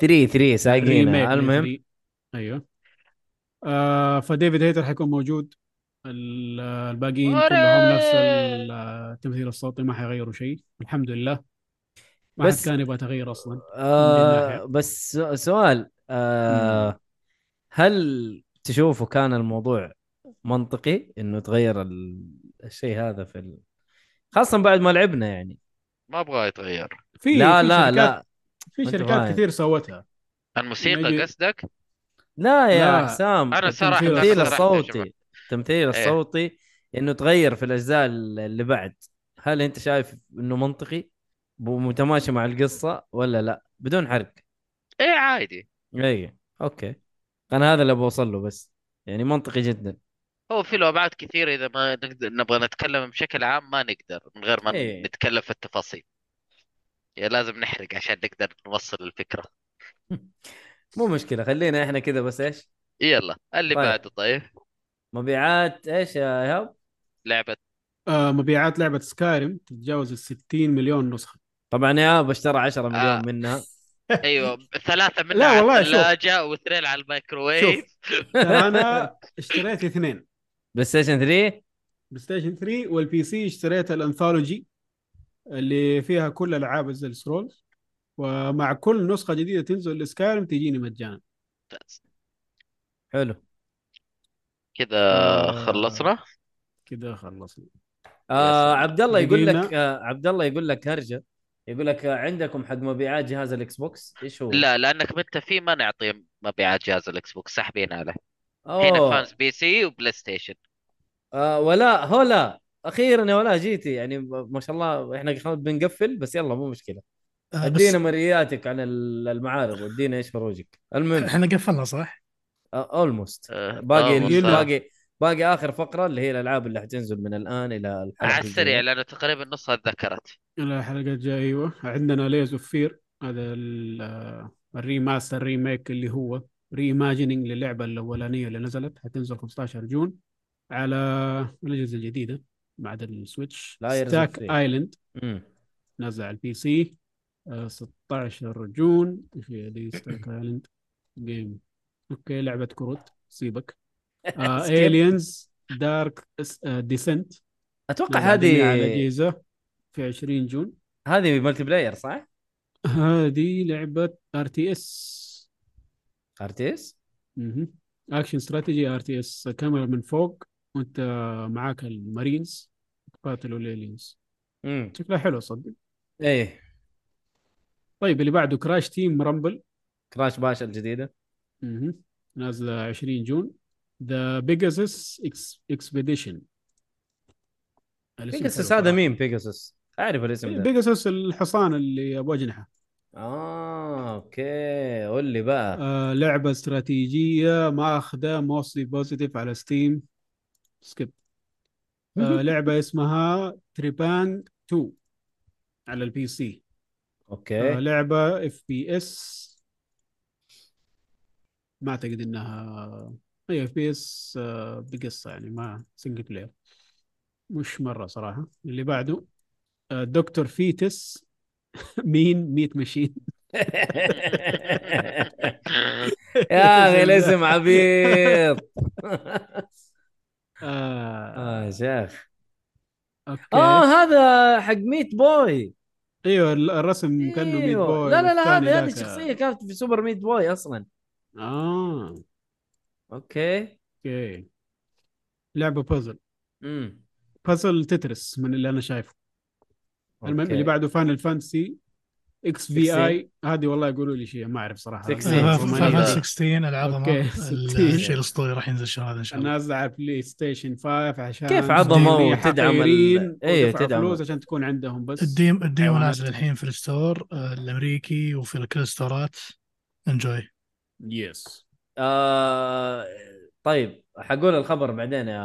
S2: 3 3
S7: ريميك
S2: سايقينها
S7: من
S2: يعني. المهم
S7: 3. ايوه آه فديفيد هيتر حيكون موجود ال- الباقيين
S1: أوري!
S7: كلهم نفس ال- التمثيل الصوتي ما حيغيروا شيء الحمد لله ما
S2: بس-
S7: حد كان يبغى تغيير اصلا
S2: آه
S7: ناحية.
S2: بس سو- سؤال آه هل تشوفوا كان الموضوع منطقي انه تغير ال- الشيء هذا في ال... خاصة بعد ما لعبنا يعني
S1: ما ابغى يتغير
S7: في
S2: لا
S7: في
S2: لا
S7: شركات
S2: لا
S7: في
S2: ما أنت
S7: شركات
S2: فاهم.
S7: كثير سوتها لما
S1: الموسيقى
S7: يجي-
S1: قصدك؟
S2: لا يا
S7: لا،
S2: حسام
S1: أنا صراحة
S2: التمثيل
S1: صراحة يا
S2: الصوتي التمثيل
S1: إيه.
S2: الصوتي انه تغير في الاجزاء اللي بعد هل انت شايف انه منطقي ومتماشي مع القصة ولا لا بدون حرق
S1: ايه إيه، عادي
S2: اي اوكي انا هذا اللي بوصل له بس يعني منطقي جدا
S1: هو في له ابعاد كثيره اذا ما نقدر نبغى نتكلم بشكل عام ما نقدر من غير ما
S2: إيه.
S1: نتكلم في التفاصيل يعني لازم نحرق عشان نقدر نوصل الفكره
S2: مو مشكله خلينا احنا كذا بس ايش
S1: يلا اللي
S2: طيب.
S1: بعده طيب
S2: مبيعات ايش يا ايهاب
S1: لعبه
S7: آه مبيعات لعبه سكايرم تتجاوز ال 60 مليون نسخه
S2: طبعا ايهاب اشترى 10
S1: آه.
S2: مليون منها
S1: ايوه ثلاثه منها
S7: لا
S1: على
S7: والله، شوف.
S1: الثلاجه واثنين على الميكروويف
S7: ترى انا اشتريت اثنين
S2: بلاي ستيشن 3
S7: بلاي ستيشن 3 والبي سي اشتريت الانثولوجي اللي فيها كل العاب الزل سرولز ومع كل نسخه جديده تنزل لسكايرم تجيني مجانا
S2: حلو
S1: كذا
S7: آه.
S1: خلصنا
S7: كده خلصنا
S2: آه
S1: سلام.
S2: عبد الله يقول
S7: لقينا-
S2: لك آه عبد الله يقول لك هرجه يقول لك آه عندكم حق مبيعات جهاز الاكس بوكس ايش هو؟
S1: لا لانك انت فيه ما نعطي مبيعات جهاز الاكس بوكس ساحبين عليه هنا
S2: أوه.
S1: فانز بي سي وبلاي ستيشن
S2: آه ولا هولا اخيرا يا ولا جيتي يعني ب- ما شاء الله احنا خلاص بنقفل بس يلا مو مشكله
S5: آه، بس
S2: ادينا مرياتك عن ال- المعارض وادينا ايش فروجك المهم
S5: احنا قفلنا صح؟
S2: اولموست
S1: آه،
S2: باقي
S1: almost،
S2: ال-
S1: آه.
S2: باقي باقي اخر فقره اللي هي الالعاب اللي حتنزل من الان الى الحلقه
S1: على السريع
S2: الجاية.
S1: لانه تقريبا نصها تذكرت
S7: الحلقه الجايه ايوه عندنا ليز اوف فير هذا ال- آه، الريماستر ريميك اللي هو ريماجيننج للعبه الاولانيه اللي نزلت حتنزل 15 جون على الاجهزه الجديده بعد السويتش
S2: Layers of
S7: ستاك
S2: Fear.
S7: ايلاند
S2: مم.
S7: نازل على البي سي آه، 16 جون ايش هي دي ستاك ايلاند جيم اوكي لعبه كروت سيبك آه،
S2: Skip.
S7: إيه، الينز دارك ديسنت
S2: اتوقع هذه
S7: على اجهزه في 20 جون
S2: هذه ملتي بلاير صح؟
S7: هذه لعبة ار تي اس
S2: ارتيس؟
S7: اكشن استراتيجي ار تي اس كاميرا من فوق وانت معاك المارينز تقاتلوا الالينز
S2: امم
S7: شكلها حلو صدق
S2: ايه
S7: طيب اللي بعده كراش تيم رامبل
S2: كراش باشا الجديده
S7: مهم. نازلة 20 جون ذا بيجاسس اكسبيديشن
S2: بيجاسس هذا مين بيجاسس؟ اعرف الاسم ده
S7: بيجاسس إيه، الحصان اللي ابو اجنحه
S2: اه اوكي قول لي بقى
S7: آه لعبة استراتيجية ماخذة موستلي بوزيتيف على ستيم سكيب آه لعبة اسمها تريبان 2 على البي سي آه
S2: اوكي
S7: لعبة اف بي اس ما اعتقد انها هي اف بي اس بقصة يعني ما سنجل بلاير مش مرة صراحة اللي بعده آه دكتور فيتس مين ميت ماشين
S2: يا اخي الاسم عبيط
S7: آه
S2: اه يا شيخ
S7: اوكي
S2: اه هذا حق ميت بوي
S7: ايوه ال- الرسم كانه ميت
S2: أيوه.
S7: بوي
S2: لا لا لا
S7: والثاني
S2: هذه هذه
S7: ذاك-
S2: الشخصيه كانت في سوبر ميت بوي اصلا
S7: اه
S2: اوكي
S7: اوكي لعبه بازل
S2: امم
S7: بازل تترس من اللي انا شايفه المهم
S2: أوكي.
S7: اللي بعده فاينل فانتسي اكس في اي هذه والله يقولوا لي شيء ما اعرف صراحه
S2: 16.
S5: آه،
S2: ثمانية.
S5: فاينل
S1: لا.
S5: فانتسي 16 العظمه
S7: أوكي،
S5: ال-
S7: 16.
S5: الشيء الاسطوري راح ينزل الشهر هذا ان شاء الله
S7: نازله على بلاي ستيشن 5 عشان
S2: كيف عظمة
S7: ديمي
S2: وتدعم ال-
S7: حقيرين
S2: إيه،
S7: ودفعوا
S2: تدعم.
S7: فلوس عشان تكون عندهم بس
S5: الديم الديمو
S7: حيوانات.
S5: نازل الحين في الستور آه، الامريكي وفي كل الستورات انجوي
S7: يس
S2: آه طيب حقول الخبر بعدين يا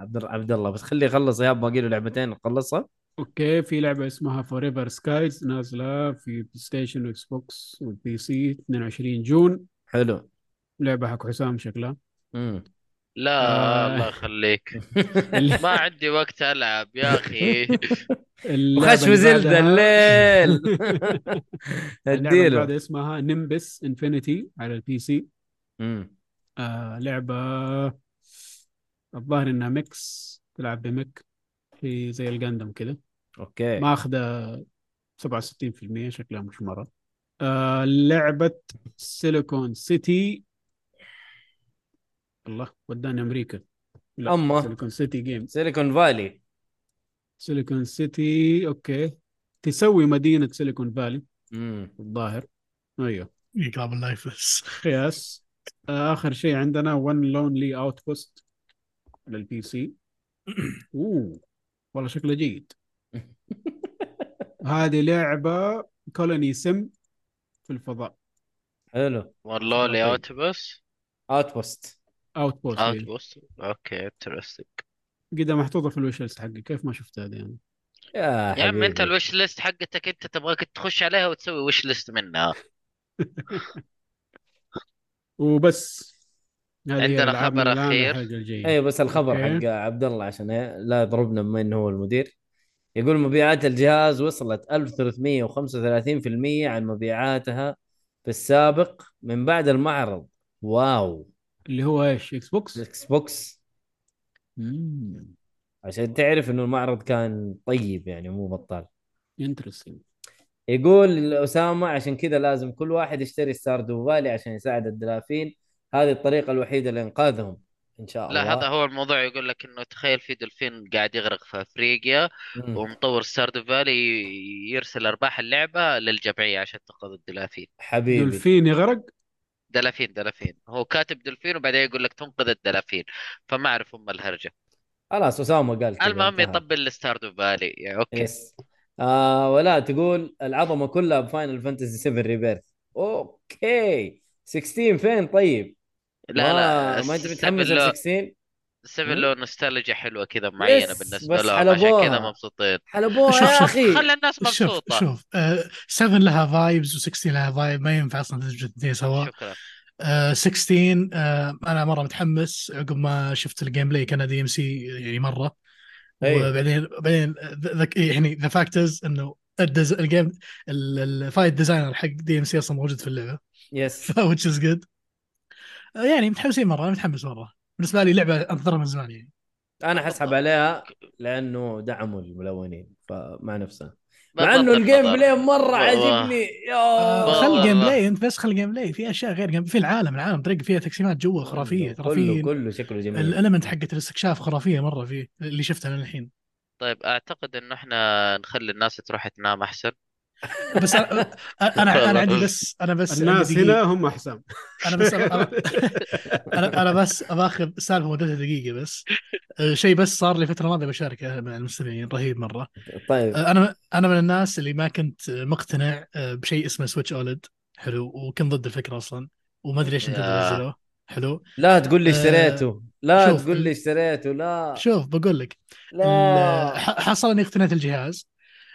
S2: عبد الر- عبد الله بس خليه يخلص يا باقي له لعبتين نخلصها
S7: اوكي في لعبه اسمها فور ايفر سكايز نازله في بلاي ستيشن واكس بوكس والبي سي 22 جون
S2: حلو
S7: لعبه حق حسام شكلها
S2: امم
S1: لا
S7: آه.
S1: الله يخليك ما عندي وقت العب يا اخي
S7: اللعبة
S2: وخش في
S7: اللي
S2: زلدة
S7: بعدها-
S2: الليل
S7: اللعبة اللي
S2: اديله
S7: بعدها اسمها نمبس انفينيتي على البي سي
S2: أمم.
S7: آه لعبة الظاهر انها ميكس تلعب بميك في زي الجاندم كده
S2: اوكي
S7: ماخذة 67% شكلها مش مرة آه لعبة سيليكون سيتي الله وداني امريكا لا
S2: أما.
S7: سيليكون سيتي جيم
S2: سيليكون فالي
S7: سيليكون سيتي اوكي تسوي مدينة سيليكون فالي
S2: امم
S7: الظاهر ايوه
S5: يقرب اللايف بس
S7: قياس اخر شيء عندنا ون لونلي اوت بوست للبي سي اوه والله شكله جيد هذه لعبه كولوني سم في الفضاء
S2: حلو
S1: والله لي
S7: طيب.
S1: اوتوبس
S2: اوت بوست
S7: اوت بوست
S1: اوت بوست اوكي انترستنج
S7: يعني. قدها محطوطه في الوش ليست حقي كيف ما شفتها هذه يعني. انا
S2: يا
S1: يا عم انت
S2: حبيبي.
S1: الوش ليست حقتك انت تبغاك تخش عليها وتسوي وش ليست منها
S7: وبس هذه هي
S1: عندنا
S7: ألعابنا
S1: خبر
S7: الآن
S1: أخير.
S7: والحلقة الجاية.
S5: أيوة.
S2: ايوه بس الخبر
S7: أوكي.
S2: حق عبد الله عشان لا يضربنا بما انه هو المدير يقول مبيعات الجهاز وصلت 1335% عن مبيعاتها في السابق من بعد المعرض واو
S7: اللي هو ايش اكس بوكس
S2: الاكس بوكس عشان تعرف انه المعرض كان طيب يعني مو بطال
S7: انترستنج
S2: يقول اسامه عشان كذا لازم كل واحد يشتري ستاردو فالي عشان يساعد الدلافين هذه الطريقه الوحيده لانقاذهم ان شاء
S1: لا
S2: الله
S1: هذا هو الموضوع يقول لك انه تخيل في دولفين قاعد يغرق في افريقيا
S2: مم.
S1: ومطور ستاردو فالي يرسل ارباح اللعبه للجمعيه عشان تنقذ الدلافين
S2: حبيبي
S7: دولفين يغرق
S1: دلافين دلافين هو كاتب دولفين وبعدين يقول لك تنقذ الدلافين فما اعرف ام الهرجه
S2: خلاص اسامه قال كذا
S1: المهم
S2: انتهى.
S1: يطبل لستاردو فالي يعني اوكي
S2: يس آه ولا تقول العظمه كلها بفاينل فانتسي 7 ريبيرث اوكي 16 فين طيب؟
S1: لا
S2: ما-
S1: لا
S2: ما انت
S1: السبب
S2: متحمس
S1: له-
S2: ل 16
S1: 7
S2: مم.
S1: له نوستالجيا حلوه كذا معينه
S2: يس،
S1: بالنسبه
S2: بس
S1: لهم
S2: على إيه.
S1: عشان
S2: أبوها.
S1: كذا مبسوطين
S2: حلبوها
S5: شوف،
S2: يا
S5: شوف،
S2: اخي
S1: خلى الناس
S5: شوف
S1: مبسوطه
S5: شوف 7 لها فايبز و16 لها فايب ما ينفع اصلا تدمج الاثنين سوا
S1: شكرا
S5: آه، 16 آه، انا مره متحمس عقب ما شفت الجيم بلاي كان دي ام سي يعني مره
S2: أيوة.
S5: وبعدين بعدين ذك يعني ذا فاكتورز انه الدز... الجيم ال- الفايت ديزاينر حق دي ام سي اصلا موجود في اللعبه
S2: يس
S5: which is good آه، يعني متحمسين مره انا متحمس مره بالنسبه لي لعبه انتظرها من زمان يعني
S2: انا حسحب عليها لانه دعموا الملونين فمع نفسها مع
S1: بالضبط
S2: انه الجيم
S1: الخبر.
S2: بلاي مره
S1: والله.
S2: عاجبني
S5: آه،
S2: يا
S5: خل
S1: والله.
S5: جيم بلاي انت بس خل جيم بلاي في اشياء غير جيم في العالم العالم طريق فيها تقسيمات جوا خرافيه ترى
S2: كله
S5: في
S2: كله شكله جميل
S5: الالمنت حقت الاستكشاف خرافيه مره فيه اللي شفتها انا الحين
S1: طيب اعتقد انه احنا نخلي الناس تروح تنام احسن
S5: إيه. بس انا انا انا عندي بس انا بس عندي
S7: الناس
S5: دقيقة.
S7: هنا هم حسام
S5: انا بس أبغى- انا انا بس باخذ سالفه مدتها دقيقه بس أه، شيء بس صار لي فتره ماضيه بشاركه مع المستمعين رهيب مره
S2: طيب
S5: أه، انا انا من الناس اللي ما كنت مقتنع أه، بشيء اسمه سويتش اولد حلو وكنت ضد الفكره اصلا وما ادري ليش انت
S1: يا.
S5: نزلوه حلو
S2: لا تقول لي
S5: آه،
S2: اشتريته لا
S5: شوف،
S2: تقول لي
S5: ال-
S2: اشتريته
S1: آه.
S2: لا
S5: شوف بقول لك ال-
S2: لا
S5: ح- حصل اني اقتنيت الجهاز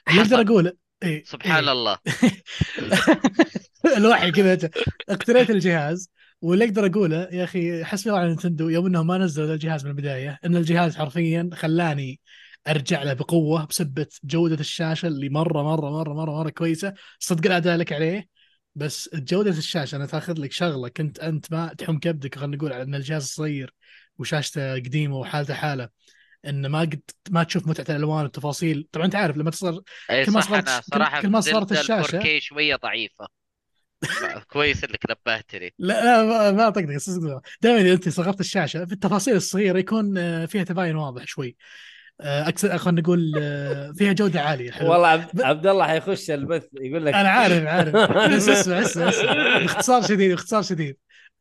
S5: اللي
S1: حصل.
S5: اقدر اقوله إيه
S1: سبحان
S5: إيه.
S1: الله
S5: الوحي كذا جاء. اقتنيت الجهاز واللي اقدر اقوله يا اخي حسبي الله على نتندو يوم انهم ما نزلوا ذا الجهاز من البدايه ان الجهاز حرفيا خلاني ارجع له بقوه بسبه جوده الشاشه اللي مره مره مره مره مره كويسه صدق الاداء لك عليه بس جوده الشاشه انا تاخذ لك شغله كنت انت ما تحم كبدك خلينا نقول على ان الجهاز صغير وشاشته قديمه وحالته حاله ان ما قد ما تشوف متعه الالوان والتفاصيل طبعا انت عارف لما تصير
S1: اي
S5: كل ما
S1: إيه، صح
S5: صغرت-
S1: انا
S5: كل-
S1: صراحه
S5: كل ما
S1: في
S5: صغرت
S1: زلدة
S5: الشاشة.
S1: 4K شويه ضعيفه ما- كويس انك نبهتني
S5: لا لا ما- ما طقطق صدق دائما اذا انت صغرت الشاشه في التفاصيل الصغيره يكون آه، فيها تباين واضح شوي آه، اكثر خلينا نقول آه، فيها جوده عاليه حلو
S2: والله عبد,
S5: ب-
S2: عبد الله حيخش البث يقول لك
S5: انا عارف عارف بس اسمع اسمع اسمع باختصار شديد باختصار شديد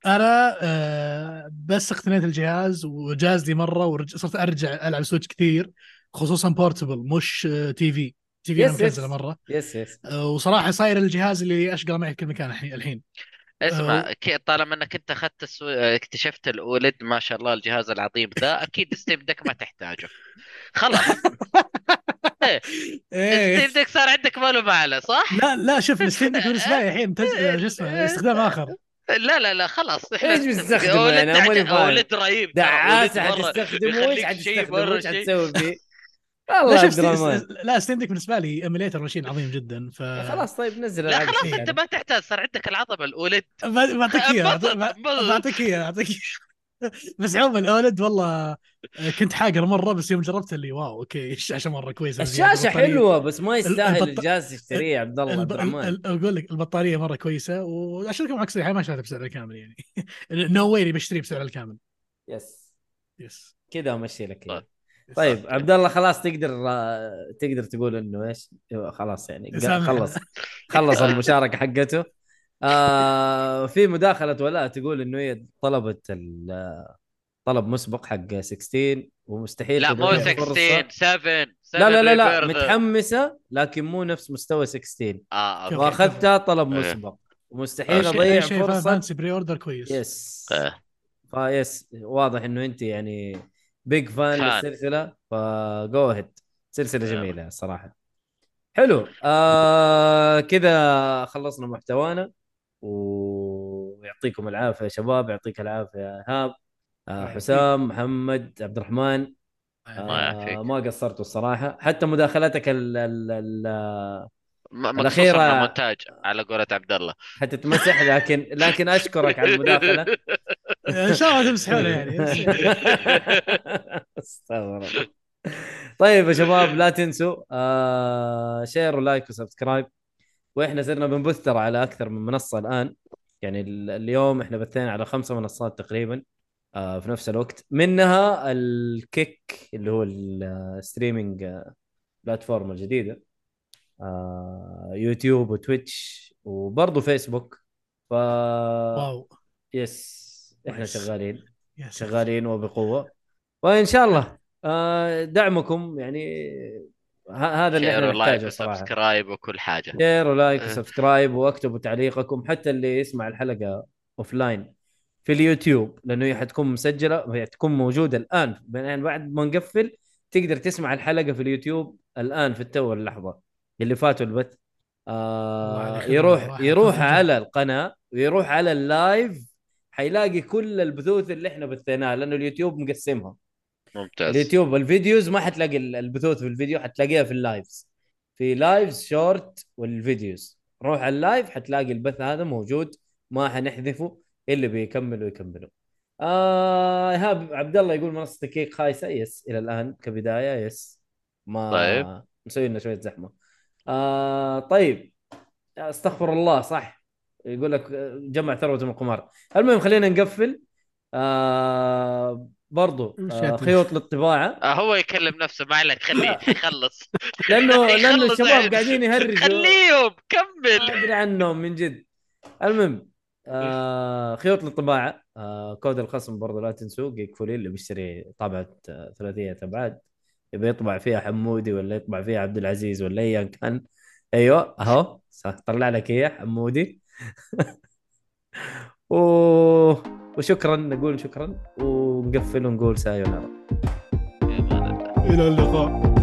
S5: انا آه، بس اقتنيت الجهاز وجاز لي مره وصرت ارجع العب سويتش كثير خصوصا بورتبل مش آه، تي في تي في
S2: يس،
S5: انا مكنزله
S2: يس.
S5: مره
S2: يس يس
S5: آه، وصراحه صاير الجهاز اللي اشقى معي في كل مكان الحين- الحين
S1: اسمع
S5: أو-
S2: أه.
S1: كي- طالما انك انت اخذت السو... اكتشفت الاولد ما شاء الله الجهاز العظيم ذا اكيد ستيم دك ما تحتاجه خلاص
S2: إيه،
S1: ستيم دك صار عندك ما له معنى صح؟
S5: لا لا شوف الستيم ديك بالنسبه لي الحين تج... شو اسمه استخدام اخر
S1: لا لا لا خلاص احنا
S2: إيش بتستخدمه يعني؟ أنا ماني
S1: ولد
S2: فاهم.
S1: ولد رهيب ترى،
S2: دعاسه
S1: ولد مرة
S2: حتستخدمه ايش
S1: يخليك شيء
S2: حتستخدمه
S1: مرة
S2: ايش
S1: شيء.
S2: حتسوي فيه
S5: لا
S2: والله
S5: شوف
S2: عبد الرحمن
S5: ست- لا ستيم ديك بالنسبه لي ايميليتر ماشين عظيم جدا ف
S2: خلاص طيب نزل
S1: لا
S2: العاب
S1: خلاص
S2: الشيء
S1: انت
S2: يعني.
S1: ما تحتاج صار عندك العظمه الاولد
S5: ب- بعطيك اياه
S1: انبسط،
S5: بعط-
S1: انبسط.
S5: بعطيك اياه بعطيك إياه. بس عموما الاولد والله آه، كنت حاقر مره بس يوم جربت اللي واو اوكي الشاشه مره كويسه زيادة،
S2: الشاشه
S5: يعني البطارية-
S2: حلوه بس ما يستاهل
S5: البط-
S2: الجهاز تشتريه يا عبد الله
S5: الب...
S2: عبد الرحمن
S5: ال- اقول لك البطاريه مره كويسه واشترك معك صريحه ما شريتها بسعرها الكامل يعني نو واي بشتريه بسعرها الكامل
S2: يس
S5: يس
S2: كذا امشي لك إياه.
S1: طيب.
S5: يس.
S2: طيب عبد الله خلاص تقدر آه، تقدر تقول انه ايش خلاص يعني
S5: سامحنا.
S2: خلص خلص المشاركه حقته آه في مداخله ولاء تقول انه هي طلبت ال- آه، طلب مسبق حق 16 ومستحيل
S1: لا
S2: تضيع
S1: مو
S5: تضيع
S2: الفرصة.
S1: 16 7
S2: لا لا لا لا
S1: 7 ريفيرث.
S2: متحمسه لكن مو نفس مستوى 16
S1: اه اوكي
S5: واخذ-
S2: واخذتها طلب
S1: إيه.
S2: مسبق ومستحيل
S1: أوكي.
S5: شيء
S2: اضيع
S5: شيء
S2: فرصه
S5: فانسي بري اوردر كويس
S2: يس
S1: إيه.
S2: فيس واضح انه انت يعني بيج فان
S1: فان.
S2: للسلسله فجو هيد سلسله جميله الصراحه حلو آه كذا خلصنا محتوانا ويعطيكم العافيه يا شباب يعطيك العافيه يا ايهاب آه حسام محمد عبد الرحمن
S1: الله يعافيك
S2: آه ما قصرتوا الصراحه حتى مداخلتك ال ال ال
S1: م-
S2: الأخيرة-
S1: مقصوصة من مونتاج على قولة عبد الله
S2: حتتمسح لكن لكن اشكرك على المداخله
S5: ان شاء الله تمسحونه يعني
S2: استغفر الله. طيب يا شباب لا تنسوا آه شير ولايك وسبسكرايب واحنا صرنا بنبث ترى على اكثر من منصه الان يعني ال- اليوم احنا بثينا على خمسه منصات تقريبا آه في نفس الوقت منها الكيك اللي هو الستريمينج آه، بلاتفورم الجديده آه يوتيوب وتويتش وبرضه فيسبوك ف
S5: واو
S2: يس احنا
S5: نايس.
S2: شغالين
S5: يا ساتر.
S2: شغالين وبقوه وان شاء الله آه، دعمكم يعني ه- هذا اللي
S1: شير
S2: احنا
S1: ولايك
S2: نحتاجه صراحه
S1: وسبسكرايب وكل حاجة
S2: شير ولايك
S1: آه.
S2: وسبسكرايب واكتبوا تعليقكم حتى اللي يسمع الحلقه اوف لاين في اليوتيوب لانه هي حتكون مسجله وهي تكون موجوده الان بعدين بعد ما نقفل تقدر تسمع الحلقه في اليوتيوب الان في التو اللحظه اللي فاتوا البث
S5: الله على
S2: آه
S5: الخدمة
S2: يروح
S5: صراحة.
S2: يروح
S5: كنت-
S2: على القناه ويروح على اللايف حيلاقي كل البثوث اللي احنا بثيناها لانه اليوتيوب مقسمها
S1: ممتاز
S2: اليوتيوب الفيديوز ما حتلاقي ال- البثوث في الفيديو حتلاقيها في اللايفز في لايفز شورت والفيديوز روح على اللايف حتلاقي البث هذا موجود ما حنحذفه اللي بيكملوا يكملوا آه ايهاب عبد الله يقول منصه الكيك خايسه يس الى الان كبدايه يس ما
S1: طيب.
S2: مسوي لنا شويه زحمه آه طيب استغفر الله صح يقول لك آه، جمع ثروه من القمار المهم خلينا نقفل آه برضو آه
S7: مشيت.
S2: خيوط للطباعه
S1: آه، هو يكلم نفسه ما عليك خليه يخلص
S2: لانه لانه
S1: يخلص
S2: الشباب
S1: يعني.
S2: قاعدين يهرجوا
S1: خليهم كمل
S2: ما ادري عنهم من جد المهم آه خيوط للطباعه آه كود الخصم برضه لا تنسوه جيك فولي اللي بيشتري طابعه آه، ثلاثيه ابعاد يبي يطبع فيها حمودي ولا يطبع فيها عبد العزيز ولا ايا كان ايوه اهو صح طلع لك اياه حمودي و... وشكرا نقول شكرا ونقفل ونقول سايونارا
S7: الى اللقاء